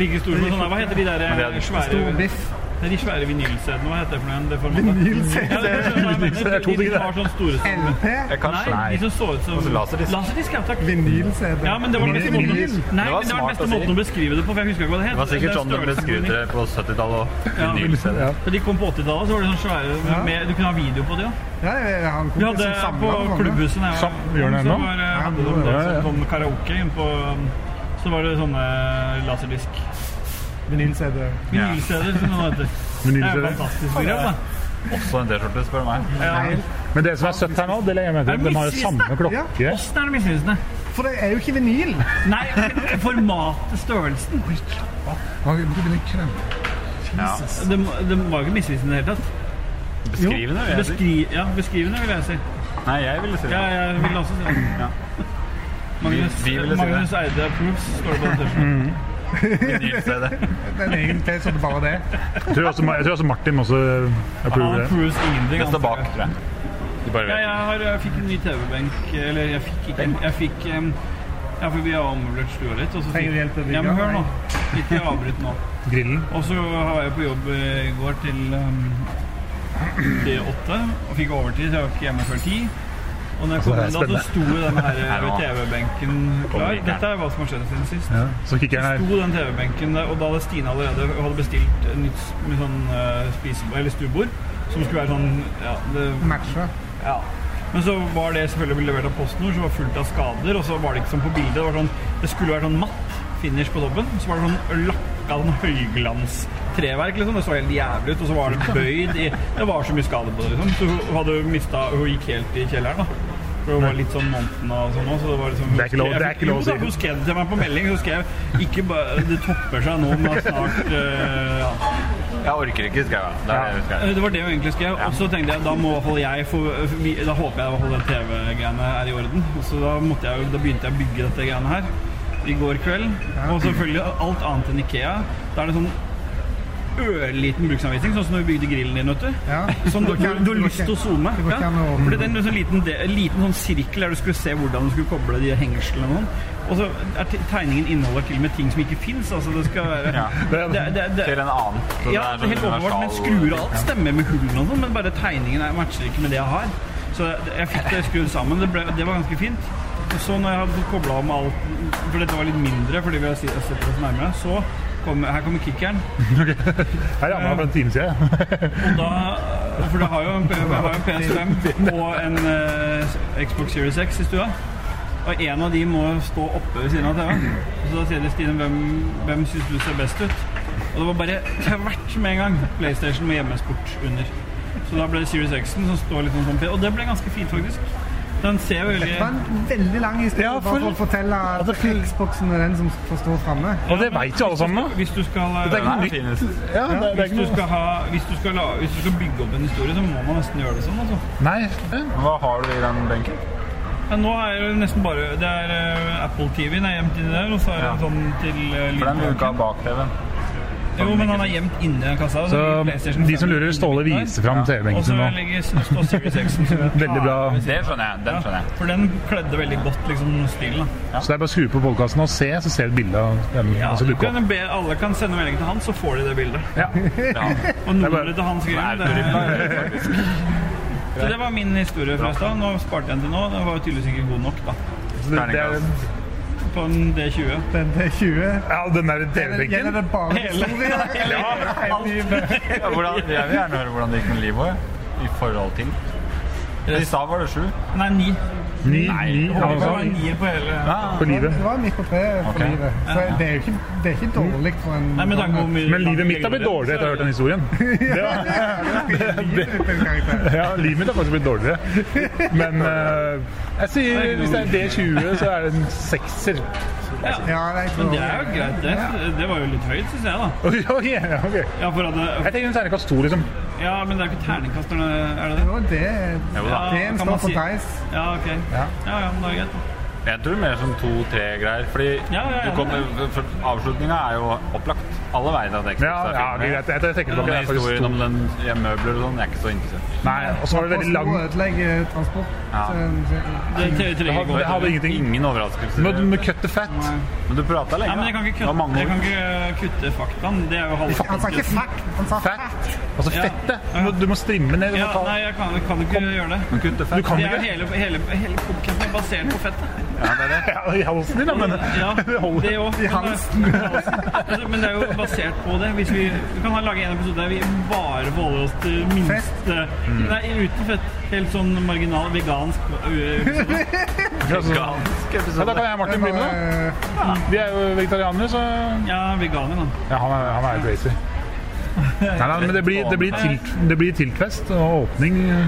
[SPEAKER 7] Like store som sånne Hva heter de der
[SPEAKER 3] det er
[SPEAKER 7] svære
[SPEAKER 1] stor biff.
[SPEAKER 7] det er De svære vinylcd-ene, hva heter det for noe? Det formatet? Ja, det er sånn- nei, men
[SPEAKER 6] Det er to ting,
[SPEAKER 7] de
[SPEAKER 6] det.
[SPEAKER 7] som var sånn store som
[SPEAKER 1] LP,
[SPEAKER 3] Jeg kan
[SPEAKER 7] Nei, de
[SPEAKER 3] slei.
[SPEAKER 7] som så ut som
[SPEAKER 3] Altså laserdisk.
[SPEAKER 7] Laserdisk, ja takk.
[SPEAKER 1] vinyl-CD.
[SPEAKER 7] Ja, men det var den beste måten,
[SPEAKER 1] Vinyl.
[SPEAKER 7] nei,
[SPEAKER 3] Det var
[SPEAKER 7] men det var den
[SPEAKER 3] smart
[SPEAKER 7] beste
[SPEAKER 3] å si.
[SPEAKER 7] måten å beskrive det på, for jeg husker ikke hva det het.
[SPEAKER 3] Det var sikkert sånn de
[SPEAKER 7] er
[SPEAKER 3] beskrev
[SPEAKER 7] størrelsen på
[SPEAKER 3] det på 70-tallet. og
[SPEAKER 7] Ja.
[SPEAKER 3] vinyl-CD.
[SPEAKER 6] Ja.
[SPEAKER 7] de. Da de kom på 80-tallet, så var det sånn svære med, med, Du kunne ha video på det, ja.
[SPEAKER 1] Ja, jeg har en
[SPEAKER 7] Vi
[SPEAKER 1] kompis som
[SPEAKER 7] hadde på
[SPEAKER 1] samler på sånne.
[SPEAKER 7] klubbhuset da jeg var-
[SPEAKER 6] Sam- gjør den
[SPEAKER 7] så
[SPEAKER 6] ennå?
[SPEAKER 7] var, eh, hadde de
[SPEAKER 6] Ja,
[SPEAKER 7] det
[SPEAKER 6] ja, ja.
[SPEAKER 7] som sånn karaoke inn på um, Så var det sånne laserdisk
[SPEAKER 1] Vinyl-CD.
[SPEAKER 7] Vinylsteder, som det heter. Det er jo
[SPEAKER 6] Vinyl-CD.
[SPEAKER 7] fantastisk program, da.
[SPEAKER 3] Også en T-skjorte, spør du meg.
[SPEAKER 7] Ja.
[SPEAKER 6] Men det som er søtt her nå, det legger jeg med til. De har jo samme klokke.
[SPEAKER 7] Åssen er det misvisende?
[SPEAKER 1] For det er jo ikke vinyl.
[SPEAKER 7] Nei, men formatet, størrelsen
[SPEAKER 3] Ja.
[SPEAKER 7] Det, må- det var jo ikke misvisende i det hele tatt.
[SPEAKER 3] Beskrivende, vil jeg si.
[SPEAKER 7] Beskri, ja, beskrivende, vil jeg si.
[SPEAKER 3] Nei, jeg ville si
[SPEAKER 7] Ja,
[SPEAKER 3] det.
[SPEAKER 7] jeg vil også si det.
[SPEAKER 3] Ja.
[SPEAKER 7] Magnus,
[SPEAKER 3] Vi- vi ville si det.
[SPEAKER 7] Magnus Eide approves, står det
[SPEAKER 6] Mm.
[SPEAKER 7] på den tørsten.
[SPEAKER 3] Vinyl-CD.
[SPEAKER 1] Det er egentlig så det bare det.
[SPEAKER 6] Jeg tror også, jeg tror også Martin også approver
[SPEAKER 7] Han
[SPEAKER 6] det.
[SPEAKER 7] approves ingenting.
[SPEAKER 3] Det står
[SPEAKER 7] antar
[SPEAKER 3] bak,
[SPEAKER 7] jeg.
[SPEAKER 3] tror jeg. De bare
[SPEAKER 7] Ja,
[SPEAKER 3] vet.
[SPEAKER 7] jeg, har, jeg fikk en ny TV-benk, eller jeg fikk ikke Jeg fikk em, ja, for vi har ommøblert stua litt. Og så
[SPEAKER 1] Trenger du hjelp til å bygge?
[SPEAKER 7] Ja, men hør nå. Ikke avbryt nå.
[SPEAKER 6] Grillen.
[SPEAKER 7] Og så var jeg på jobb eh, i går til eh, til åtte og fikk overtid, så jeg var ikke hjemme før ti. Og når jeg kom
[SPEAKER 6] det er
[SPEAKER 7] inn da, så
[SPEAKER 6] spennende.
[SPEAKER 7] sto jo den her eh,
[SPEAKER 3] Her nå.
[SPEAKER 7] TV-benken
[SPEAKER 3] Kommer
[SPEAKER 7] klar.
[SPEAKER 3] ikke her.
[SPEAKER 7] Dette er hva som har skjedd siden sist.
[SPEAKER 6] Ja. Så kikker jeg her.
[SPEAKER 7] Sto den TV-benken der, og da hadde Stine allerede hun hadde bestilt et nytt s- med sånn eh, spisebord, eller stuebord, som skulle være sånn ja, det,
[SPEAKER 1] Matcha.
[SPEAKER 7] ja. Men så var det selvfølgelig levert av PostNord, som var fullt av skader. Og så var det ikke som på bildet. Det, var sånn, det skulle være sånn matt finish på toppen. Så var det sånn lakka sånn høyglanstreverk, liksom. Det så helt jævlig ut. Og så var det bøyd i Det var så mye skader på det, liksom. Så hun hadde mista Hun gikk helt i kjelleren, da. For hun var litt sånn måneden og sånn også, så det var liksom
[SPEAKER 6] Det er ikke lov- det er ikke lov å
[SPEAKER 7] Jo da,
[SPEAKER 6] si.
[SPEAKER 7] Hun skrev det til meg på melding. Hun skrev ikke bare Det topper seg nå, men snart eh, ja.
[SPEAKER 3] Jeg orker ikke, skal jeg. Det er det jeg skal.
[SPEAKER 7] Eh, Det var det hun egentlig skrev. Og så tenkte jeg da må i hvert fall jeg få vi- Da håper jeg i hvert fall det TV-greiene er i orden. Og Så da, måtte jeg, jo- da begynte jeg å bygge dette greiene her i går kveld. Og selvfølgelig alt annet enn Ikea. Da er det sånn ørliten bruksanvisning, sånn som når vi bygde grillen din, vet du.
[SPEAKER 1] Ja.
[SPEAKER 7] Sånn, du,
[SPEAKER 1] Det går ikke
[SPEAKER 7] du,
[SPEAKER 1] an-
[SPEAKER 7] du
[SPEAKER 1] det
[SPEAKER 7] har
[SPEAKER 1] går
[SPEAKER 7] lyst til å
[SPEAKER 1] ikke-
[SPEAKER 7] zoome.
[SPEAKER 1] det går ikke
[SPEAKER 7] Ja.
[SPEAKER 1] an å-
[SPEAKER 7] Fordi det er en sånn liten, de- en liten sånn sirkel der du skulle se hvordan du skulle koble de hengslene. Og så er te- tegningen inneholder til og med ting som ikke fins. Altså det skal være
[SPEAKER 3] Ja.
[SPEAKER 7] det, det, det,
[SPEAKER 3] Til en annen. Så
[SPEAKER 7] ja, det er helt åpenbart. Men skruer og alt stemmer med hullene og sånn, men bare tegningen er, matcher ikke med det jeg har. Så jeg- jeg fikk det skrudd sammen. Det, ble, det var ganske fint. Og så når jeg hadde fått kobla av med alt, for dette var litt mindre fordi vi har sett oss nærmere, så Kom, her kommer kickeren.
[SPEAKER 6] Her ramla for en time siden.
[SPEAKER 7] Og da, for det har jo en, P- jeg har jo en PS5 og en eh, Xbox Series X i stua. Og en av de må stå oppe ved siden av TV-en. Så da sier de Stine, hvem, hvem syns du ser best ut? Og det var bare tvert med en gang. PlayStation med hjemmesport under. Så da ble det Series X-en som står litt sånn som P- Og det ble ganske fint, faktisk. Den ser jo veldig
[SPEAKER 1] Det var en veldig lang historie
[SPEAKER 6] Ja,
[SPEAKER 1] bare
[SPEAKER 6] for-
[SPEAKER 1] for å fortelle at Xboxen er den som får stå framme.
[SPEAKER 6] Og det veit jo alle sammen. da.
[SPEAKER 7] Hvis du skal eh,
[SPEAKER 6] Det er ikke noe
[SPEAKER 3] Den er finest.
[SPEAKER 6] Ja, det, det er
[SPEAKER 7] hvis
[SPEAKER 6] ikke
[SPEAKER 7] du
[SPEAKER 6] noe
[SPEAKER 7] skal, ha, hvis, du skal la, hvis du skal bygge opp en historie, så må man nesten gjøre det sånn. Altså.
[SPEAKER 6] Nei.
[SPEAKER 3] Hva har du i den benken?
[SPEAKER 7] Ja, nå er det jo nesten bare Det er eh, Apple TV-en er gjemt inni der, og så er det
[SPEAKER 3] Ja.
[SPEAKER 7] sånn til uh,
[SPEAKER 3] For den vil du ikke ha bak TV-en.
[SPEAKER 7] Jo, men han er gjemt inni kassa.
[SPEAKER 6] Så
[SPEAKER 7] ligger PlayStation
[SPEAKER 6] de som
[SPEAKER 7] 5
[SPEAKER 6] lurer, Ståle
[SPEAKER 7] inni der.
[SPEAKER 6] viser fram
[SPEAKER 7] Og så
[SPEAKER 6] TV-benken nå.
[SPEAKER 7] ligger står Series X-en. som jeg
[SPEAKER 6] Veldig bra.
[SPEAKER 7] tar ved siden
[SPEAKER 3] Det skjønner jeg. Den
[SPEAKER 7] av.
[SPEAKER 3] skjønner jeg.
[SPEAKER 7] For den kledde veldig godt liksom, stilen. da.
[SPEAKER 6] Så det er bare å skru på podkasten og se, så ser du et bilde av den.
[SPEAKER 7] Ja,
[SPEAKER 6] og så
[SPEAKER 7] du
[SPEAKER 6] dukker opp.
[SPEAKER 7] kan be, alle kan sende melding til han, så får de det bildet.
[SPEAKER 6] Ja.
[SPEAKER 3] Ja.
[SPEAKER 7] Og
[SPEAKER 6] bare-
[SPEAKER 7] nummeret til hans
[SPEAKER 3] Nei,
[SPEAKER 7] greie.
[SPEAKER 3] det er
[SPEAKER 7] Det,
[SPEAKER 3] ikke det, faktisk.
[SPEAKER 7] er- så det var min historie fra i stad. Nå sparte jeg den til nå. Den var jo tydeligvis ikke god nok, da.
[SPEAKER 6] Så det, det er,
[SPEAKER 7] På en D20.
[SPEAKER 1] Den til 20.
[SPEAKER 6] ja, den der
[SPEAKER 1] Gjelder
[SPEAKER 6] TV-benken.
[SPEAKER 1] det bare
[SPEAKER 7] Hele-
[SPEAKER 1] historier?
[SPEAKER 3] Ja, hvordan, jeg vil gjerne høre hvordan det gikk med Livoy i forhold til I stad var det sju.
[SPEAKER 7] Nei, ni.
[SPEAKER 6] Ni, ni,
[SPEAKER 7] Det
[SPEAKER 6] ja,
[SPEAKER 7] var en
[SPEAKER 6] altså,
[SPEAKER 7] nier på hele
[SPEAKER 6] på livet.
[SPEAKER 1] Det var midt på treet for
[SPEAKER 3] Ok.
[SPEAKER 1] livet. Så det er jo ikke, det er ikke dårlig for en
[SPEAKER 7] Nei, med tanke på hvor mye
[SPEAKER 6] Men livet mitt har blitt dårligere etter å ha hørt den historien. Det var,
[SPEAKER 1] karakter.
[SPEAKER 6] ja, livet mitt har faktisk blitt dårligere. Men eh, jeg sier hvis det er D20, så er det en sekser.
[SPEAKER 7] Ja.
[SPEAKER 1] Ja, det er ikke
[SPEAKER 7] Men
[SPEAKER 1] dårlig.
[SPEAKER 7] det er jo greit. Det, det var jo litt høyt, syns jeg, da.
[SPEAKER 6] Oi, oi, ja, ok.
[SPEAKER 7] Ja, for at det,
[SPEAKER 6] Jeg tenker en terningkast to, liksom.
[SPEAKER 7] ja, men det er jo ikke terningkast når det er det
[SPEAKER 1] Det
[SPEAKER 7] det?
[SPEAKER 1] var det.
[SPEAKER 3] Jo da.
[SPEAKER 1] Det en
[SPEAKER 7] kan
[SPEAKER 1] står
[SPEAKER 7] man
[SPEAKER 1] på
[SPEAKER 7] si-
[SPEAKER 1] Dice.
[SPEAKER 7] Ja, ok. Ja, ja, men det er greit. da.
[SPEAKER 3] Jeg tror mer som to-tre greier. Fordi
[SPEAKER 7] Ja, ja, ja.
[SPEAKER 3] du kommer- for avslutninga er jo opplagt. Alle veit at Xbox
[SPEAKER 6] Ja, ja,
[SPEAKER 3] er
[SPEAKER 6] det er
[SPEAKER 3] filmet.
[SPEAKER 6] greit. Jeg jeg tenker
[SPEAKER 3] Men
[SPEAKER 6] tilbake. Det er faktisk
[SPEAKER 3] historien
[SPEAKER 6] to.
[SPEAKER 3] om den ja, møbler og sånn, jeg er ikke så interessert.
[SPEAKER 6] Nei, og så var det veldig lang
[SPEAKER 1] Og ødelegger eh, transport.
[SPEAKER 3] Ja.
[SPEAKER 1] Så en- så-
[SPEAKER 7] Det trenger ikke gå
[SPEAKER 6] Jeg hadde
[SPEAKER 7] til.
[SPEAKER 6] ingenting.
[SPEAKER 3] Ingen overraskelser.
[SPEAKER 6] Må du må cut the fat.
[SPEAKER 3] Men du prata lenge.
[SPEAKER 7] Ja, men jeg kan ikke
[SPEAKER 3] da. Det var
[SPEAKER 7] kutte,
[SPEAKER 3] mange
[SPEAKER 7] jeg
[SPEAKER 3] ord.
[SPEAKER 7] kan ikke eh, kutte faktaen. Det er jo halve
[SPEAKER 1] Han sa ikke fuck, han sa
[SPEAKER 6] Fat.
[SPEAKER 1] fat.
[SPEAKER 6] Altså
[SPEAKER 7] Ja.
[SPEAKER 6] fettet. Du må, du må strimme ned. Du
[SPEAKER 7] Ja,
[SPEAKER 6] må ta-
[SPEAKER 7] nei, jeg kan, kan ikke gjøre det.
[SPEAKER 3] Kutte fett.
[SPEAKER 6] Du kan
[SPEAKER 7] Det er jo
[SPEAKER 6] ikke
[SPEAKER 7] hele, hele, hele podcasten er basert på fettet.
[SPEAKER 3] Ja, det er det.
[SPEAKER 6] Ja, i halsen din, da, men
[SPEAKER 7] Ja,
[SPEAKER 6] det holder.
[SPEAKER 7] det òg.
[SPEAKER 1] I halsen.
[SPEAKER 7] Altså, men det er jo basert på det. Hvis vi, vi kan ha lage en episode der vi bare forholder oss til minste
[SPEAKER 6] Mm.
[SPEAKER 7] Nei, uten fett. Helt sånn marginal vegansk øh, episode.
[SPEAKER 3] Ganske
[SPEAKER 6] Altså, Ja, da
[SPEAKER 3] episode.
[SPEAKER 6] kan jeg og Martin begynne, da.
[SPEAKER 1] Eh,
[SPEAKER 6] Vi er jo vegetarianere, så
[SPEAKER 7] Ja, veganer, da.
[SPEAKER 6] Ja, han er, han er crazy. Nei, nei, men det blir, det, blir tilt, det blir tiltfest og åpning. eh,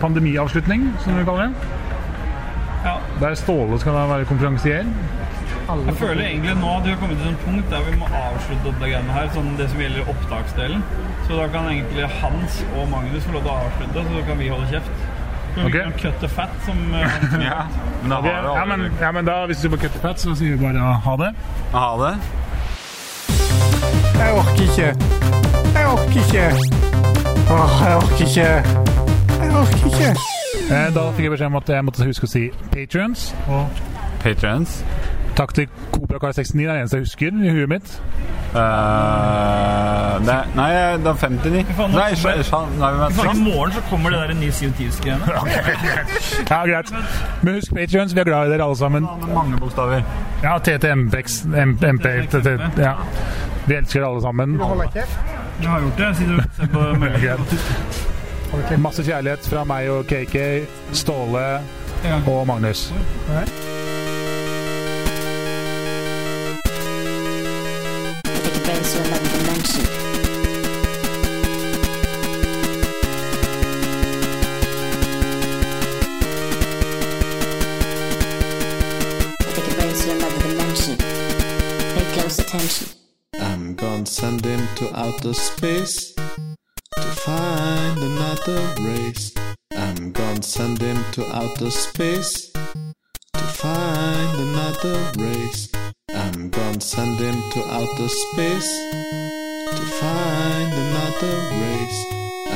[SPEAKER 6] Pandemiavslutning, som vi kaller det.
[SPEAKER 7] Ja.
[SPEAKER 6] Der Ståle skal da være konferansier.
[SPEAKER 7] Jeg føler egentlig nå at vi har kommet til et punkt der vi må avslutte opp det greiene her, sånn det som gjelder opptaksdelen. Så da kan egentlig Hans og Magnus få lov til å avslutte, så kan vi holde kjeft. Men
[SPEAKER 6] Ok.
[SPEAKER 7] vi kan cutte fat, som øh,
[SPEAKER 3] Ja, men da har det
[SPEAKER 6] Ja, men, ja, men da, hvis du skal cutte fat, så sier vi bare ja, ha det.
[SPEAKER 3] Ha det.
[SPEAKER 1] Jeg orker ikke. Jeg orker ikke. Åh, jeg orker ikke. Jeg orker ikke.
[SPEAKER 6] Eh, Da fikk jeg beskjed om at jeg måtte huske å si patrions.
[SPEAKER 3] Patrons. Eh,
[SPEAKER 6] Takk til CobraKar69, det er det eneste jeg husker i huet mitt.
[SPEAKER 3] Eh, det, er- nei, det er 59.
[SPEAKER 7] faen, nå-
[SPEAKER 3] Nei, sj- sj- nei, men
[SPEAKER 7] I
[SPEAKER 3] sant.
[SPEAKER 7] morgen så kommer det der Nils Jotivs-greiene.
[SPEAKER 6] Ja, greit. Men husk patrions, vi er glad i dere alle sammen.
[SPEAKER 3] Mange bokstaver.
[SPEAKER 6] Ja, TTMPX, MP, TT, ja. Vi elsker dere alle sammen.
[SPEAKER 1] Holder kjeft.
[SPEAKER 7] Du har gjort det, siden du ser på meldingen.
[SPEAKER 6] Greit. Masse kjærlighet fra meg og KK, Ståle og Magnus.
[SPEAKER 8] Take a base to another dimension. Take a base to another dimension. Pay close attention.
[SPEAKER 4] I'm gonna send him to outer space to find another race. I'm gonna send him to outer space to find another race. I'm gonna send him to outer space to find another race.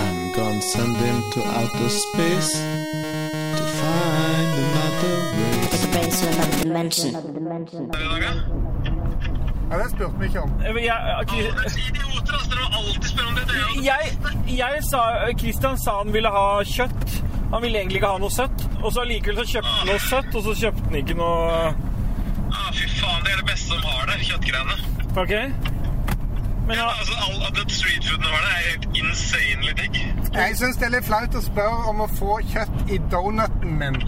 [SPEAKER 4] I'm gonna send him to outer space to find another race.
[SPEAKER 8] Take a base to another dimension.
[SPEAKER 1] Ja, det spurte vi ikke om.
[SPEAKER 7] Jeg,
[SPEAKER 2] Idioter, ass! Dere må alltid spørre om det. Det er jo
[SPEAKER 7] jeg, jeg sa Kristian sa han ville ha kjøtt. Han ville egentlig ikke ha noe søtt. Og så allikevel så kjøpte han noe søtt, og så kjøpte han ikke noe
[SPEAKER 2] ah, Fy faen, det er det beste som har det. Kjøttgreiene.
[SPEAKER 7] OK?
[SPEAKER 2] Men ja,
[SPEAKER 3] altså, all, at den streetfooden var der, er helt insanely digg.
[SPEAKER 1] Jeg syns det er litt flaut å spørre om å få kjøtt i donuten min.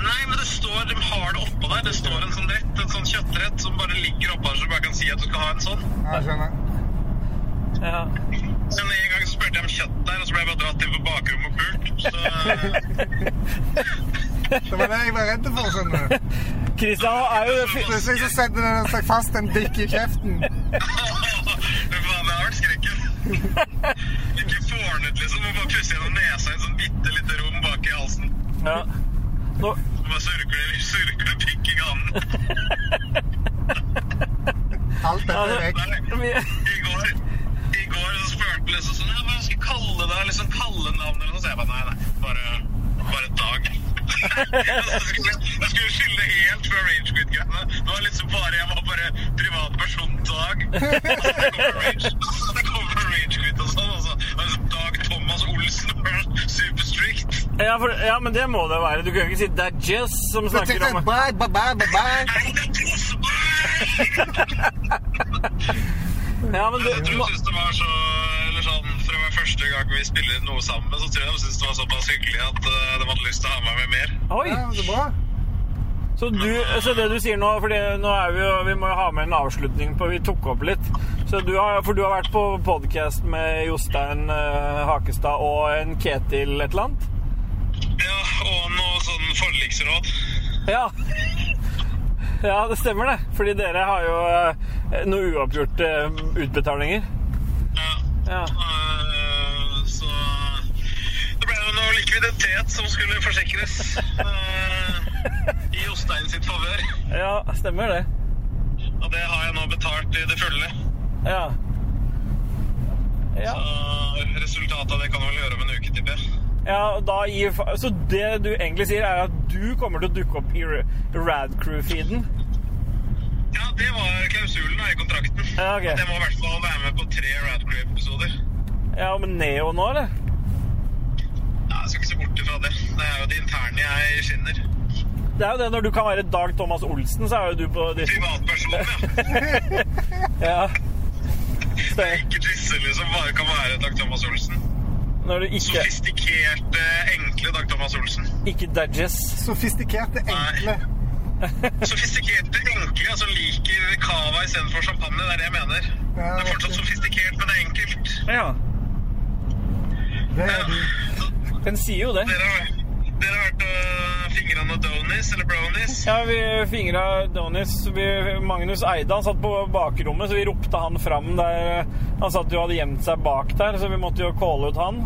[SPEAKER 3] Nei, men det står, de har det oppå der. Det står en sånn rett, en sånn kjøttrett som bare ligger oppå der, så du bare kan si at du skal ha en sånn.
[SPEAKER 1] Ja, skjønner.
[SPEAKER 2] ja.
[SPEAKER 3] Men en gang så spurte jeg om kjøtt der, og så ble jeg bare dratt inn på bakrommet og pult. Så eh,
[SPEAKER 1] Det var det jeg var redd for, skjønner du.
[SPEAKER 2] Christian er jo
[SPEAKER 1] Plutselig så setter den seg fast en dick i kjeften.
[SPEAKER 3] Fy faen, det har vært skrekken. Ikke fornet, liksom. Må bare pusse gjennom nesa i et sånn bitte lite rom bak i halsen.
[SPEAKER 2] ja. Nå,
[SPEAKER 3] Og bare surkle, surkle pikk i ganen.
[SPEAKER 1] Alt dette er vekk.
[SPEAKER 3] Nei.
[SPEAKER 2] vi,
[SPEAKER 3] I går, i går så spurte jeg liksom sånn, ja, hva skal jeg kalle deg, liksom kallenavn eller noe, så jeg bare, nei, nei, bare, bare Dag. jeg, skulle, jeg skulle skille helt før Rage Quit-greiene. Det var liksom bare, jeg var bare privatperson Dag. Og så det kommer Rage, så det kommer Rage Quit og sånn, og så og liksom Dag Thomas Olsen, bare superstrikt.
[SPEAKER 2] ja, for, ja, men det må det være. Du kan jo ikke si det er Jess som
[SPEAKER 1] Så
[SPEAKER 2] snakker
[SPEAKER 1] sitter
[SPEAKER 2] om
[SPEAKER 1] jeg, Bye, bye, bye, bye, bye.
[SPEAKER 3] Nei, det er Thomas! Nei!
[SPEAKER 2] Ja, men du,
[SPEAKER 3] Jeg tror de syntes det var så Eller sånn, for det var første gang vi spiller inn noe sammen, så tror jeg de syntes det var såpass hyggelig at eh, de hadde lyst til å ha meg med mer.
[SPEAKER 2] Oi!
[SPEAKER 1] Ja, så bra.
[SPEAKER 2] Så, du, så det du sier nå fordi nå er vi, jo, vi må jo ha med en avslutning på Vi tok opp litt. Så du har, for du har vært på podkast med Jostein eh, Hakestad og en Ketil et eller annet?
[SPEAKER 3] Ja, og noe sånn forliksråd.
[SPEAKER 2] Ja. ja, det stemmer det. Fordi dere har jo eh, noen uoppgjorte utbetalinger.
[SPEAKER 3] Ja.
[SPEAKER 2] Ja.
[SPEAKER 3] Eh, så det ble jo noe likviditet som skulle forsikres eh, i Jostein sitt favør.
[SPEAKER 2] ja, stemmer det.
[SPEAKER 3] Og det har jeg nå betalt i det fulle.
[SPEAKER 2] Ja. Ja.
[SPEAKER 3] Så resultatet av det kan jeg vel gjøre om en uke, tipper jeg.
[SPEAKER 2] Ja, og da gir, fa- så det du egentlig sier, er at du kommer til å dukke opp i Ra- Radcrew-feeden?
[SPEAKER 3] Ja, det var klausulen da, i kontrakten.
[SPEAKER 2] Ja, ok.
[SPEAKER 3] At Jeg må i hvert fall være med på tre Radcrew-episoder.
[SPEAKER 2] Ja, men Neo nå, eller?
[SPEAKER 3] Ja, jeg skal ikke se bort ifra det. Det er jo det interne jeg skinner.
[SPEAKER 2] Det er jo det, når du kan være Dag Thomas Olsen, så er jo du på de-
[SPEAKER 3] Privatperson, ja.
[SPEAKER 2] Ja. Stemmer.
[SPEAKER 3] Ikke trisse, liksom. Bare kan være Dag Thomas Olsen.
[SPEAKER 2] Når du ikke,
[SPEAKER 3] Sofistikerte, enkle Dag Thomas Olsen.
[SPEAKER 2] ikke dodges.
[SPEAKER 1] Sofistikerte, enkle.
[SPEAKER 3] Sofistikerte, enkle, altså liker cava istedenfor champagne. Det er det jeg mener.
[SPEAKER 1] Ja,
[SPEAKER 3] Det er fortsatt
[SPEAKER 1] ok.
[SPEAKER 3] sofistikert, men det er enkelt.
[SPEAKER 2] Ja.
[SPEAKER 1] Det er du.
[SPEAKER 2] Den sier jo det.
[SPEAKER 3] Dere har, dere har vært og fingrene donis, eller brownies?
[SPEAKER 2] Ja, vi fingra Donis. Vi, Magnus Eide han satt på bakrommet, så vi ropte han fram der. Han satt jo og hadde gjemt seg bak der, så vi måtte jo calle ut han.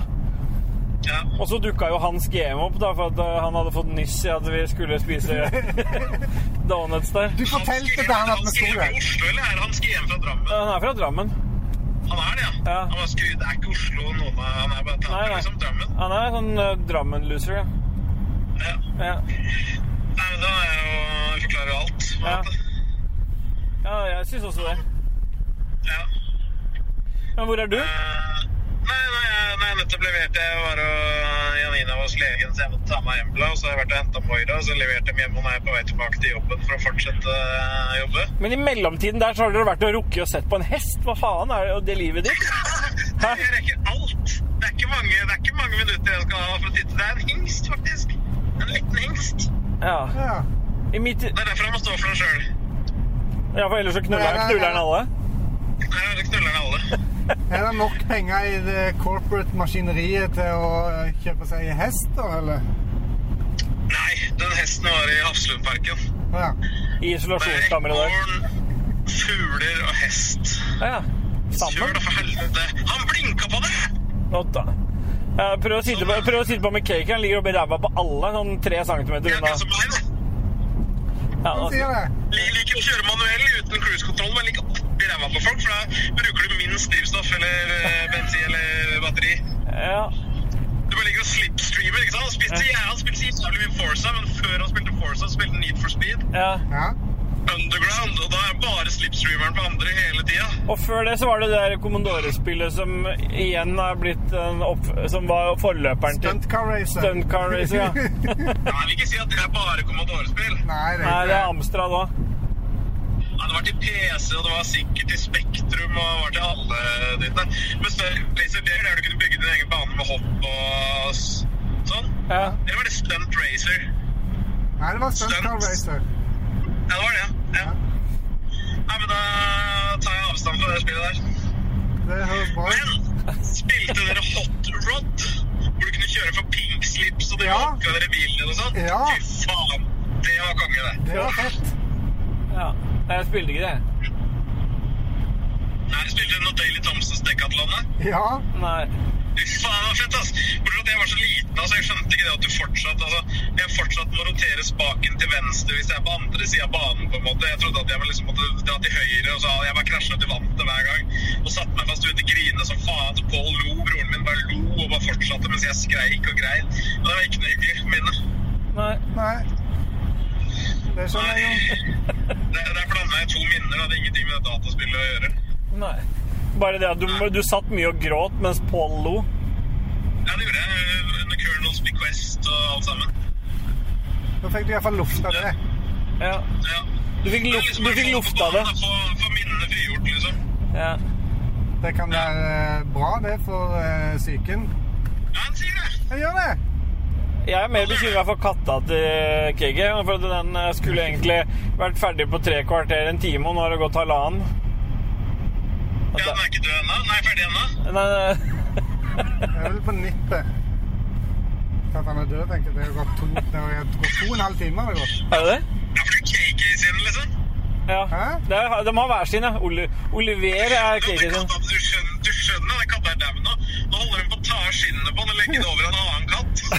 [SPEAKER 3] Ja.
[SPEAKER 2] Og så dukka jo Hans GM opp, da, for at eh, han hadde fått nyss i at vi skulle spise donuts der.
[SPEAKER 1] Du fortalte til han at vi sto
[SPEAKER 3] Er
[SPEAKER 1] der.
[SPEAKER 3] han fra Oslo, eller er han skrevet fra Drammen?
[SPEAKER 2] Han er fra Drammen.
[SPEAKER 3] Han er det, ja.
[SPEAKER 2] Ja.
[SPEAKER 3] Han var skryt. Det er ikke Oslo noen av Han er bare
[SPEAKER 2] Nei,
[SPEAKER 3] taper,
[SPEAKER 2] nei.
[SPEAKER 3] liksom. Drammen.
[SPEAKER 2] Han er sånn eh, Drammen-loser, ja.
[SPEAKER 3] Ja.
[SPEAKER 2] ja.
[SPEAKER 3] Nei, men da er jeg jo Jeg forklarer jo alt. på en
[SPEAKER 2] Ja.
[SPEAKER 3] måte.
[SPEAKER 2] Ja, jeg syns også det.
[SPEAKER 3] Ja.
[SPEAKER 2] Men hvor er du?
[SPEAKER 3] Eh, Nei, nei, jeg- nei, nettopp leverte jeg var og Janina var hos legen, så jeg måtte ta meg hjemmefra. Og så har jeg vært og henta Moira, og så leverte jeg dem hjemme, og nå er jeg på vei tilbake til jobben for å fortsette eh, å jobbe.
[SPEAKER 2] Men i mellomtiden der så har dere vært og rukket og sett på en hest. Hva faen er det, det livet ditt? Hæ?
[SPEAKER 3] Jeg rekker alt. Det er ikke mange, det er ikke mange minutter jeg skal ha for å titte. Det er en hingst, faktisk. En liten hingst.
[SPEAKER 2] Ja.
[SPEAKER 1] Ja.
[SPEAKER 2] I mitt,
[SPEAKER 3] Det er derfor han må stå for den sjøl.
[SPEAKER 2] ja, for ellers så knuller han knuller han alle.
[SPEAKER 3] Der knuller han alle.
[SPEAKER 1] Er det nok penger i det corporate maskineriet til å eh, kjøpe seg hest, da, eller?
[SPEAKER 3] Nei, den hesten var i Hafslundparken.
[SPEAKER 1] Ja.
[SPEAKER 2] I isolasjonskammer i dag.
[SPEAKER 3] Ekorn, fugler og hest.
[SPEAKER 2] Ja.
[SPEAKER 3] Kjør
[SPEAKER 2] Sammen.
[SPEAKER 3] da, for helvete! Han blinka på det!
[SPEAKER 2] Godt, da. Ja, prøv, å sitte på, prøv å sitte på med cake. Han ligger oppi ræva på alle, sånn tre
[SPEAKER 3] Det
[SPEAKER 2] centimeter
[SPEAKER 3] er ikke
[SPEAKER 2] unna.
[SPEAKER 3] som meg, da.
[SPEAKER 2] Ja,
[SPEAKER 1] Han
[SPEAKER 2] nå-
[SPEAKER 1] sier det.
[SPEAKER 3] Jeg liker å kjøre manuell uten cruisekontroll, men liker oppi ræva på folk, for da bruker du minst drivstoff eller eh, bensin eller batteri.
[SPEAKER 2] ja.
[SPEAKER 3] Du bare ligger og slipstreamer, ikke sant? Han spilte,
[SPEAKER 2] Ja.
[SPEAKER 3] ja, han spilte så jævlig mye Forza, men før han spilte Forza, så spilte han Need for Speed.
[SPEAKER 2] ja.
[SPEAKER 1] Ja.
[SPEAKER 3] Underground, og da er bare slipstreameren på andre hele tida.
[SPEAKER 2] Og før det så var det det der Commodore-spillet som igjen er blitt en opp... Som var forløperen til
[SPEAKER 1] Stunt car racer.
[SPEAKER 2] Stunt Car Racer, ja.
[SPEAKER 3] Jeg vil ikke si at det er bare Commodore-spill.
[SPEAKER 1] Nei, det er
[SPEAKER 2] Nei, det er
[SPEAKER 1] ikke det.
[SPEAKER 2] Amstrad òg.
[SPEAKER 3] Nei, Ja, det var til PC, og det var sikkert til Spektrum, og det var til alle dine. Men større Racer, det er der du kunne bygge din egen bane med hopp og s- sånn.
[SPEAKER 2] Ja.
[SPEAKER 3] Eller var det Stunt Racer?
[SPEAKER 1] Nei, det var Stunt Car Racer.
[SPEAKER 3] Ja, det var det, ja. ja. Nei, men da tar jeg avstand fra det spillet der.
[SPEAKER 1] Det høres bra ut.
[SPEAKER 3] Men spilte dere Hot Rod? Hvor du kunne kjøre for pink slips og dere
[SPEAKER 1] Ja.
[SPEAKER 3] oppgradere bilen og sånn?
[SPEAKER 1] Ja.
[SPEAKER 3] Fy faen, det var konge, det.
[SPEAKER 1] Det var fett.
[SPEAKER 2] Ja. Nei, Jeg spilte ikke det.
[SPEAKER 3] Nei, spilte dere noe Daley Thompsons Decathlon, da?
[SPEAKER 1] Ja.
[SPEAKER 2] Nei.
[SPEAKER 3] Fy faen, det var fett, ass! Bortsett fra at jeg var så liten, altså, jeg skjønte ikke det at du fortsatt altså, Jeg fortsatt må rotere spaken til venstre hvis jeg er på andre siden av banen, på en måte. Jeg trodde at jeg liksom måtte dra til høyre, og så jeg bare krasja til vannet hver gang. Og satte meg fast ute og grine som faen. Så Pål lo, broren min bare lo og bare fortsatte mens jeg skreik og grein. Og det var ikke noe hyggelig minne.
[SPEAKER 2] Nei.
[SPEAKER 1] Nei. Det sånn, skjønner jeg jo.
[SPEAKER 3] Det, der blanda jeg to minner, da. Det er ingenting med det dataspillet å gjøre.
[SPEAKER 2] Nei. Bare det at du, du satt mye og gråt mens Pål lo.
[SPEAKER 3] Ja, det gjorde jeg. Under Colonel's Bequest og alt sammen.
[SPEAKER 1] Da fikk du i hvert fall lufta det.
[SPEAKER 2] Ja.
[SPEAKER 3] Ja.
[SPEAKER 2] Du fikk,
[SPEAKER 3] Det er
[SPEAKER 2] luft,
[SPEAKER 3] liksom
[SPEAKER 2] du
[SPEAKER 3] bare
[SPEAKER 2] fikk
[SPEAKER 3] få
[SPEAKER 2] lufta
[SPEAKER 3] på
[SPEAKER 2] det.
[SPEAKER 3] banen, da, Få få minnene frigjort, liksom.
[SPEAKER 2] Ja.
[SPEAKER 1] Det kan være eh, bra, det, for eh, psyken.
[SPEAKER 3] Ja, han sier det.
[SPEAKER 1] Jeg gjør det!
[SPEAKER 2] Jeg er mer bekymra for katta til KG. For at den eh, skulle egentlig vært ferdig på tre kvarter, en time, og nå har det gått halvannen. Og
[SPEAKER 3] Ja, den er ikke død ennå. Den er ferdig ennå.
[SPEAKER 2] da- Nei,
[SPEAKER 1] Jeg er vel på nippet til at han er død, tenker jeg. Det har gått to, det har gått to og en halv time. har det gått.
[SPEAKER 2] Er det det?
[SPEAKER 3] Ja, for det er KK sin, liksom.
[SPEAKER 2] Ja.
[SPEAKER 1] Hæ?
[SPEAKER 2] Det er, de har hver sin, ja. Oli- Oliver er KG
[SPEAKER 3] Du
[SPEAKER 2] sin.
[SPEAKER 3] skjønner, du skjønner, du skjønner den katta er dau nå. Nå holder hun på å ta av skinnene på den og legge det over en annen katt. Så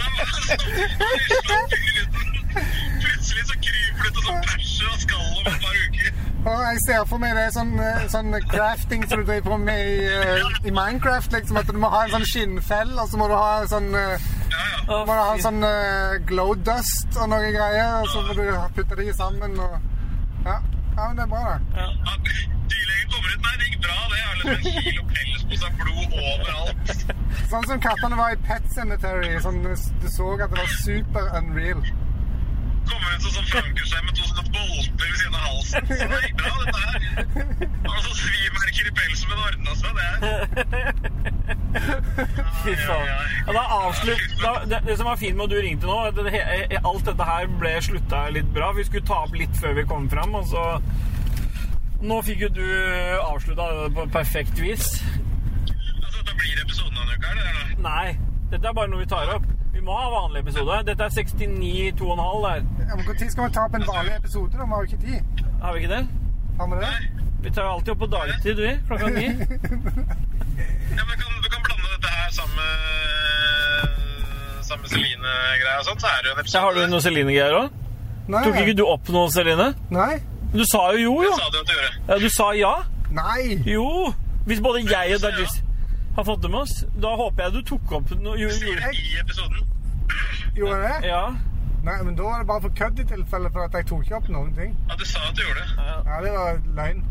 [SPEAKER 3] han bare står- han slår gutten. Plutselig så kryper det til sånn perser og skall om et par uker.
[SPEAKER 1] Og jeg ser for meg det er sånn, eh, sånn crafting som du driver på med i, eh, i Minecraft. liksom, At du må ha en sånn skinnfell, og så må du ha en sånn, eh,
[SPEAKER 3] Ja, ja.
[SPEAKER 2] Å,
[SPEAKER 1] må du ha en sånn eh, glow dust og noen greier. Og så må du putte de sammen og Ja, ja men det er bra, det.
[SPEAKER 3] Ja, Dyrlegen kommer ut. Nei, det gikk bra, det. Jeg har liksom en kilo pelspose av blod overalt.
[SPEAKER 1] Sånn som kattene var i Pet Cemetery. Sånn, du, du så at det var super unreal.
[SPEAKER 3] kommer ut som sånn Frankenstein med to sånne bolter ved siden av halsen. Så det gikk bra, dette her. Det var sånn svimerker i pelsen, men det ordna seg, det her.
[SPEAKER 2] Fy faen. Ja, da avslutt, da, det, det som var fint med at du ringte nå, at det, he- alt dette her ble slutta litt bra. Vi skulle ta opp litt før vi kom fram, og så Nå fikk jo du avslutta det på perfekt vis.
[SPEAKER 3] Altså, dette blir episoden av en uke, er det det?
[SPEAKER 2] Nei, dette er bare noe vi tar opp. Vi må ha vanlig episode. Dette er 69 2,5 der.
[SPEAKER 1] Ja, men Når skal vi ta opp en vanlig episode? da? Vi har jo ikke tid.
[SPEAKER 2] Har vi ikke det?
[SPEAKER 1] Har vi det?
[SPEAKER 2] Vi tar alltid opp på dagtid, vi. Klokka ni.
[SPEAKER 3] Ja, men kan, du kan blande dette her sammen med sammen med Celine-greia og sånt, så er det jo en
[SPEAKER 2] Ja,
[SPEAKER 3] episode.
[SPEAKER 2] har du noe Celine-greier òg?
[SPEAKER 1] Nei.
[SPEAKER 2] Tok ikke du opp noe, Celine?
[SPEAKER 1] Nei.
[SPEAKER 2] Du sa jo jo,
[SPEAKER 3] Det
[SPEAKER 2] jo.
[SPEAKER 3] sa du at du gjorde.
[SPEAKER 2] Ja, du sa ja.
[SPEAKER 1] Nei.
[SPEAKER 2] Jo! Hvis både jeg og Dajis har fått det med oss, da håper jeg du tok opp noe jo, jo.
[SPEAKER 3] I episoden.
[SPEAKER 1] Gjorde jeg det?
[SPEAKER 2] Ja.
[SPEAKER 1] Nei, men da var det bare for kødd i tilfelle, for at jeg tok ikke opp noen ting.
[SPEAKER 3] Ja, du sa at du gjorde det.
[SPEAKER 1] Ja, det var løgn.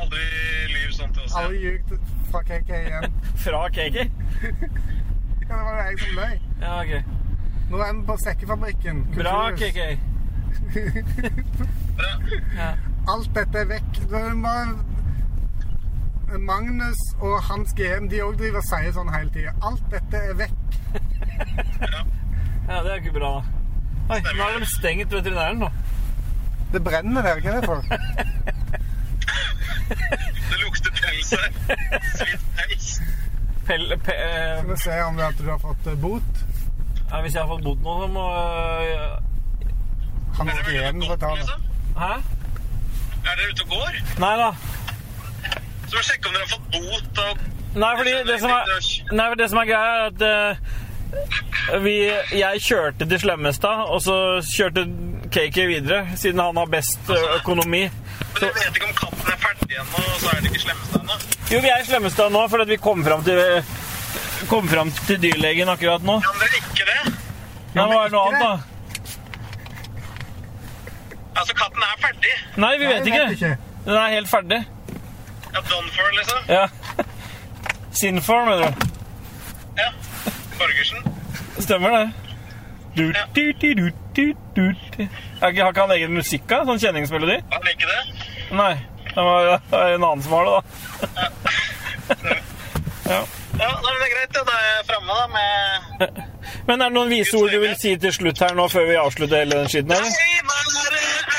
[SPEAKER 3] Aldri lyv sånn til oss. Ja.
[SPEAKER 1] Alle ljug til- fra KK igjen.
[SPEAKER 2] Fra KK?
[SPEAKER 1] Ja, det var jo jeg som løy.
[SPEAKER 2] Ja, ok.
[SPEAKER 1] Nå er vi på Sekkefabrikken.
[SPEAKER 2] Bra,
[SPEAKER 1] Kulturhus.
[SPEAKER 2] KK.
[SPEAKER 1] Alt dette er vekk. Det er bare Magnus og Hans GM de òg driver og sier sånn hele tida. Alt dette er vekk.
[SPEAKER 2] Ja, det er jo ikke bra, da. Oi, nå har de stengt veterinæren, nå.
[SPEAKER 1] Det brenner der, hva er det for?
[SPEAKER 3] Det lukter pels her. Svidd pels.
[SPEAKER 2] Pell, pe, eh,
[SPEAKER 1] Skal vi se om det er at du har fått eh, bot.
[SPEAKER 2] ja, hvis jeg har fått bot nå, så må øh,
[SPEAKER 1] Hans
[SPEAKER 3] Er dere
[SPEAKER 1] GM
[SPEAKER 3] ute og går,
[SPEAKER 1] betaler.
[SPEAKER 3] liksom?
[SPEAKER 2] Hæ?
[SPEAKER 3] Er dere ute og går?
[SPEAKER 2] Nei da.
[SPEAKER 3] Så må jeg sjekke om dere har fått bot og
[SPEAKER 2] Nei, fordi det som er, nei, for det som er greia, er at eh, vi, jeg kjørte til Slemmestad, og så kjørte KK videre, siden han har best eh, økonomi.
[SPEAKER 3] Men jeg vet ikke om katten er ferdig ennå, og så er det ikke slemmeste ennå.
[SPEAKER 2] Jo, vi er i Slemmestad nå, for at vi kom fram til, kom frem til dyrlegen akkurat nå.
[SPEAKER 3] Kan dere ikke det?
[SPEAKER 2] Nei, hva er det
[SPEAKER 1] ikke
[SPEAKER 2] noe annet, da?
[SPEAKER 3] Altså, katten er ferdig.
[SPEAKER 2] Nei, vi vet
[SPEAKER 1] Jeg
[SPEAKER 2] ikke. Den er helt ferdig.
[SPEAKER 3] Ja, done for, liksom.
[SPEAKER 2] Ja. Sinfor, mener du.
[SPEAKER 3] Ja. Borgersen.
[SPEAKER 2] Stemmer det. Du, du, du, du, du, du. Har ikke har ikke han egen musikk, da? Sånn kjenningsmelodi?
[SPEAKER 3] Er det ikke det?
[SPEAKER 2] Nei. Det var det var en annen som har det, da.
[SPEAKER 3] Ja, da er det greit. Da Da er jeg framme da med
[SPEAKER 2] Men er det noen vise ord du vil si til slutt her nå, før vi avslutter hele den skiten her?
[SPEAKER 3] Hei, være ære,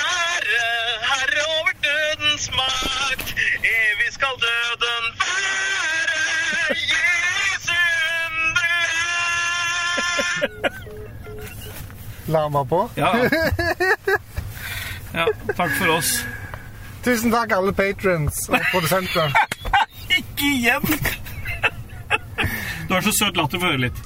[SPEAKER 3] eh, herre over dødens makt. Evig skal døden være Jesu underverk.
[SPEAKER 9] Larma på.
[SPEAKER 2] Ja. ja. Takk for oss.
[SPEAKER 9] Tusen takk, alle patrons og produsenter.
[SPEAKER 2] Ikke igjen! Du har så søt latter. Få høre litt.